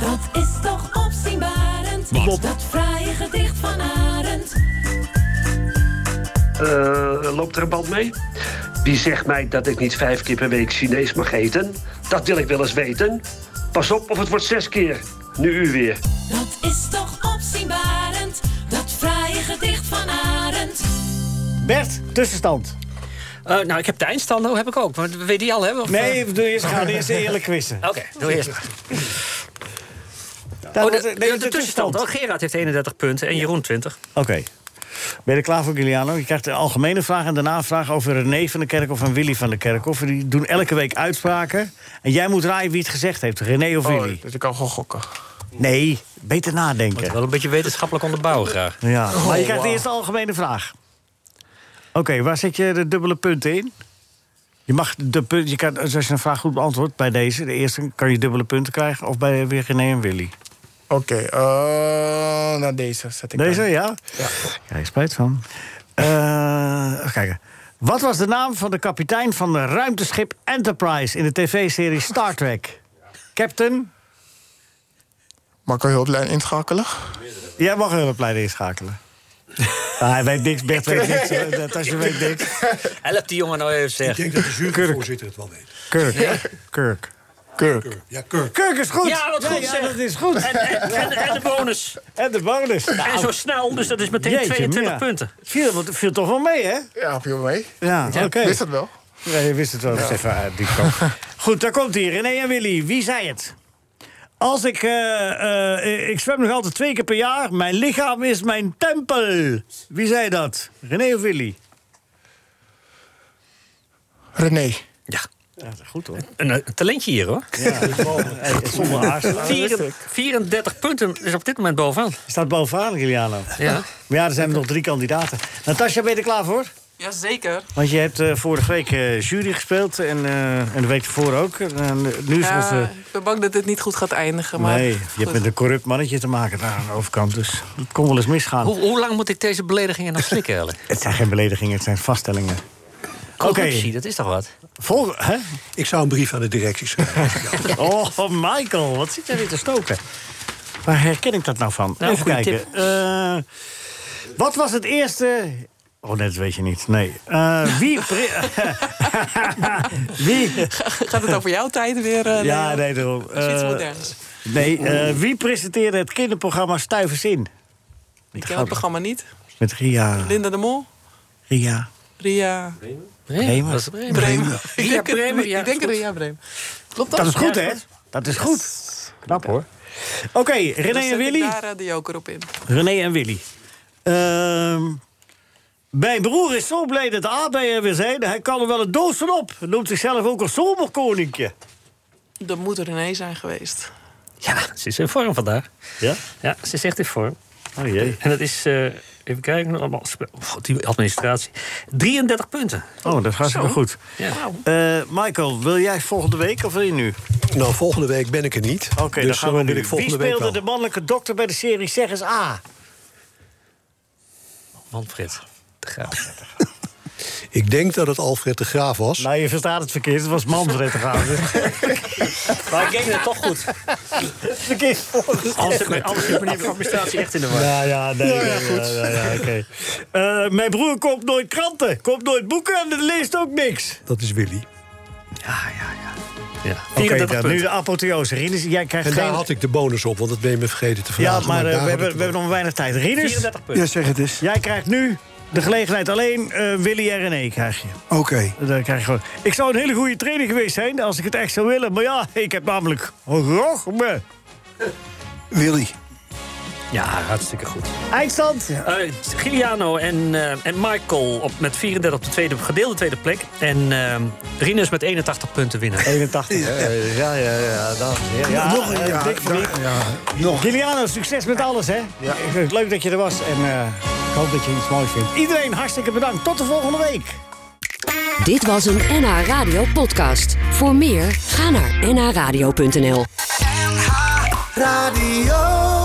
Speaker 1: Dat is toch opzienbarend.
Speaker 3: Wat?
Speaker 1: Dat fraaie gedicht van Arend.
Speaker 15: Eh, loopt er een band mee? Wie zegt mij dat ik niet vijf keer per week Chinees mag eten? Dat wil ik wel eens weten. Pas op of het wordt zes keer. Nu u weer.
Speaker 1: Dat is toch opzienbarend. Dat fraaie gedicht van Arend.
Speaker 3: Bert, tussenstand.
Speaker 4: nou, ik heb de eindstand, oh, heb ik ook. Maar weet die al, hè? Of,
Speaker 3: Nee,
Speaker 4: eh? Oh,
Speaker 3: doe eerst, gaan we eerst eerlijk quizzen.
Speaker 4: Oké, doe eerst. maar.
Speaker 3: Daar
Speaker 4: Oh, de,
Speaker 3: wordt- Nou, nee,
Speaker 4: de- de tussenstand. Oh, Gerard heeft 31 punten en Jeroen 20.
Speaker 3: Oké. Ben je er klaar voor, Giuliano? Je krijgt een algemene vraag en daarna een vraag over René van de Kerkhof en Willy van de Kerkhof. Die doen elke week uitspraken. En jij moet raaien wie het gezegd heeft, René of
Speaker 13: Oh,
Speaker 3: Willy.
Speaker 13: Dus ik kan gewoon gokken.
Speaker 3: Nee, beter nadenken.
Speaker 4: Wel een beetje wetenschappelijk onderbouwen graag.
Speaker 3: Ja,
Speaker 4: Oh,
Speaker 3: maar je krijgt
Speaker 4: wauw.
Speaker 3: eerst de algemene vraag. Oké, waar zet je de dubbele punten in? Je mag de punt, je kan, dus als je een vraag goed beantwoordt bij deze, de eerste, kan je dubbele punten krijgen. Of bij weer René en Willy.
Speaker 13: Oké, eh, nou deze zet ik
Speaker 3: Deze,
Speaker 13: dan.
Speaker 3: ja?
Speaker 13: Ja.
Speaker 3: Ja, je spijt van. Eh, even kijken. Wat was de naam van de kapitein van de ruimteschip Enterprise in de tv-serie Star Trek? Captain?
Speaker 13: Mag ik een hulplijn inschakelen?
Speaker 3: Jij mag een hulplijn inschakelen. Ah, hij weet niks, Bert weet niks. eh, Dat als je weet niks.
Speaker 4: Help die jongen nou even, zeg.
Speaker 5: Ik denk dat de juryvoorzitter het wel weet.
Speaker 3: Kirk. Kirk.
Speaker 13: Kirk.
Speaker 5: Ja, Kirk.
Speaker 3: Kirk is goed.
Speaker 4: Ja, wat goed,
Speaker 3: ja,
Speaker 4: zeg.
Speaker 3: dat is goed.
Speaker 4: En, en, en, en de bonus.
Speaker 3: En de bonus.
Speaker 4: En zo snel, dus dat is meteen 22 punten.
Speaker 3: Viel, want- viel toch wel mee, hè?
Speaker 13: Ja, viel mee.
Speaker 3: Ja, oké.
Speaker 13: Wist dat wel?
Speaker 3: Ja, je wist het wel. eens Even uit die kant. Goed, daar komt hier. René en Willy, wie zei het? Als ik... eh, eh, ik zwem nog altijd twee keer per jaar. Mijn lichaam is mijn tempel. Wie zei dat? René of Willy?
Speaker 13: René.
Speaker 4: Ja.
Speaker 3: Ja, dat is goed hoor.
Speaker 4: Een, eh, talentje hier, hoor.
Speaker 3: eh, Zonder aarzelen.
Speaker 4: Vieren- 34 punten is op dit moment bovenaan.
Speaker 3: Staat bovenaan, Giuliano.
Speaker 4: Ja.
Speaker 3: Maar ja, er zijn nog drie kandidaten. Natasja, ben je er klaar voor?
Speaker 7: Jazeker.
Speaker 3: Want je hebt eh, vorige week eh, jury gespeeld en, eh, en de week ervoor ook. En, eh, nu is
Speaker 7: Ja,
Speaker 3: onze...
Speaker 7: ik ben bang dat dit niet goed gaat eindigen. Maar
Speaker 3: Nee, je
Speaker 7: goed.
Speaker 3: hebt met een corrupt mannetje te maken daar aan de overkant. Dus het kon wel eens misgaan.
Speaker 4: Hoe, hoe lang moet ik deze beledigingen nog slikken, eigenlijk?
Speaker 3: Het zijn geen beledigingen, het zijn vaststellingen. Oké.
Speaker 4: Corruptie, dat is toch wat?
Speaker 3: Vol, hè?
Speaker 5: Ik zou een brief aan de directie schrijven.
Speaker 3: Oh, Michael, wat zit jij weer te stoken? Waar herken ik dat nou van?
Speaker 4: Nou,
Speaker 3: Even
Speaker 4: goeie
Speaker 3: kijken.
Speaker 4: tip.
Speaker 3: Eh, wat was het eerste...
Speaker 4: Eh.
Speaker 3: Oh, nee, dat weet je niet. Nee. Eh, wie... pre- wie...
Speaker 7: Gaat het over jouw tijd weer? eh,
Speaker 3: Ja,
Speaker 7: Leon?
Speaker 3: nee, daarom.
Speaker 7: Dat is iets
Speaker 3: Eh,
Speaker 7: moderns.
Speaker 3: Nee, eh, wie presenteerde het kinderprogramma Stuivers in?
Speaker 7: Ik ken het programma niet.
Speaker 3: Met Ria.
Speaker 7: Linda de Mol,
Speaker 3: Ria.
Speaker 7: Ria
Speaker 3: Bremer.
Speaker 4: Dat is Bremer.
Speaker 7: Bremen. Ik
Speaker 4: Ria
Speaker 7: denk, het-
Speaker 4: Bremer, ja,
Speaker 7: ik denk
Speaker 4: is goed.
Speaker 7: Ria Bremen. Klopt dat?
Speaker 3: Dat is goed,
Speaker 7: Ja,
Speaker 3: hè? Dat is goed. Knap, hoor. Oké,
Speaker 7: Dan
Speaker 3: René
Speaker 7: zet
Speaker 3: en
Speaker 7: ik
Speaker 3: Willy.
Speaker 7: daar eh, de joker op in.
Speaker 3: René en Willy. Ehm, mijn broer is zo blij dat de aardbeien er weer zijn. Hij kan er wel een doos van op. Hij noemt zichzelf ook een zomerkoninkje.
Speaker 7: Dat moet René zijn geweest.
Speaker 4: Ja, ze is in vorm vandaag.
Speaker 3: Ja?
Speaker 4: Ja, ze is echt in vorm.
Speaker 3: Oh jee.
Speaker 4: En dat is, eh, even kijken, allemaal spe- oh, God, die administratie. 33 punten.
Speaker 3: Oh, dat gaat wel goed.
Speaker 4: Ja.
Speaker 3: Eh, Michael, wil jij volgende week of wil je nu? Oké,
Speaker 5: Nou, volgende week ben ik er niet. Oké,
Speaker 3: dan
Speaker 5: dus
Speaker 3: gaan we
Speaker 5: wil
Speaker 3: nu.
Speaker 5: ik
Speaker 3: Wie
Speaker 5: volgende week
Speaker 3: speelde
Speaker 5: wel.
Speaker 3: de mannelijke dokter bij de serie Zeg eens A?
Speaker 4: Manfred. De Graaf.
Speaker 5: Ik denk dat het Alfred de Graaf was.
Speaker 3: Nou, je verstaat het verkeerd. Het was Manfred te gaan.
Speaker 4: Maar ik deed het toch goed.
Speaker 3: verkeerd
Speaker 4: Anders zit mijn- anders zit meneer van administratie echt in de war.
Speaker 3: Ja, ja, nee, nee, ja, ja, ja, oké. Eh, mijn broer koopt nooit kranten, koopt nooit boeken en leest ook niks.
Speaker 5: Dat is Willy.
Speaker 4: Ja, ja, ja. ja.
Speaker 3: Oké,
Speaker 4: 34
Speaker 3: dan nu
Speaker 4: punten.
Speaker 3: de apotheose. Rinus, jij krijgt
Speaker 5: En daar
Speaker 3: geen...
Speaker 5: had ik de bonus op, want dat ben je me vergeten te
Speaker 3: ja,
Speaker 5: vragen.
Speaker 3: maar eh,
Speaker 5: daar
Speaker 3: we,
Speaker 5: had
Speaker 3: hebben,
Speaker 5: ik
Speaker 3: we hebben nog weinig tijd. Rinus,
Speaker 4: 34 punten.
Speaker 8: Ja, zeg het eens.
Speaker 3: jij krijgt nu de gelegenheid alleen. eh, Willy en René krijg je.
Speaker 8: Oké.
Speaker 3: Dan krijg je gewoon... Ik zou een hele goede trainer geweest zijn als ik het echt zou willen. Maar ja, ik heb namelijk rogme.
Speaker 8: Willy.
Speaker 4: Ja, hartstikke goed.
Speaker 3: Eindstand?
Speaker 4: Eh, Giuliano en, eh, en Michael op, met 34 op de tweede, gedeelde tweede plek. En eh, Rinus met 81 punten winnen.
Speaker 3: 81,
Speaker 9: Ja, ja, ja, dames en heren.
Speaker 3: Ja,
Speaker 9: Nog
Speaker 3: eh,
Speaker 9: ja,
Speaker 3: dik verdiend.
Speaker 9: nog.
Speaker 3: Giuliano, succes met alles, hè? Ik vind het Leuk dat je er was en eh, ik hoop dat je iets moois vindt. Iedereen, hartstikke bedankt. Tot de volgende week.
Speaker 1: Dit was een NH Radio podcast. Voor meer, ga naar nhradio.nl.
Speaker 9: Radio.